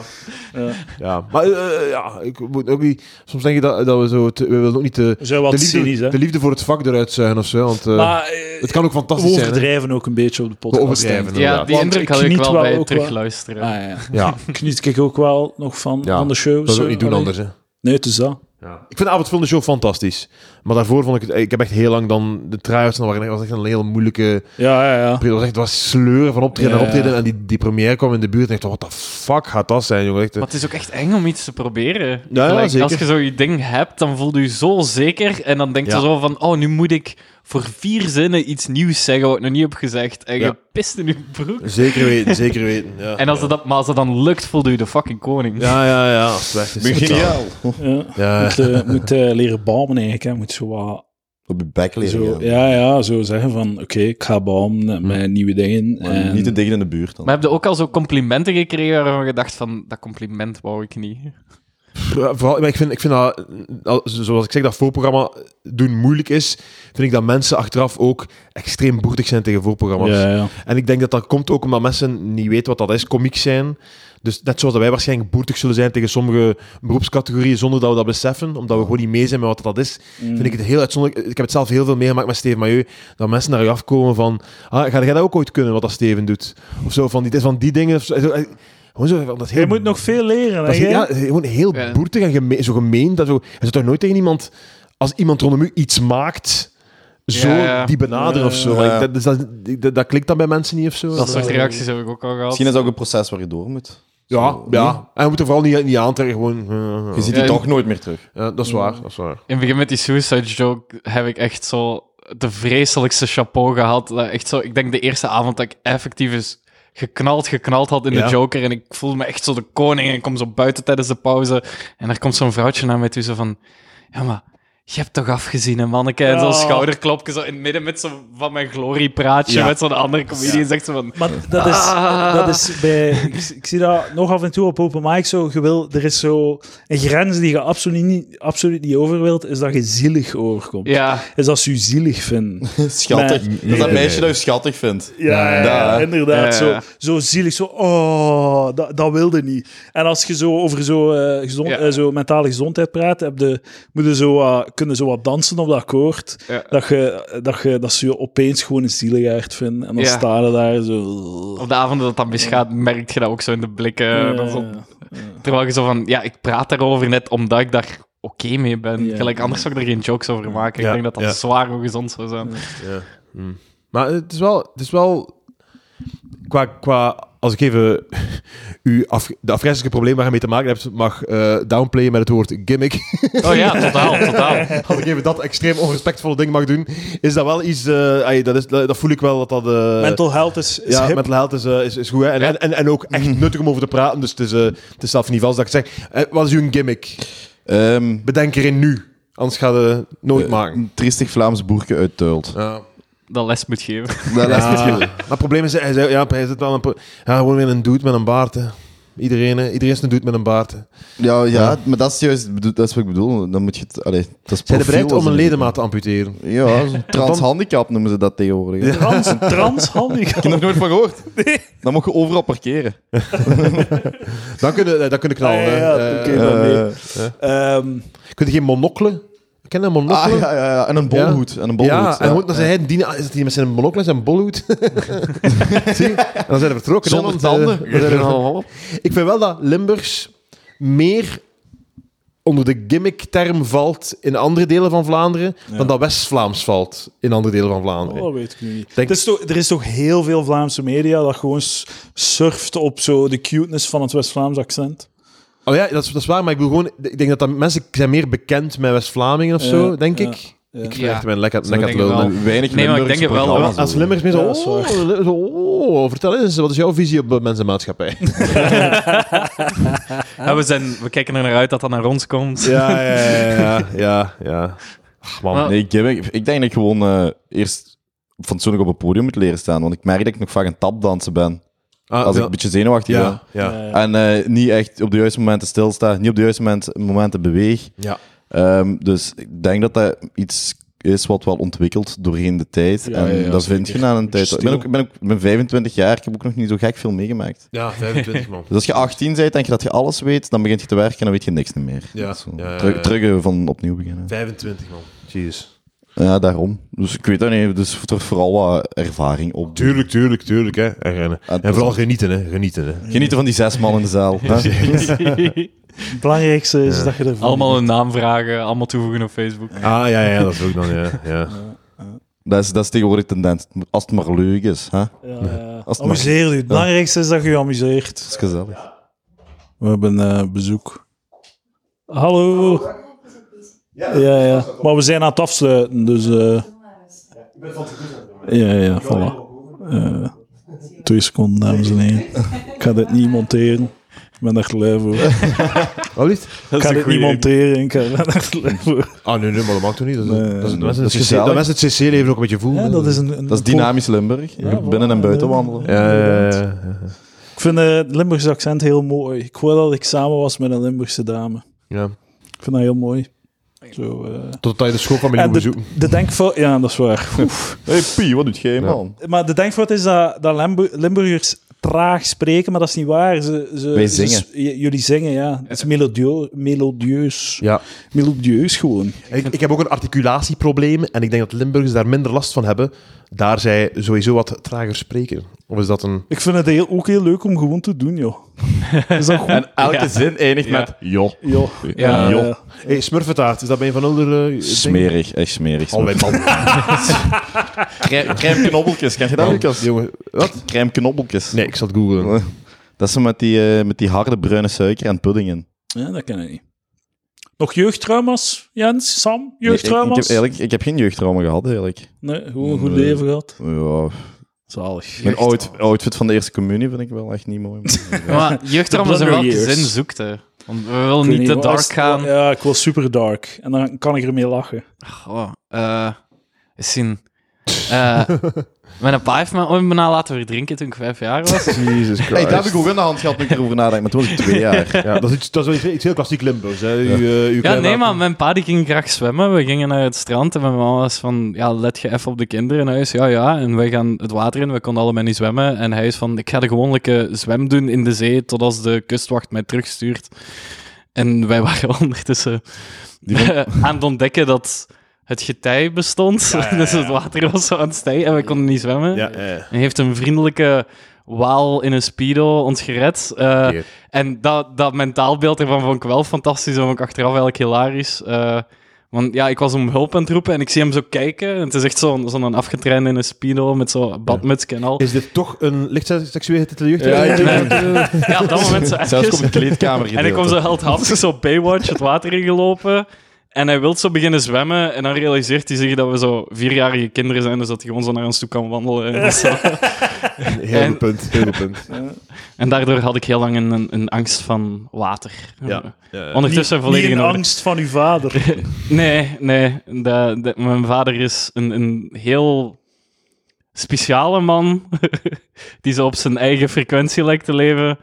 Speaker 4: maar eh, ja, ik moet ook niet... Soms denk ik dat, dat we zo... te- we willen ook niet de,
Speaker 1: We zijn
Speaker 4: de,
Speaker 1: wat cynisch,
Speaker 4: liefde,
Speaker 1: hè?
Speaker 4: de liefde voor het vak eruit zuigen of zo, want eh,
Speaker 1: maar eh,
Speaker 4: het kan ook
Speaker 1: we
Speaker 4: fantastisch zijn. hè.
Speaker 1: overdrijven ook een beetje op de
Speaker 4: We
Speaker 1: podcast.
Speaker 4: overdrijven,
Speaker 2: ja,
Speaker 4: inderdaad.
Speaker 2: die
Speaker 1: Want
Speaker 2: indruk
Speaker 1: ik
Speaker 2: had ik
Speaker 1: geniet
Speaker 2: wel
Speaker 1: wel
Speaker 2: bij
Speaker 1: ook wel.
Speaker 2: terugluisteren.
Speaker 1: Ah, ja.
Speaker 4: Ja,
Speaker 1: Kniet ik ook wel nog van,
Speaker 4: Ja,
Speaker 1: van de show.
Speaker 4: dat wil
Speaker 1: zo.
Speaker 4: ik niet doen
Speaker 1: Allee.
Speaker 4: anders, hè.
Speaker 1: Nee, het is dat.
Speaker 4: Ik vind de avondvullende show fantastisch. Maar daarvoor vond ik het... Ik heb echt heel lang dan... De try-outs dan waren, was echt een heel moeilijke...
Speaker 1: Ja, ja, ja.
Speaker 4: Het was echt het was sleuren van optreden
Speaker 1: Ja.
Speaker 4: naar optreden. En die, die première kwam in de buurt. En ik dacht, wat de fuck gaat dat zijn, jongen? Echt, eh,
Speaker 2: Maar het is ook echt eng om iets te proberen.
Speaker 4: Ja, ja,
Speaker 2: Like,
Speaker 4: zeker.
Speaker 2: Als je zo je ding hebt, dan voel je je zo zeker. En dan denk je
Speaker 4: Ja.
Speaker 2: zo van, oh, nu moet ik voor vier zinnen iets nieuws zeggen wat ik nog niet heb gezegd. En
Speaker 4: Ja.
Speaker 2: je pist in je broek.
Speaker 4: Zeker weten, zeker weten. Ja,
Speaker 2: En als het dat, maar als dat dan lukt, voel je de fucking koning.
Speaker 4: ja, ja. ja, als het weg is.
Speaker 3: ben geniaal.
Speaker 1: ja.
Speaker 4: Ja,
Speaker 1: Moet, eh, moet eh, leren balmen eigenlijk. Hè. Moet zo wat
Speaker 3: Op je bek leren.
Speaker 1: Zo,
Speaker 3: gaan.
Speaker 1: ja, ja, zo zeggen van, oké, ik ga bouwen met nieuwe dingen.
Speaker 3: Maar
Speaker 1: en...
Speaker 3: Niet te dicht in de buurt dan.
Speaker 2: Maar heb je ook al zo complimenten gekregen waarvan je dacht van, dat compliment wou ik niet.
Speaker 4: Ja, Vooral, maar ik vind, ik vind dat, eh, zoals ik zeg, dat voorprogramma doen moeilijk is, vind ik dat mensen achteraf ook extreem boertig zijn tegen voorprogramma's.
Speaker 1: ja, ja.
Speaker 4: En ik denk dat dat komt ook omdat mensen niet weten wat dat is, komiek zijn. Dus net zoals dat wij waarschijnlijk boertig zullen zijn tegen sommige beroepscategorieën zonder dat we dat beseffen, omdat we gewoon niet mee zijn met wat dat is, vind ik het heel uitzonderlijk. Ik heb het zelf heel veel meegemaakt met Steven Mailleu, dat mensen naar je afkomen van, ah, ga jij dat ook ooit kunnen, wat dat Steven doet? Of zo, van die, van die dingen. Of zo. Eh, Gewoon zo, van dat heel
Speaker 1: Je moet nog veel leren, hè?
Speaker 4: dat is,
Speaker 1: jij?
Speaker 4: ja, gewoon heel
Speaker 2: Ja.
Speaker 4: boertig en gemeen, zo gemeen. Dat zo, je zou toch nooit tegen iemand, als iemand rondom u iets maakt, zo
Speaker 2: Ja, ja.
Speaker 4: die benaderen of zo.
Speaker 3: Ja, ja.
Speaker 4: Like, dat, dus dat, dat, dat klikt dan bij mensen niet of zo.
Speaker 2: Dat soort
Speaker 1: wel-
Speaker 2: reacties heb ik ook al gehad.
Speaker 3: Misschien is dat ook een proces waar je door moet.
Speaker 4: ja,
Speaker 3: Zo, nee?
Speaker 4: ja. En je moet er vooral niet, niet aantrekken. Gewoon,
Speaker 3: Je ziet
Speaker 2: Ja,
Speaker 3: die
Speaker 2: je-
Speaker 3: toch nooit meer terug.
Speaker 4: Ja, dat is waar. Dat is waar.
Speaker 2: In het begin met die suicide joke heb ik echt zo de vreselijkste chapeau gehad. Dat Echt zo, ik denk de eerste avond dat ik effectief eens geknald, geknald had in
Speaker 4: Ja.
Speaker 2: de Joker. En ik voelde me echt zo de koning. En ik kom zo buiten tijdens de pauze. En er komt zo'n vrouwtje naar mij toe zo van... Ja, maar je hebt toch afgezien, hè, manneke? En zo'n
Speaker 4: Oh.
Speaker 1: Ja.
Speaker 2: schouderklopje zo in het midden met zo'n van mijn glorie praatje.
Speaker 4: Ja.
Speaker 2: Met zo'n andere comedian zegt ze van...
Speaker 1: Maar dat is, dat is bij... Ik, ik zie dat nog af en toe op open mic zo. Je wil, er is zo een grens die je absoluut niet, absoluut niet over wilt, is dat je zielig overkomt.
Speaker 2: Ja,
Speaker 1: Is als ze je zielig vindt.
Speaker 3: Schattig.
Speaker 1: Nee.
Speaker 3: Dat is dat meisje dat je schattig vindt.
Speaker 1: Ja, ja, ja,
Speaker 3: Ja.
Speaker 1: inderdaad.
Speaker 2: Ja, ja.
Speaker 1: Zo, zo zielig, zo, oh, dat, dat wilde niet. En als je zo over zo, eh, gezond,
Speaker 2: Ja.
Speaker 1: eh, zo mentale gezondheid praat, heb je, moet je zo, wat- kunnen zo wat dansen op dat akkoord,
Speaker 2: Ja.
Speaker 1: dat, je, dat, je, dat ze je opeens gewoon een zieligaard vinden. En dan
Speaker 2: Ja.
Speaker 1: staan ze daar zo...
Speaker 2: op de avonden dat dat misgaat, merk je dat ook zo in de blikken.
Speaker 1: Ja,
Speaker 2: Dan zo-
Speaker 1: ja, ja.
Speaker 2: Terwijl je zo van, ja, ik praat daarover net omdat ik daar oké mee ben.
Speaker 1: Ja.
Speaker 2: Gelijk, anders zou ik er geen jokes over maken.
Speaker 4: Ja,
Speaker 2: Ik denk dat dat
Speaker 4: ja.
Speaker 2: zwaar ongezond zou zijn.
Speaker 4: Ja. Maar het is wel... Het is wel qua, qua, als ik even u af, de afgrijzelijke probleem waar je mee te maken hebt, mag eh, downplayen met het woord gimmick.
Speaker 2: Oh ja, totaal, totaal.
Speaker 4: Als ik even dat extreem onrespectvolle ding mag doen, is dat wel iets... eh, ai, dat, is, dat, dat voel ik wel dat dat... eh,
Speaker 1: Mental health is, is
Speaker 4: ja,
Speaker 1: hip.
Speaker 4: mental health is, eh, is, is goed. Hè? En, en, en, en ook echt nuttig om over te praten. Dus het is, eh, het is zelf niet vals dat ik zeg. Eh, wat is uw gimmick?
Speaker 3: Ehm,
Speaker 4: Bedenk erin nu. Anders gaat het nooit maken.
Speaker 3: Een triestig Vlaams boerke uit Tuilt.
Speaker 4: Ja.
Speaker 2: Dat les moet geven.
Speaker 3: Dat is
Speaker 4: Ja. Maar het probleem is, hij, zei, ja, hij zit wel een pro- ja, gewoon weer een dude met een baard. hè. Iedereen, hè. iedereen is een dude met een baard. hè.
Speaker 3: Ja, ja,
Speaker 4: Ja.
Speaker 3: maar dat is juist bedo- dat is wat ik bedoel. Dan moet je het, allee, dat is
Speaker 4: Zijn
Speaker 3: profiel
Speaker 4: er bereid om
Speaker 3: als
Speaker 4: een
Speaker 3: een-
Speaker 4: ledemaat te amputeren?
Speaker 3: Ja, zo'n transhandicap noemen ze dat tegenwoordig. hè.
Speaker 1: Trans, transhandig.
Speaker 3: Ik heb er nog nooit van gehoord. Dan mocht je overal parkeren.
Speaker 4: Dan kunnen eh, dan kunnen knallen.
Speaker 1: Ah, ja, ja,
Speaker 4: hè. Eh,
Speaker 1: oké. Ja, nee.
Speaker 3: Eh,
Speaker 1: Ehm,
Speaker 4: Kun je geen monocle? Ken je een
Speaker 3: ah,
Speaker 4: monocle?
Speaker 3: ja, ja, ja, en een bolhoed. En een bolhoed.
Speaker 4: Ja, en
Speaker 3: ja.
Speaker 4: hoe- dan zei hij, die, is dat die met zijn monocle en zijn bolhoed? Zie je? En dan zijn we vertrokken. hè,
Speaker 3: Zonder
Speaker 4: want, eh,
Speaker 3: tanden.
Speaker 4: dan zijn we vertrokken. Ik vind wel dat Limburgs meer onder de gimmick-term valt in andere delen van Vlaanderen dan dat West-Vlaams valt in andere delen van Vlaanderen.
Speaker 1: Oh, dat weet ik nu niet.
Speaker 4: Denk-
Speaker 1: Het is toch, er is toch heel veel Vlaamse media dat gewoon s- surft op zo de cuteness van het West-Vlaams accent.
Speaker 4: Oh ja, dat is, dat is waar, maar ik bedoel gewoon... Ik denk dat, dat mensen zijn meer bekend met West-Vlamingen of zo,
Speaker 1: Ja,
Speaker 4: denk
Speaker 1: ja,
Speaker 4: ik.
Speaker 1: ja.
Speaker 4: Ik
Speaker 2: Ja.
Speaker 4: krijg mijn lek aan
Speaker 2: Zo
Speaker 4: het
Speaker 2: denk ik
Speaker 4: lullen.
Speaker 2: wel.
Speaker 3: Weinig
Speaker 2: Nee, maar ik
Speaker 3: Limburgs
Speaker 2: denk het wel.
Speaker 3: programma's
Speaker 4: Als
Speaker 3: over.
Speaker 4: Limburgs meer
Speaker 1: Ja,
Speaker 4: zo,
Speaker 1: dat is waar.
Speaker 4: oh, zo, oh, vertel eens, wat is jouw visie op eh, de mensenmaatschappij?
Speaker 2: Ja, we, zijn, we kijken er naar uit dat dat naar ons komt.
Speaker 4: Ja, ja, ja, ja, ja. ja. Ach, man.
Speaker 2: Maar-
Speaker 3: Nee, gimmick. Ik denk dat ik gewoon eh, eerst fatsoenlijk op het podium moet leren staan. Want ik merk dat ik nog vaak een tapdansen ben.
Speaker 4: Ah,
Speaker 3: Als ik
Speaker 4: ja,
Speaker 3: een beetje zenuwachtig ben.
Speaker 4: ja, ja,
Speaker 1: Eh,
Speaker 3: En eh, niet echt op de juiste momenten stilsta, niet op de juiste moment, momenten beweeg.
Speaker 4: ja.
Speaker 3: Ehm, dus ik denk dat dat iets is wat wel ontwikkelt doorheen de tijd.
Speaker 1: Ja,
Speaker 3: en
Speaker 1: ja, ja,
Speaker 3: dat
Speaker 1: zeker.
Speaker 3: vind je na een tijd. Ik ben, ook, ik ben ook ik ben 25 jaar, ik heb ook nog niet zo gek veel meegemaakt.
Speaker 4: Ja, 25 man.
Speaker 3: Dus als je 18 bent, denk je dat je alles weet, dan begint je te werken en dan weet je niks meer.
Speaker 4: Ja,
Speaker 3: Dus, eh,
Speaker 4: ja, ja,
Speaker 3: terug-
Speaker 4: ja.
Speaker 3: Terug eh, van opnieuw beginnen.
Speaker 4: 25 man. Jezus.
Speaker 3: Ja, daarom. Dus ik weet dat niet, dus er vooral wat ervaring op.
Speaker 4: Tuurlijk, tuurlijk, tuurlijk. Hè. En, rennen.
Speaker 3: Ah,
Speaker 4: en vooral genieten, hè. Genieten, hè.
Speaker 3: Genieten van die zes man in de zaal. hè?
Speaker 1: het belangrijkste is dat je er
Speaker 2: Allemaal een naam vragen, allemaal toevoegen op Facebook.
Speaker 4: Ah, ja, ja, dat is ook dan, ja. ja.
Speaker 3: Dat is, dat is tegenwoordig tendens. Als het maar leuk is, hè? dat
Speaker 1: Ja, ja.
Speaker 3: Als het
Speaker 1: Amuseer je. Het belangrijkste is dat je je amuseert.
Speaker 3: is gezellig.
Speaker 1: We hebben eh, bezoek. Hallo. Ja, ja. Maar we zijn aan het afsluiten, dus... eh ja, ja, voilà. Eh, twee seconden, dames en heren. Ik ga dit niet monteren. Ik ben echt lui voor. Ik
Speaker 4: Oh, lief.
Speaker 2: Dat is
Speaker 1: ga
Speaker 2: een
Speaker 1: dit
Speaker 2: goeie.
Speaker 1: niet monteren. Ik ben echt lui voor.
Speaker 4: Ah, nee, nee, maar dat maakt toch niet. Dat is,
Speaker 1: Nee.
Speaker 4: dat is, dat is, het
Speaker 3: Dat is
Speaker 4: CC
Speaker 3: gezellig.
Speaker 4: dat is het CC-leven ook met je voelen.
Speaker 1: Ja, dat is een... een-
Speaker 3: Dat is dynamisch Limburg. Je
Speaker 1: Ja,
Speaker 3: moet binnen en
Speaker 1: voilà.
Speaker 3: buiten wandelen.
Speaker 4: Ja, ja, ja, ja.
Speaker 1: Ik vind eh, het Limburgse accent heel mooi. Ik hoorde dat ik samen was met een Limburgse dame.
Speaker 4: ja.
Speaker 1: Ik vind dat heel mooi. Zo, eh.
Speaker 4: Totdat je de schoolfamilie
Speaker 1: En
Speaker 4: moet
Speaker 1: de,
Speaker 4: bezoeken.
Speaker 1: de denkfout... Ja, dat is waar. Oef.
Speaker 3: Hé, hey, Pie, wat doet jij, man?
Speaker 1: Maar de denkfout is dat, dat Limbu- Limburgers traag spreken, maar dat is niet waar. Ze, ze,
Speaker 3: Wij
Speaker 1: ze-
Speaker 3: zingen.
Speaker 1: j- jullie zingen, ja. Het is melodio, melodieus.
Speaker 4: Ja.
Speaker 1: Melodieus gewoon.
Speaker 4: Ik, ik heb ook een articulatieprobleem en ik denk dat Limburgers daar minder last van hebben. Daar zij sowieso wat trager spreken. Of is dat een...
Speaker 1: Ik vind het heel, ook heel leuk om gewoon te doen, joh. Is dat goed?
Speaker 3: Elke
Speaker 2: Ja.
Speaker 3: zin eindigt
Speaker 2: Ja.
Speaker 3: met joh.
Speaker 1: joh.
Speaker 2: Ja.
Speaker 1: Eh,
Speaker 3: Joh.
Speaker 4: Hey, smurfetaart, is dat bij een van onder... eh, dingen?
Speaker 3: Smerig, echt smerig.
Speaker 4: Alweer man.
Speaker 3: Crème knobbeltjes, ken je dat, Lucas?
Speaker 4: Jongen, wat?
Speaker 3: Crème knobbeltjes.
Speaker 4: Nee, ik zal het googlen.
Speaker 3: Dat is zo met die, eh, met die harde bruine suiker en pudding in.
Speaker 1: ja, dat ken ik niet. Nog jeugdtrauma's, Jens? Sam?
Speaker 3: Nee, ik- ik, heb,
Speaker 1: Jeugdtrauma's? Nee,
Speaker 3: eigenlijk, ik heb geen jeugdtrauma gehad, eigenlijk.
Speaker 1: gewoon een goed
Speaker 3: Nee.
Speaker 1: leven gehad.
Speaker 3: Ja,
Speaker 1: Zalig.
Speaker 3: mijn out, outfit van de eerste communie vind ik wel echt niet mooi. maar-
Speaker 2: Maar jeugdtrauma
Speaker 1: De
Speaker 2: is in welke
Speaker 1: Blender Years.
Speaker 2: zin zoekt, hè. Want we willen
Speaker 1: Ik weet
Speaker 2: niet te
Speaker 1: wat
Speaker 2: dark
Speaker 1: is-
Speaker 2: gaan.
Speaker 1: Ja, ik wil super dark. En dan kan ik ermee lachen.
Speaker 2: Oh, eh, eens zien. Eh, mijn pa heeft me ooit bijna laten verdrinken toen ik vijf jaar was.
Speaker 4: Jezus Christus.
Speaker 3: Hey, daar heb ik ook in de hand gehad, moet ik erover nadenken. Maar toen was ik twee jaar.
Speaker 4: Ja, dat is iets, dat is wel iets, iets heel klassiek Limburgs. Hè. U, eh, uw
Speaker 2: Ja,
Speaker 4: kleine-
Speaker 2: nee, maar mijn pa die ging graag zwemmen. We gingen naar het strand en mijn mama was van, ja, let je even op de kinderen in huis. Ja, ja, en wij gaan het water in. We konden allebei niet zwemmen. En hij is van, ik ga de gewoonlijke zwem doen in de zee tot als de kustwacht mij terugstuurt. En wij waren ondertussen aan het ontdekken dat het getij bestond.
Speaker 1: Ja, ja, ja.
Speaker 2: dus het water was zo aan het stijgen en wij konden niet zwemmen.
Speaker 4: Ja, eh.
Speaker 2: En hij heeft een vriendelijke waal in een speedo ons gered. Eh, En dat, dat mentaal beeld ervan vond ik wel fantastisch. Dat vond ik achteraf eigenlijk hilarisch. Eh, want ja, ik was om hulp aan het roepen en ik zie hem zo kijken. En het is echt zo'n zo'n afgetrainde in een speedo met zo'n badmuts en al.
Speaker 4: Is dit toch een licht seksueel getitelde jeugd?
Speaker 3: Ja, ik denk
Speaker 2: Ja, op dat moment zo
Speaker 3: Zelfs
Speaker 2: even-
Speaker 3: komt de kleedkamer
Speaker 2: En ik kom zo heldhaftig zo Baywatch het water ingelopen. En hij wil zo beginnen zwemmen. En dan realiseert hij zich dat we zo vierjarige kinderen zijn. Dus dat hij gewoon zo naar ons toe kan wandelen. En, dat zo.
Speaker 4: Heel
Speaker 2: En-
Speaker 4: goed punt. Heel goed punt.
Speaker 2: En daardoor had ik heel lang een, een, een angst van water. Eh,
Speaker 4: Ja.
Speaker 2: Ondertussen
Speaker 1: Niet-
Speaker 2: volledig
Speaker 1: niet
Speaker 2: in
Speaker 1: in
Speaker 2: orde.
Speaker 1: angst van uw vader.
Speaker 2: Nee, nee. De, de- mijn vader is een, een heel speciale man. die zo op zijn eigen frequentie lijkt te leven.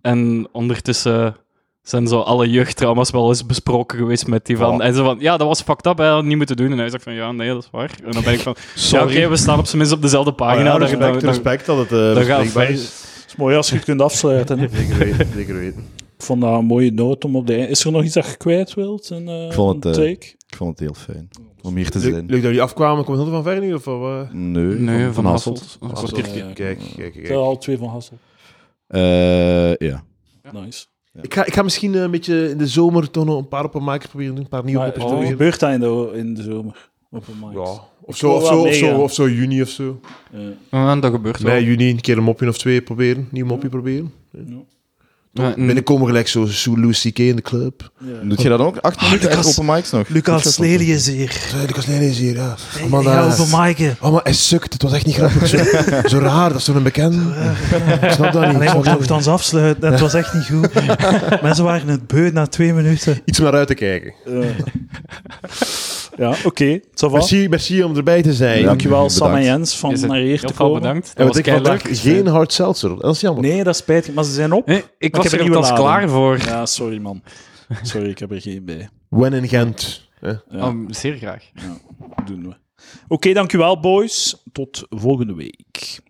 Speaker 2: En ondertussen zijn zo alle jeugdtrauma's wel eens besproken geweest met die van.
Speaker 3: Voilà.
Speaker 2: En ze van, ja, dat was fucked up, hij had het niet moeten doen. En hij zegt van, ja, nee, dat is waar. En dan ben ik van, ja, oké,
Speaker 3: Sorry. Oh
Speaker 2: we staan op zijn minst op dezelfde
Speaker 4: Ah,
Speaker 2: pagina. Dan- dan-
Speaker 4: respect,
Speaker 2: dan-
Speaker 4: respect dat het eh,
Speaker 2: dan gaan we
Speaker 4: bespreekbaar
Speaker 2: verder.
Speaker 4: is.
Speaker 1: Het is mooi als je het kunt afsluiten. hè.
Speaker 4: Zeker weten, zeker weten.
Speaker 1: Ik vond dat een mooie noot om op de... Is er nog iets dat je kwijt wilt? Een, eh,
Speaker 3: Ik vond het,
Speaker 1: een
Speaker 3: eh,
Speaker 1: take?
Speaker 3: Ik vond het heel fijn om hier te
Speaker 4: Leuk,
Speaker 3: zijn.
Speaker 4: leuk dat jullie afkwamen. Komt Hilde van ver nu? Of, wat?
Speaker 3: Nee,
Speaker 2: Nee, van
Speaker 3: Hasselt.
Speaker 2: Hasselt. Een kwartier.
Speaker 1: Hasselt.
Speaker 4: Kijk, kijk, kijk.
Speaker 1: Het zijn al twee van Hassel.
Speaker 3: Eh, ja.
Speaker 1: Nice.
Speaker 4: Ik, ga, ik ga misschien eh, een beetje in de zomer toch nog een paar openmakers proberen doen. Een paar nieuwe
Speaker 1: Maar, Oh,
Speaker 4: open
Speaker 1: wat
Speaker 4: proberen.
Speaker 1: gebeurt dat in de, in de zomer? Op een
Speaker 4: Ja. Of
Speaker 1: wil
Speaker 4: zo, of,
Speaker 1: wel
Speaker 4: zo, of,
Speaker 1: meegaan.
Speaker 4: zo, of zo juni of zo.
Speaker 2: Ja, Ah, dat gebeurt wel.
Speaker 4: Mei, juni, een keer een mopje of twee proberen. Nieuw mopje proberen.
Speaker 2: Ja, en-
Speaker 4: Binnenkomen gelijk zo, zo Louis C.K. in de club.
Speaker 3: Doet je dat ook? Acht minuten echt
Speaker 1: Ah, Lucas-
Speaker 3: open mics nog?
Speaker 1: Lucas Sneli is hier.
Speaker 4: Zo, Lucas Lely is hier, ja. Oh, man,
Speaker 1: Ja,
Speaker 4: eh,
Speaker 1: over Maaike.
Speaker 4: oh, maar hij sukt. Het was echt niet grappig. Zo, zo raar, dat is zo'n bekende. Ik snap dat niet. ik snap
Speaker 5: Alleen mocht
Speaker 4: dat niet.
Speaker 5: nogthans afsluiten. Het was echt niet goed. Mensen waren het beu na twee minuten.
Speaker 4: Iets om naar uit te kijken.
Speaker 1: Eh. ja, oké. ça va.
Speaker 4: Merci, merci om erbij te zijn.
Speaker 3: Ja,
Speaker 1: Dankjewel Sam en
Speaker 3: Bedankt.
Speaker 1: Jens van
Speaker 2: Is het
Speaker 1: naar hier
Speaker 2: heel
Speaker 1: te
Speaker 2: veel
Speaker 1: komen.
Speaker 2: bedankt.
Speaker 4: En wat
Speaker 2: Dat was
Speaker 4: ik vandaag
Speaker 2: keileuk.
Speaker 4: geen hard seltzer. Dat is jammer.
Speaker 1: Nee, dat is spijtig, maar ze zijn op.
Speaker 2: Nee, ik
Speaker 1: heb
Speaker 2: was
Speaker 1: er
Speaker 2: er
Speaker 1: nieuwe
Speaker 2: alvast
Speaker 1: laden.
Speaker 2: klaar voor.
Speaker 1: Ja, sorry man. Sorry, ik heb er geen bij.
Speaker 4: Wen in Gent. hè.
Speaker 1: Ja.
Speaker 2: Oh, zeer graag.
Speaker 1: Doen we. Oké, dankjewel boys. Tot volgende week.